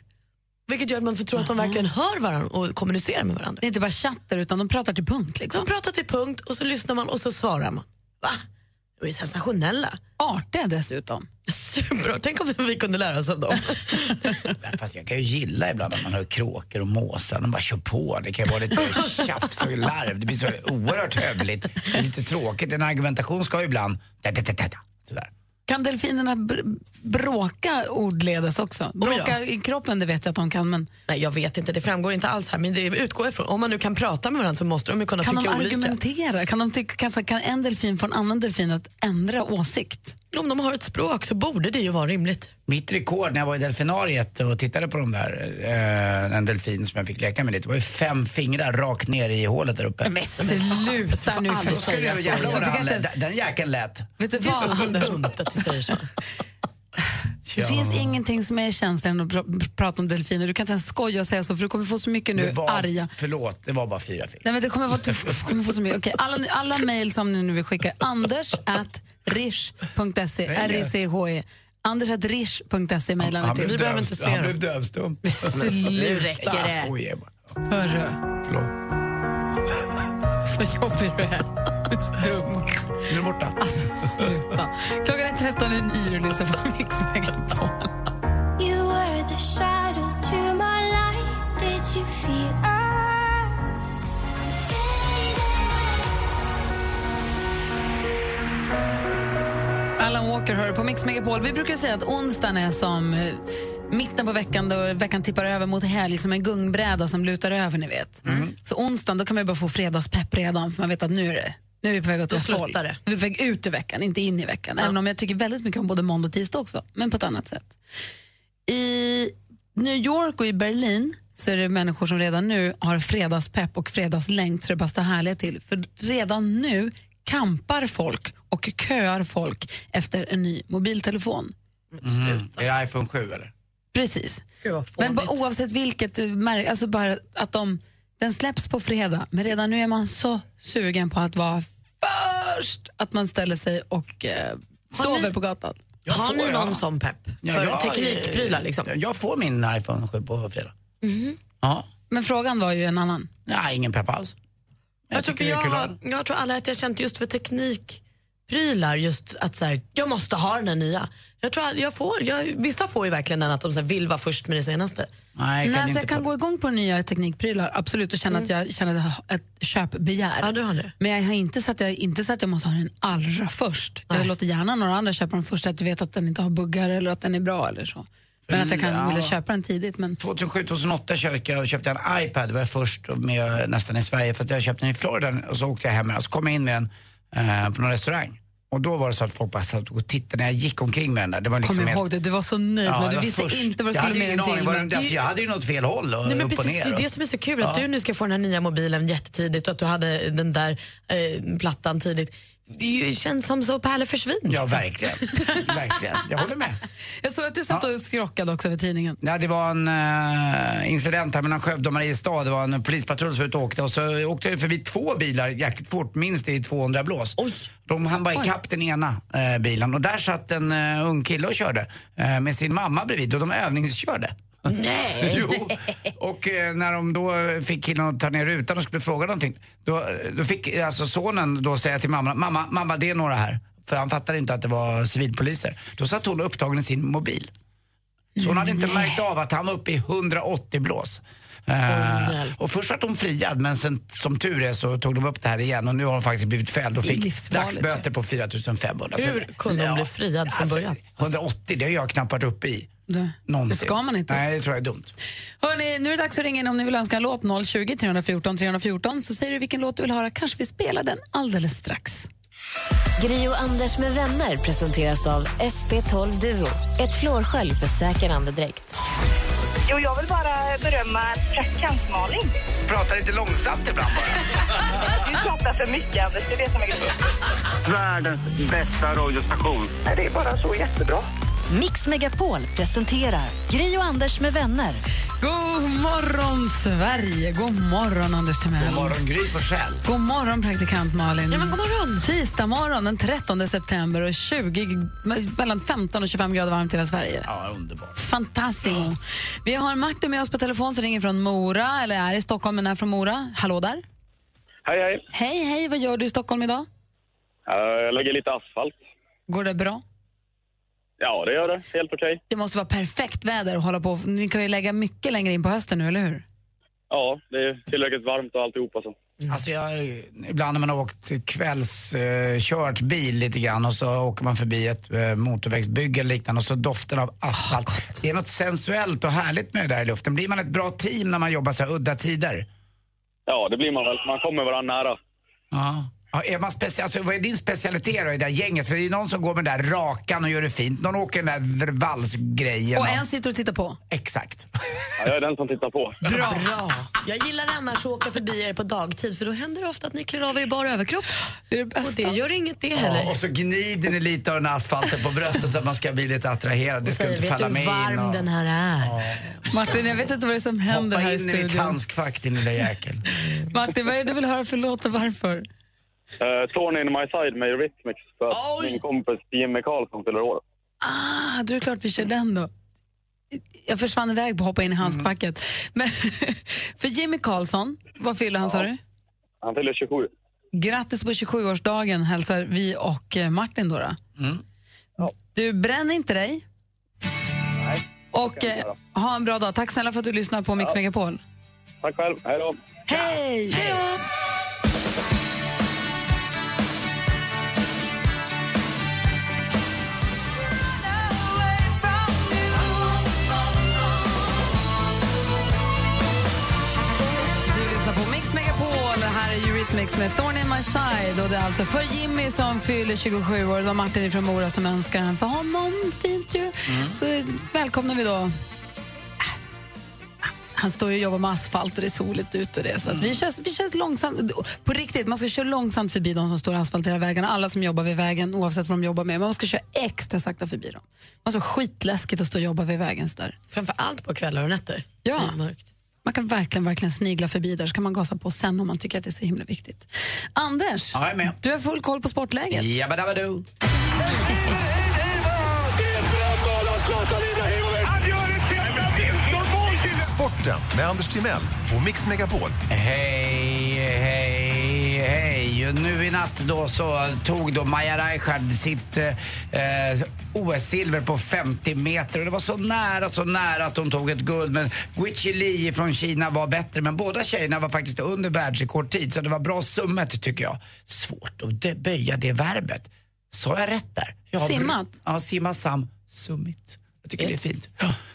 [SPEAKER 5] Vilket gör att man får tro att de verkligen hör varandra och kommunicerar med varandra.
[SPEAKER 3] Det är inte bara chatter utan de pratar till punkt. Liksom.
[SPEAKER 5] De pratar till punkt och så lyssnar man och så svarar man. Va? De är sensationella.
[SPEAKER 3] Artiga dessutom.
[SPEAKER 5] Superbra. Tänk om vi kunde lära oss av dem.
[SPEAKER 4] Fast jag kan ju gilla ibland att man hör kråkor och måsar. De bara kör på. Det kan ju vara lite tjafs och larv. Det blir så oerhört hövligt. Det är lite tråkigt. En argumentation ska ju ibland... Da, da, da, da, da. Sådär.
[SPEAKER 3] Kan delfinerna br- bråka ordledes också? Bråka i kroppen, det vet jag att de kan. Men
[SPEAKER 5] Nej, jag vet inte. Det framgår inte alls här. Men det utgår ifrån. Om man nu kan prata med varandra så måste de ju kunna
[SPEAKER 3] kan de
[SPEAKER 5] tycka olika.
[SPEAKER 3] argumentera? Kan, de tycka, kan, så- kan en delfin få en annan delfin att ändra åsikt?
[SPEAKER 5] Om de har ett språk så borde det ju vara rimligt.
[SPEAKER 4] Mitt rekord när jag var i delfinariet och tittade på de där, eh, en delfin som jag fick leka med lite, det var ju fem fingrar rakt ner i hålet där uppe. Men
[SPEAKER 3] Sluta nu för
[SPEAKER 4] Då skulle jag
[SPEAKER 3] fan.
[SPEAKER 4] jävla
[SPEAKER 3] Jag
[SPEAKER 4] vad
[SPEAKER 3] tycker
[SPEAKER 4] han
[SPEAKER 3] Alltså, inte
[SPEAKER 4] lät. Den jäkeln lät.
[SPEAKER 3] Vet du vad, Anders? Det finns ingenting som är känsligare än att pr- pr- prata om delfiner. Du kan inte ens skoja och säga så, för du kommer få så mycket nu
[SPEAKER 4] Det var,
[SPEAKER 3] arga.
[SPEAKER 4] Förlåt, det var bara fyra fingrar.
[SPEAKER 3] Nej, men det kommer vara du f- kommer få så mycket. Okej, alla, alla mejl som ni nu vill skicka, anders at rish.se,
[SPEAKER 4] Nej, nej.
[SPEAKER 3] R-I-C-H-E. E. Anders at rish.se mejlar ni
[SPEAKER 4] Han
[SPEAKER 3] till.
[SPEAKER 4] blev, dövstum, han blev dövstum.
[SPEAKER 3] Sluta,
[SPEAKER 4] Jag skojar bara.
[SPEAKER 3] Hörru. Förlåt. Vad jobbig du är. Du är så dum.
[SPEAKER 4] Nu är borta.
[SPEAKER 3] Alltså, sluta. Klockan är 13 i nio och lyssnar på Mix Megapol.
[SPEAKER 13] You were the shadow to my light. Did you feel us?
[SPEAKER 3] Alan Walker hör på Mix Megapol. Vi brukar säga att onsdagen är som eh, mitten på veckan då veckan tippar över mot helg som en gungbräda som lutar över, ni vet.
[SPEAKER 4] Mm.
[SPEAKER 3] Så onsdagen då kan man ju bara få fredagspepp redan för man vet att nu är det nu är vi på väg åt
[SPEAKER 5] Då
[SPEAKER 3] rätt håll.
[SPEAKER 5] sluttar det.
[SPEAKER 3] Vi är på väg ut i veckan, inte in i veckan. Även om jag tycker väldigt mycket om både måndag och tisdag också, men på ett annat sätt. I New York och i Berlin så är det människor som redan nu har fredagspepp och fredagslängd så det bara står härliga till. För redan nu kampar folk och köar folk efter en ny mobiltelefon.
[SPEAKER 4] Mm. Är det iPhone 7 eller?
[SPEAKER 3] Precis. Men bara, oavsett vilket eh, märke, alltså bara att de, den släpps på fredag men redan nu är man så sugen på att vara först att man ställer sig och eh, sover på gatan.
[SPEAKER 4] Jag
[SPEAKER 5] har
[SPEAKER 4] får,
[SPEAKER 5] ni någon
[SPEAKER 4] ja.
[SPEAKER 5] sån pepp? för teknikprylar liksom?
[SPEAKER 4] Jag får min iPhone 7 på fredag. Ja.
[SPEAKER 3] Men frågan var ju en annan.
[SPEAKER 4] Nej, ingen pepp alls.
[SPEAKER 5] Jag, tror för
[SPEAKER 4] tycker det är
[SPEAKER 5] jag,
[SPEAKER 4] kul
[SPEAKER 5] har- jag tror alla att jag känt just för teknikprylar, just att så här, jag måste ha den här nya. Jag tror att jag får, jag, vissa får ju verkligen den att de så här, vill vara först med det senaste.
[SPEAKER 4] Nej,
[SPEAKER 3] Nej, så alltså, jag kan gå igång på nya teknikprylar, absolut, och känna att jag känner att jag har ett köpbegär.
[SPEAKER 5] Mm. Ja, du har det.
[SPEAKER 3] Men jag har inte sagt att jag, inte så att jag måste ha den allra först. Jag låter gärna några andra köpa den först, att jag vet att den inte har buggar eller att den är bra eller så. Men att jag kan
[SPEAKER 4] Ja.
[SPEAKER 3] vilja köpa den tidigt. Men...
[SPEAKER 4] 2007-2008 köpte jag, köpte jag en iPad. Det var jag först med nästan i Sverige. Fast jag köpte den i Florida och så åkte jag hem med den. Så kom jag in med den eh, på någon restaurang. Och då var det så att folk bara satt och tittade när jag gick omkring med den där. Det var liksom
[SPEAKER 3] Kom
[SPEAKER 4] helt-
[SPEAKER 3] ihåg det, du var så nöjd
[SPEAKER 4] Ja,
[SPEAKER 3] när
[SPEAKER 4] jag
[SPEAKER 3] du
[SPEAKER 4] var
[SPEAKER 3] visste
[SPEAKER 4] först.
[SPEAKER 3] inte vad du
[SPEAKER 4] Jag
[SPEAKER 3] skulle
[SPEAKER 4] hade
[SPEAKER 3] med
[SPEAKER 4] ingen
[SPEAKER 3] den till.
[SPEAKER 4] aning vad den-
[SPEAKER 3] men-
[SPEAKER 4] alltså, Jag hade ju något fel håll och
[SPEAKER 5] Nej, men
[SPEAKER 4] upp och
[SPEAKER 5] precis,
[SPEAKER 4] ner.
[SPEAKER 5] det är
[SPEAKER 4] och-
[SPEAKER 5] det som är så kul, att
[SPEAKER 4] Ja.
[SPEAKER 5] du nu ska få den här nya mobilen jättetidigt och att du hade den där eh, plattan tidigt. Det är ju- känns som så pärleförsvinn.
[SPEAKER 4] Ja, verkligen. verkligen. Jag håller med.
[SPEAKER 3] Jag såg att du satt och skrockade också över tidningen.
[SPEAKER 4] Ja, det var en eh, incident här mellan Skövde och Mariestad. Det var en polispatrull som var ute och åkte och så åkte det förbi två bilar jäkligt fort, minst i 200 blås. De hann bara ikapp den ena eh, bilen och där satt en eh, ung kille och körde eh, med sin mamma bredvid och de övningskörde.
[SPEAKER 5] Nej.
[SPEAKER 4] jo. Och eh, när de då fick killen att ta ner rutan och skulle fråga någonting, då, då fick eh, alltså sonen då säga till mamma, mamma, mamma det är några här. För han fattade inte att det var civilpoliser. Då satt hon upptagen i sin mobil. Så hon hade inte märkt av att han var uppe i 180 blås. Eh, och först var hon friad men sen som tur är så tog de upp det här igen och nu har hon faktiskt blivit fälld och
[SPEAKER 5] Det är
[SPEAKER 4] fick
[SPEAKER 5] livsfarligt,
[SPEAKER 4] dagsböter på 4 500. Så- Alltså.
[SPEAKER 5] Hur kunde hon bli friad från början?
[SPEAKER 4] 180, det har jag knappt varit uppe i. Någonsin.
[SPEAKER 3] Det ska man inte.
[SPEAKER 4] Nej, det tror jag är dumt.
[SPEAKER 3] Hörrni, nu är det dags att ringa in om ni vill önska en låt. 020 314 314 så säger du vilken låt du vill höra. Kanske vi spelar den alldeles strax.
[SPEAKER 14] Gri och Anders med vänner presenteras av SP12 Duo. Ett flårskölj för säker andedräkt.
[SPEAKER 8] Jo, jag vill bara berömma praktikant Malin.
[SPEAKER 21] Prata lite långsamt ibland
[SPEAKER 8] Du pratar för mycket, Anders. Det är det som är grejen.
[SPEAKER 7] Världens bästa radiostation. Nej, det är bara så jättebra.
[SPEAKER 1] Mix Megapol presenterar Gri och Anders med vänner.
[SPEAKER 3] God morgon, Sverige! God morgon, Anders Timell.
[SPEAKER 4] God morgon, Gry Forssell.
[SPEAKER 3] God morgon, praktikant Malin. Ja, men god morgon. Tisdag morgon den 13 september och 20, mellan 15 och 25 grader varmt i hela Sverige.
[SPEAKER 4] Ja, underbart.
[SPEAKER 3] Fantastiskt. Vi har Martin med oss på telefon som ringer från Mora, eller är i Stockholm men är från Mora. Hallå där.
[SPEAKER 16] Hej, hej.
[SPEAKER 3] Hej, hej. Vad gör du i Stockholm idag?
[SPEAKER 16] Eh, Jag lägger lite asfalt.
[SPEAKER 3] Går det bra?
[SPEAKER 16] Ja, det gör det. Helt okej.
[SPEAKER 3] Det måste vara perfekt väder att hålla på. Ni kan ju lägga mycket längre in på hösten nu, eller hur?
[SPEAKER 16] Ja, det är tillräckligt varmt och alltihopa så.
[SPEAKER 5] Mm.
[SPEAKER 4] Alltså jag, ibland när man har åkt kvällskört eh, kört bil lite grann och så åker man förbi ett eh, motorvägsbygge eller liknande och så doften av asfalt.
[SPEAKER 5] Ah,
[SPEAKER 4] det är något sensuellt och härligt med det där i luften. Blir man ett bra team när man jobbar så här udda tider?
[SPEAKER 16] Ja, det blir man väl. Man kommer varandra nära.
[SPEAKER 4] Ja. är man speci- alltså, vad är din specialitet då i det där gänget? För det är ju någon som går med den där rakan och gör det fint. Någon åker den där v- valsgrejen.
[SPEAKER 3] Och en sitter och tittar på.
[SPEAKER 4] Exakt.
[SPEAKER 16] Ja, jag är den som tittar på.
[SPEAKER 5] Bra. Jag gillar annars att åka förbi er på dagtid för då händer det ofta att ni klär av er i bara överkropp. Det är det bästa. Och det gör inget det heller.
[SPEAKER 4] Ja, och så gnider ni lite av den här asfalten på bröstet så att man ska bli lite attraherad. Det
[SPEAKER 5] Och
[SPEAKER 4] ska
[SPEAKER 5] säger,
[SPEAKER 4] inte
[SPEAKER 5] vet du
[SPEAKER 4] falla med
[SPEAKER 5] hur
[SPEAKER 4] in.
[SPEAKER 5] varm
[SPEAKER 4] och-
[SPEAKER 5] den här är?
[SPEAKER 3] Martin, jag vet inte vad det är som händer
[SPEAKER 4] Hoppa
[SPEAKER 3] här i
[SPEAKER 4] in i ditt
[SPEAKER 3] studion.
[SPEAKER 4] handskfack din lilla jäkel.
[SPEAKER 3] Martin, vad är det du vill höra för låt och varför?
[SPEAKER 16] Uh, Torn in my side med Eurythmics för att min kompis Jimmy Karlsson fyller år.
[SPEAKER 3] Ah, då är det klart vi kör den då. Jag försvann iväg på att hoppa in i handskfacket. Men för Jimmy Karlsson, vad fyller han sa du?
[SPEAKER 16] Han fyller 27.
[SPEAKER 3] Grattis på 27-årsdagen hälsar vi och eh, Martin då. då.
[SPEAKER 4] Mm.
[SPEAKER 3] Du, bränn inte dig. Och eh, ha en bra dag. Tack snälla för att du lyssnar på Mix Megapol.
[SPEAKER 16] Tack själv. Hej då.
[SPEAKER 3] Hej! Hej Du lyssnar på Mix Megapol. Här är Eurythmics med Thorn in my side. Och det är alltså för Jimmy som fyller 27 år. Det var Martin från Mora som önskar den för honom. Fint ju. Så välkomnar vi då. Han står ju och jobbar med asfalt och det är soligt ute. och Det, så att
[SPEAKER 4] Mm.
[SPEAKER 3] vi, kör, vi kör långsamt. På riktigt, man ska köra långsamt förbi de som står och asfalterar vägarna. Alla som jobbar vid vägen, oavsett vad de jobbar med. Men man ska köra extra sakta förbi dem. Man ska skitläskigt att stå och jobba vid vägen. Så där.
[SPEAKER 5] Framför allt på kvällar och nätter.
[SPEAKER 3] Ja.
[SPEAKER 5] Det är mörkt.
[SPEAKER 3] Man kan verkligen, verkligen snigla förbi där, så kan man gasa på sen om man tycker att det är så himla viktigt. Anders, du har full koll på sportläget.
[SPEAKER 4] Jabba dabba doo.
[SPEAKER 11] Sporten med Anders Timell och Mix Megapol.
[SPEAKER 4] Hej, hej, hej. Och Nu i natt då så tog då Maja Reichard sitt eh, eh, OS-silver på 50 meter. Och det var så nära, så nära att hon tog ett guld. Men Guichi Li från Kina var bättre. Men båda tjejerna var faktiskt under världsrekordtid. Så det var bra summet tycker jag. Svårt att de- böja det verbet. Sa jag rätt där? Jag har bru-
[SPEAKER 5] Simmat?
[SPEAKER 4] Ja, simma sam, summit. Jag tycker det är fint.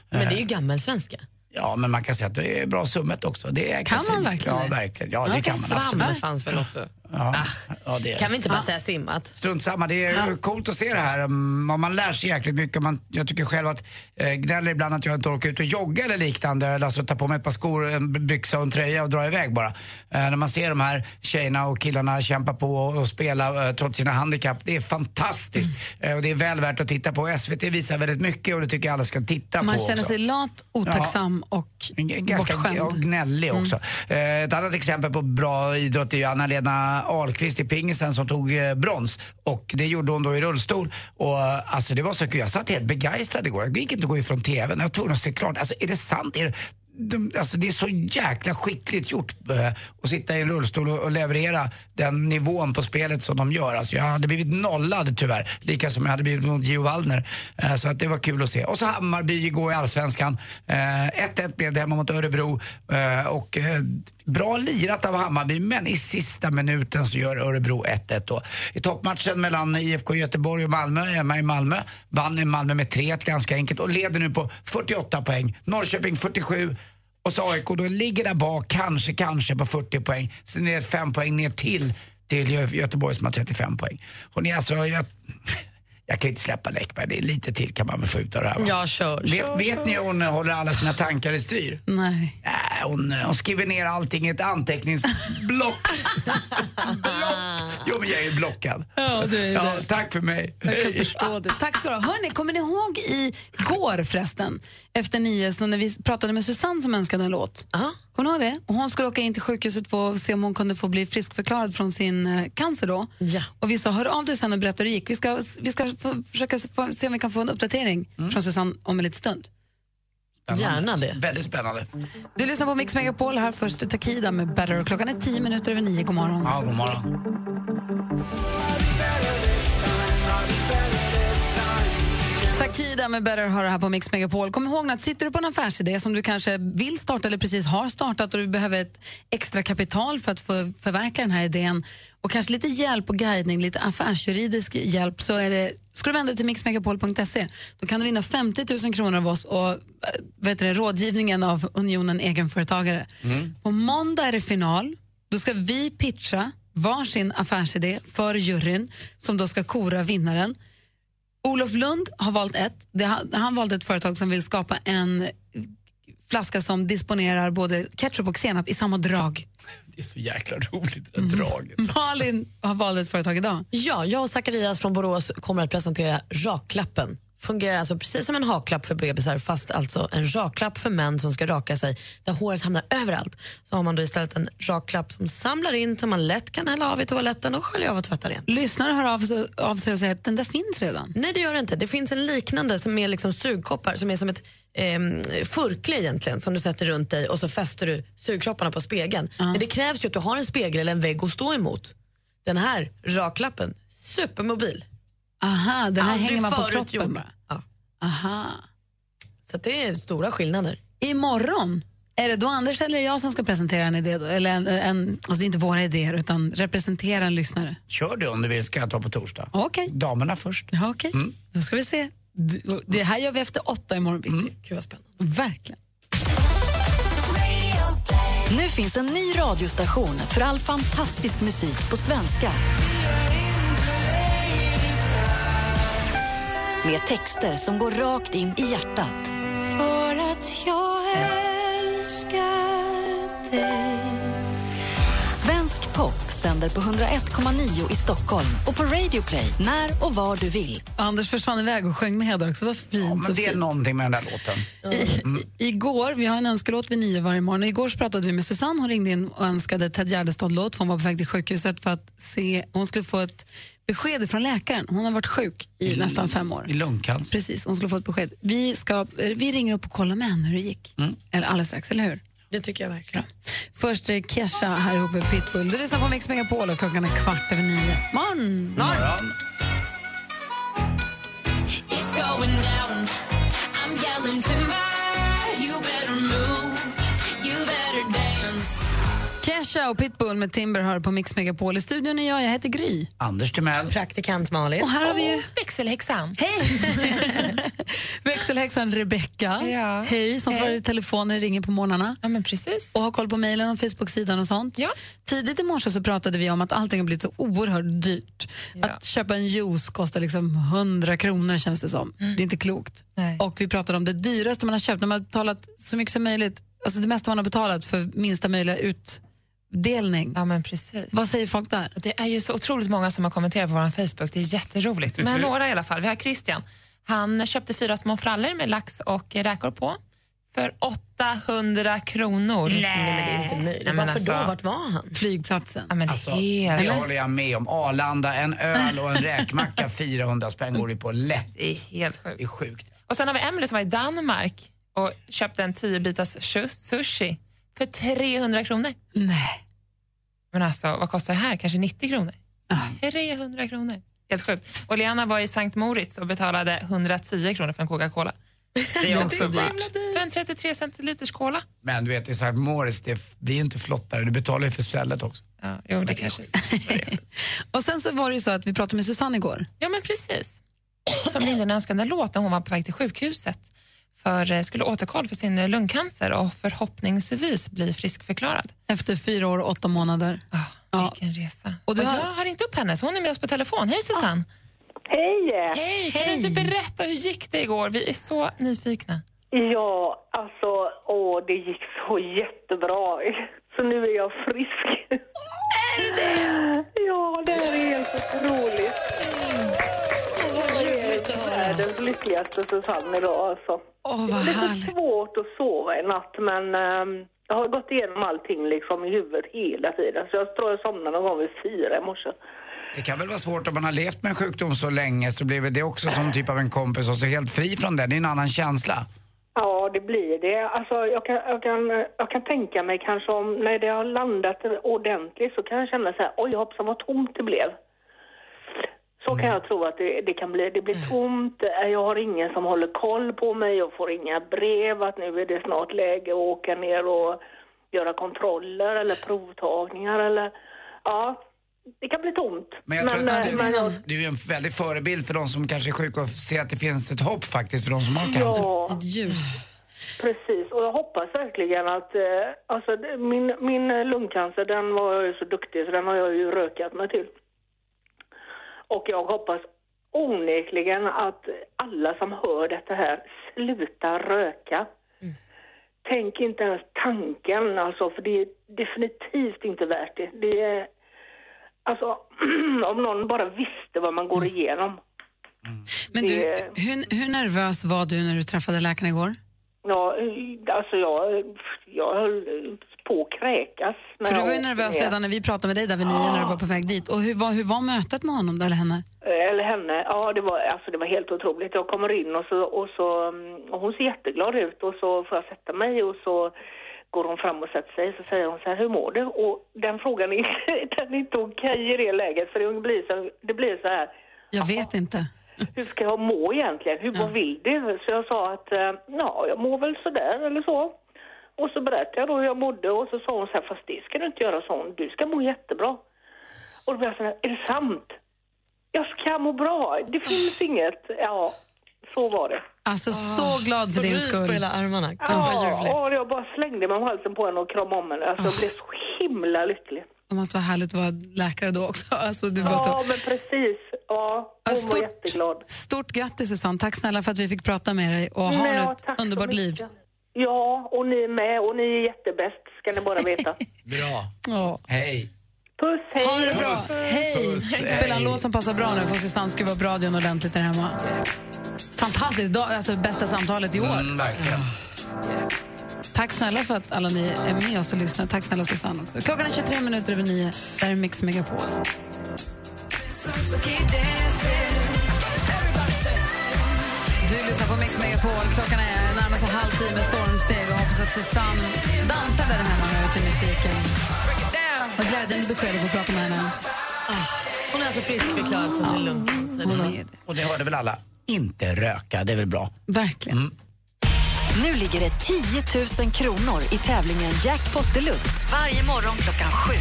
[SPEAKER 5] Men det är ju gammelsvenska.
[SPEAKER 4] Ja, men man kan säga att det är bra summet också. Det är
[SPEAKER 5] Kan
[SPEAKER 4] fint.
[SPEAKER 5] man verkligen
[SPEAKER 4] Ja,
[SPEAKER 5] det?
[SPEAKER 4] verkligen. Ja, det
[SPEAKER 5] Okej,
[SPEAKER 4] kan man
[SPEAKER 5] svamm
[SPEAKER 4] absolut.
[SPEAKER 5] fanns väl också? Ah.
[SPEAKER 4] Ja. Ja, det är
[SPEAKER 5] Kan vi inte bara
[SPEAKER 4] Ja.
[SPEAKER 5] säga simmat?
[SPEAKER 4] Strunt samma, det är coolt att se det här. Mm, Man lär sig jäkligt mycket. Man, jag tycker själv att eh, gnäller ibland att jag inte orkar ut och jogga eller liknande. Eller alltså ta på mig ett par skor, en byxa och en tröja och dra iväg bara. Eh, när man ser de här tjejerna och killarna kämpa på och, och spela eh, trots sina handikapp. Det är fantastiskt. Eh, och det är väl värt att titta på. SVT visar väldigt mycket och det tycker jag alla ska titta
[SPEAKER 3] Man
[SPEAKER 4] på
[SPEAKER 3] känner
[SPEAKER 4] också.
[SPEAKER 3] sig lat, otacksam och
[SPEAKER 4] Ganska
[SPEAKER 3] bortskämd.
[SPEAKER 4] och gnällig också. Eh, Ett annat exempel på bra idrott är ju Anna-Lena Ahlqvist i pingisen som tog eh, brons. Och det gjorde hon då i rullstol. Och eh, alltså det var så kul. Jag satt helt begeistrad igår. Jag gick inte att gå ifrån TVn. Jag var tvungen att se klart. Alltså är det sant? Är det... de, alltså det är så jäkla skickligt gjort eh, att sitta i en rullstol och, och leverera den nivån på spelet som de gör. Alltså jag hade blivit nollad tyvärr, lika som jag hade blivit mot Gio Wallner. Eh, så att det var kul att se. Och så Hammarby igår i Allsvenskan. Eh, 1-1 blev det hemma mot Örebro. Eh, och, eh, bra lirat av Hammarby, men i sista minuten så gör Örebro 1-1 då. I toppmatchen mellan IFK Göteborg och Malmö, hemma i Malmö, vann Malmö med 3-1 ganska enkelt och leder nu på 48 poäng. Norrköping 47. Och så AIK då ligger där bak, kanske, kanske på 40 poäng. Sen är det 5 poäng ner till, till Gö- Göteborg som har 35 poäng. Och ni alltså, jag, jag kan ju inte släppa Läckberg, det är lite till kan man väl få ut av det här va?
[SPEAKER 5] Ja, kör.
[SPEAKER 4] Vet, vet ni hur hon håller alla sina tankar i styr?
[SPEAKER 3] Nej.
[SPEAKER 4] Äh, hon, hon skriver ner allting i ett anteckningsblock. block! Jo, men jag är ju blockad.
[SPEAKER 3] Ja, du är
[SPEAKER 4] ja,
[SPEAKER 3] det.
[SPEAKER 4] tack för mig.
[SPEAKER 3] Jag kan förstå det. Tack ska du ha. Hörrni, kommer ni ihåg i går förresten, efter nio, så när vi pratade med Susanne som önskade en låt? Kommer ni ihåg det? Och hon skulle åka in till sjukhuset för att se om hon kunde få bli friskförklarad från sin eh, cancer då.
[SPEAKER 5] Ja.
[SPEAKER 3] Och vi sa, hör av dig sen och berätta hur det gick. Vi ska, vi ska få, försöka se- få, se om vi kan få en uppdatering från Susanne om en liten stund.
[SPEAKER 5] Gärna det.
[SPEAKER 4] Väldigt spännande.
[SPEAKER 3] Du lyssnar på Mix Megapol, här först Takida med Better. Klockan är tio minuter över nio, god morgon.
[SPEAKER 4] Ja, god morgon.
[SPEAKER 3] Takida med Better har det här på Mix Megapol. Kom ihåg att sitter du på en affärsidé som du kanske vill starta eller precis har startat och du behöver ett extra kapital för att för, förverkliga den här idén och kanske lite hjälp och guidning, lite affärsjuridisk hjälp så är det, ska du vända dig till mixmegapol.se. Då kan du vinna 50 000 kronor av oss och äh, vet du, det, rådgivningen av Unionen Egenföretagare.
[SPEAKER 4] Mm.
[SPEAKER 3] På måndag är det final. Då ska vi pitcha varsin affärsidé för juryn som då ska kora vinnaren. Olof Lund har valt ett. Det, han, han valde ett företag som vill skapa en flaska som disponerar både ketchup och senap i samma drag.
[SPEAKER 4] Det är så jäkla roligt det där draget.
[SPEAKER 3] Malin har valt ett företag idag.
[SPEAKER 5] Ja, jag och Zacharias från Borås kommer att presentera rakklappen. Fungerar alltså precis som en haklapp för bebisar fast alltså en rakklapp för män som ska raka sig där håret hamnar överallt. Så har man då istället en rakklapp som samlar in som man lätt kan hälla av i toaletten och skölja av och tvätta rent.
[SPEAKER 3] Lyssnare hör av sig, av sig och säger att den där finns redan.
[SPEAKER 5] Nej, det gör det inte. Det finns en liknande som är liksom sugkoppar som är som ett ehm, furkle egentligen som du sätter runt dig och så fäster du sugkropparna på spegeln. Men det krävs ju att du har en spegel eller en vägg att stå emot. Den här raklappen, supermobil.
[SPEAKER 3] Aha, Ah, den här
[SPEAKER 5] Aldrig
[SPEAKER 3] hänger man på
[SPEAKER 5] förut gjort.
[SPEAKER 3] kroppen bara. Aha.
[SPEAKER 5] Så att det är stora skillnader.
[SPEAKER 3] Imorgon, är det då Anders eller jag som ska presentera en idé? Då? Eller en, en, alltså det är inte våra idéer, utan representera en lyssnare.
[SPEAKER 4] Kör du om du vill, ska jag ta på torsdag.
[SPEAKER 3] Okej.
[SPEAKER 4] Damerna först. Mm.
[SPEAKER 3] Ja, Okej, då ska vi se. Du- Det här gör vi efter åtta imorgon bitti. Mm.
[SPEAKER 5] Gud vad spännande.
[SPEAKER 3] Verkligen.
[SPEAKER 1] Nu finns en ny radiostation för all fantastisk musik på svenska. Med texter som går rakt in i hjärtat.
[SPEAKER 8] För att jag älskar dig
[SPEAKER 1] Svensk pop sänder på 101,9 i Stockholm och på Radio Play när och var du vill.
[SPEAKER 3] Anders försvann iväg och sjöng med Hedda också. Vad fint. så
[SPEAKER 4] Men det är
[SPEAKER 3] fint.
[SPEAKER 4] någonting med den där låten.
[SPEAKER 3] Igår, vi har en önskelåt vid nio varje morgon. Och Igår så pratade vi med Susanne. Hon ringde in och önskade Ted Gärdestad-låt. för Hon var på väg till sjukhuset för att se... Hon skulle få ett besked från läkaren. Hon har varit sjuk i nästan fem år.
[SPEAKER 4] I lungcancer.
[SPEAKER 3] Precis, hon skulle få ett besked. Vi, ska, eh, vi ringer upp och kollar med henne hur det gick.
[SPEAKER 4] Mm.
[SPEAKER 3] Eller alldeles strax, eller hur?
[SPEAKER 5] Det tycker jag verkligen.
[SPEAKER 3] Först eh, Kesha här ihop med Pitbull. Du lyssnar på Mix Megapol och klockan är kvart över nio. Morgon!
[SPEAKER 4] Morgon.
[SPEAKER 8] It's going down I'm yelling timber You better move You better dance
[SPEAKER 3] Kesha och Pitbull med Timber hör på Mix Megapol. I studion är jag, jag heter Gry.
[SPEAKER 4] Anders Timell.
[SPEAKER 5] Praktikant Malin.
[SPEAKER 3] Och här har vi ju...
[SPEAKER 19] Växelhäxan.
[SPEAKER 3] Växelhäxan Rebecka,
[SPEAKER 19] Ja.
[SPEAKER 3] hej, som
[SPEAKER 19] Hej.
[SPEAKER 3] svarar i telefonen och ringer på morgnarna.
[SPEAKER 19] Ja, men precis.
[SPEAKER 3] Och har koll på mejlen och Facebook-sidan och sånt. Tidigt i morse så pratade vi om att allting har blivit så oerhört dyrt. Att köpa en juice kostar liksom 100 kronor känns det som.
[SPEAKER 19] Mm.
[SPEAKER 3] Det är inte klokt. Och vi pratade om det dyraste man har köpt, när man har betalat så mycket som möjligt, alltså det mesta man har betalat för minsta möjliga utdelning.
[SPEAKER 19] Ja, men precis.
[SPEAKER 3] Vad säger folk där?
[SPEAKER 19] Det är ju så otroligt många som har kommenterat på vår Facebook. Det är jätteroligt.
[SPEAKER 3] Mhm.
[SPEAKER 19] Men några i alla fall. Vi har Christian. Han köpte fyra små frallor med lax och räkor på för 800 kronor. Nej,
[SPEAKER 5] men det är inte möjligt.
[SPEAKER 19] men
[SPEAKER 5] Varför
[SPEAKER 19] alltså-
[SPEAKER 5] då? Vart var han?
[SPEAKER 3] Flygplatsen.
[SPEAKER 19] Ja, men
[SPEAKER 4] Alltså,
[SPEAKER 19] helt...
[SPEAKER 4] det håller jag med om. Arlanda, en öl och en räkmacka, 400 spänn går det på lätt.
[SPEAKER 19] Det är helt sjukt.
[SPEAKER 4] Det är sjukt.
[SPEAKER 19] Och sen har vi Emily som var i Danmark
[SPEAKER 6] och köpte en 10-bitars shus- sushi för 300 kronor.
[SPEAKER 3] Nej.
[SPEAKER 6] Men alltså, vad kostar det här? Kanske 90 kronor? 300 kronor. Helt sjukt. Och Lena var i Sankt Moritz och betalade 110 kronor för en Coca-Cola. Det är också
[SPEAKER 4] dyrt.
[SPEAKER 6] dyrt. För en 33 centiliters cola.
[SPEAKER 4] Men du vet, i Sankt Moritz, det f- blir ju inte flottare. Du betalar ju för stället också.
[SPEAKER 6] Ja, jo, det kanske
[SPEAKER 3] Och sen så var det ju så att vi pratade med Susanne igår.
[SPEAKER 6] Ja, men precis. Som ringde en önskande låt när hon var på väg till sjukhuset för eh, skulle återkoll för sin eh, lungcancer och förhoppningsvis bli friskförklarad.
[SPEAKER 3] Efter fyra år och åtta månader.
[SPEAKER 19] Ah,
[SPEAKER 6] ja. Vilken resa. Och,
[SPEAKER 3] du
[SPEAKER 6] jag
[SPEAKER 3] har-
[SPEAKER 6] har ringt upp henne, så hon är med oss på telefon. Hej Susanne!
[SPEAKER 25] Hej!
[SPEAKER 6] Hej! Kan du inte berätta hur gick det igår? Vi är så nyfikna.
[SPEAKER 25] Ja, alltså, åh, det gick så jättebra. Så nu är jag frisk. Är du det? Ja, det här är helt otroligt. Jag är världens lyckligaste Susanne idag alltså.
[SPEAKER 3] Åh, vad
[SPEAKER 25] det är
[SPEAKER 3] härligt.
[SPEAKER 25] lite svårt att sova i natt men ehm, jag har gått igenom allting liksom i huvudet hela tiden. Så jag tror jag somnade någon gång vid fyra i morse.
[SPEAKER 4] Det kan väl vara svårt om man har levt med en sjukdom så länge så blir väl det också som typ av en kompis och så helt fri från den. Det är en annan känsla.
[SPEAKER 25] Ja, det blir det. Alltså, jag, kan, jag, kan, jag kan tänka mig kanske om när det har landat ordentligt så kan jag känna så här, oj hoppsan vad tomt det blev. Så
[SPEAKER 4] Mm.
[SPEAKER 25] kan jag tro att det, det kan bli. Det blir tomt, eh, jag har ingen som håller koll på mig, jag får inga brev att nu är det snart läge att åka ner och göra kontroller eller provtagningar eller, ja, det kan bli tomt.
[SPEAKER 4] Men jag tror att
[SPEAKER 25] eh,
[SPEAKER 4] du, du är ju en väldig förebild för de som kanske är sjuka och ser att det finns ett hopp faktiskt för de som har cancer.
[SPEAKER 25] Ja. Precis, och jag hoppas verkligen att... Eh, alltså, det- min, min eh, lungcancer, den var jag ju så duktig så den har jag ju rökat mig till. Och jag hoppas onekligen att alla som hör detta här slutar röka. Tänk inte ens tanken alltså, för det är definitivt inte värt det. Det är... Alltså, om någon bara visste vad man går igenom.
[SPEAKER 3] Men du,
[SPEAKER 25] Det-
[SPEAKER 3] hur, hur nervös var du när du träffade läkaren igår?
[SPEAKER 25] Ja, alltså jag, jag höll eh, på att kräkas. när
[SPEAKER 3] För du
[SPEAKER 25] jag
[SPEAKER 3] var ju
[SPEAKER 25] åkte
[SPEAKER 3] nervös
[SPEAKER 25] ner.
[SPEAKER 3] redan när vi pratade med dig där vid nio när du var på väg dit. Och hur var, hur var mötet med honom där, eller henne?
[SPEAKER 25] Eh, Eller henne. Ja, det var, alltså det var helt otroligt. Jag kommer in och så, och så mm, och hon ser jätteglad ut och så får jag sätta mig och så går hon fram och sätter sig och så säger hon så här, hur mår du? Och den frågan är, den är inte okej i det läget för det blir så, det blir så här,
[SPEAKER 3] Jag vet inte.
[SPEAKER 25] hur ska jag må egentligen? Hur vad vill du? Så jag sa att eh, ja, jag mår väl sådär eller så. Och så berättade jag då hur jag mådde och så sa hon så här, fast det ska du inte göra, sa hon. Du ska må jättebra. Och då blev jag så här, är det sant? Jag ska må bra, det finns inget. Ja, så var det.
[SPEAKER 3] Alltså så glad för din skull.
[SPEAKER 6] armarna.
[SPEAKER 25] Ja, och jag bara slängde mig om halsen på henne och kramade om henne. Alltså,
[SPEAKER 3] Ah.
[SPEAKER 25] jag blev så himla lycklig.
[SPEAKER 3] Det måste vara härligt att vara läkare då också. Alltså, du måste...
[SPEAKER 25] Ja, men precis. Ja, hon
[SPEAKER 3] Alltså,
[SPEAKER 25] var
[SPEAKER 3] stort-
[SPEAKER 25] jätteglad.
[SPEAKER 3] Stort grattis Susanne, tack snälla för att vi fick prata med dig och ha
[SPEAKER 25] Ja,
[SPEAKER 3] nu
[SPEAKER 25] tack
[SPEAKER 3] ett
[SPEAKER 25] så
[SPEAKER 3] underbart liv.
[SPEAKER 25] mycket. Ja, och ni är med och ni är jättebäst, ska ni bara veta.
[SPEAKER 4] Bra.
[SPEAKER 3] Ja.
[SPEAKER 4] Hej.
[SPEAKER 25] Puss, hej!
[SPEAKER 3] Ha det bra. Hej!
[SPEAKER 4] Puss,
[SPEAKER 3] Spela en
[SPEAKER 4] hej.
[SPEAKER 3] låt som passar bra nu får Susanne skruva upp radion ordentligt där hemma. Fantastiskt, dag- alltså bästa samtalet i år.
[SPEAKER 4] Mm, verkligen.
[SPEAKER 3] Tack snälla för att alla ni är med oss och lyssnar. Tack snälla Susanne också. Klockan är 23 minuter över 9. Det här är Mix Megapol. Du lyssnar på Mix Megapol. Klockan är närmar sig halv tio med stormsteg och hoppas att Susanne dansar där hemma nu till musiken. Och glädjande besked att få prata med henne.
[SPEAKER 6] Hon är alltså friskförklarad för sin lungcancer.
[SPEAKER 3] Hon är det.
[SPEAKER 4] Och det hörde väl alla? Inte röka, det är väl bra?
[SPEAKER 3] Verkligen.
[SPEAKER 1] Mm. Nu ligger det 10 000 kronor i tävlingen Jackpot Deluxe varje morgon klockan sju.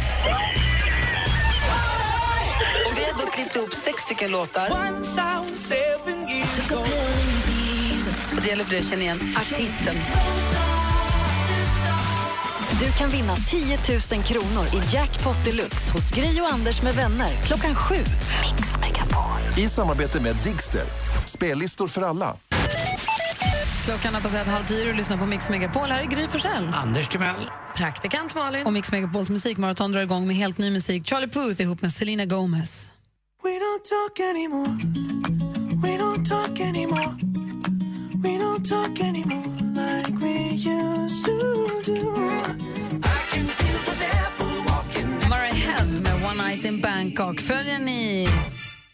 [SPEAKER 19] Och vi har då klippt ihop sex stycken låtar. Och det gäller för dig att känna igen artisten.
[SPEAKER 1] Du kan vinna 10 000 kronor i Jackpot Deluxe hos Gri och Anders med vänner klockan sju. Mix Megapol.
[SPEAKER 11] I samarbete med Digster. Spellistor för alla.
[SPEAKER 3] Klockan har passerat halv tio och du lyssnar på Mix Megapol. Här är Gry Forssell.
[SPEAKER 4] Anders Timell.
[SPEAKER 6] Praktikant Malin.
[SPEAKER 3] Och Mix Megapols musikmaraton drar igång med helt ny musik. Charlie Puth ihop med Selena Gomez.
[SPEAKER 8] We don't talk anymore. We don't talk anymore. We don't talk anymore like we used to do.
[SPEAKER 3] Murray Head med One Night in Bangkok. Följer ni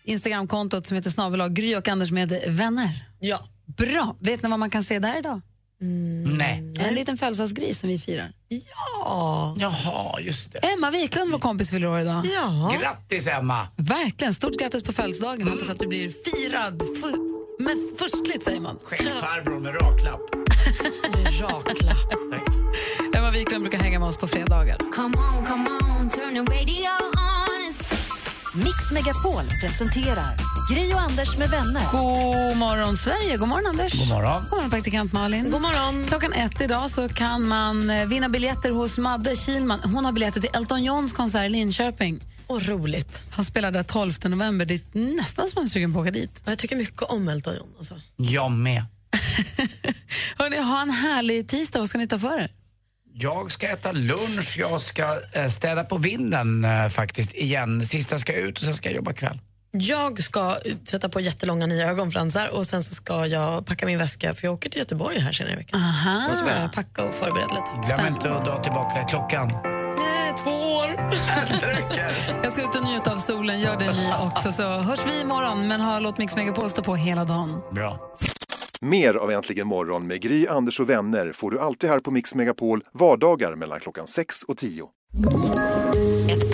[SPEAKER 3] Instagramkontot som heter snabel-a Gry och Anders med vänner?
[SPEAKER 6] Ja.
[SPEAKER 3] Bra. Vet ni vad man kan se där idag?
[SPEAKER 6] Mm.
[SPEAKER 4] Nej.
[SPEAKER 3] En liten födelsedagsgris som vi firar.
[SPEAKER 4] Ja. Jaha, just det.
[SPEAKER 3] Emma Wiklund, vår kompis, fyller år idag.
[SPEAKER 4] Ja. Grattis Emma!
[SPEAKER 3] Verkligen. Stort grattis på födelsedagen. Hoppas att du blir firad. Fu- men förstligt, säger man.
[SPEAKER 4] Farbror med raklapp.
[SPEAKER 3] med raklapp. Emma Wiklund brukar hänga med oss på fredagar.
[SPEAKER 2] Come on, come on, turn the radio on. It's
[SPEAKER 1] Mix Megapol presenterar Gri och Anders med vänner.
[SPEAKER 3] God morgon, Sverige. God morgon, Anders.
[SPEAKER 1] God morgon.
[SPEAKER 3] God morgon, praktikant Malin. God morgon. Klockan ett idag så kan man eh, vinna biljetter hos Madde Kilman. Hon har biljetter till Elton Johns konsert i Linköping.
[SPEAKER 5] Och roligt.
[SPEAKER 3] Han spelar där 12 november. Det är nästan som man är sugen på att åka dit.
[SPEAKER 5] Jag tycker mycket om Elton John. Alltså.
[SPEAKER 4] Jag med.
[SPEAKER 3] Hörrni, ha en härlig tisdag. Vad ska ni ta för er?
[SPEAKER 4] Jag ska äta lunch, jag ska eh, städa på vinden eh, faktiskt igen. Sista ska jag ut och sen ska jag jobba kväll.
[SPEAKER 5] Jag ska sätta på jättelånga nya ögonfransar och sen så ska jag packa min väska för jag åker till Göteborg här senare i veckan.
[SPEAKER 3] Aha.
[SPEAKER 5] Så jag måste börja packa och förbereda lite.
[SPEAKER 4] Glöm inte att dra tillbaka klockan.
[SPEAKER 5] Nej, två år.
[SPEAKER 3] Jag ska ut och njuta av solen. Gör det ni också. Så hörs vi imorgon. Men ha, låt Mix Megapol stå på hela dagen.
[SPEAKER 4] Bra.
[SPEAKER 11] Mer av Äntligen morgon med Gry, Anders och vänner får du alltid här på Mix Megapol vardagar mellan klockan 6 och 10.
[SPEAKER 14] Ett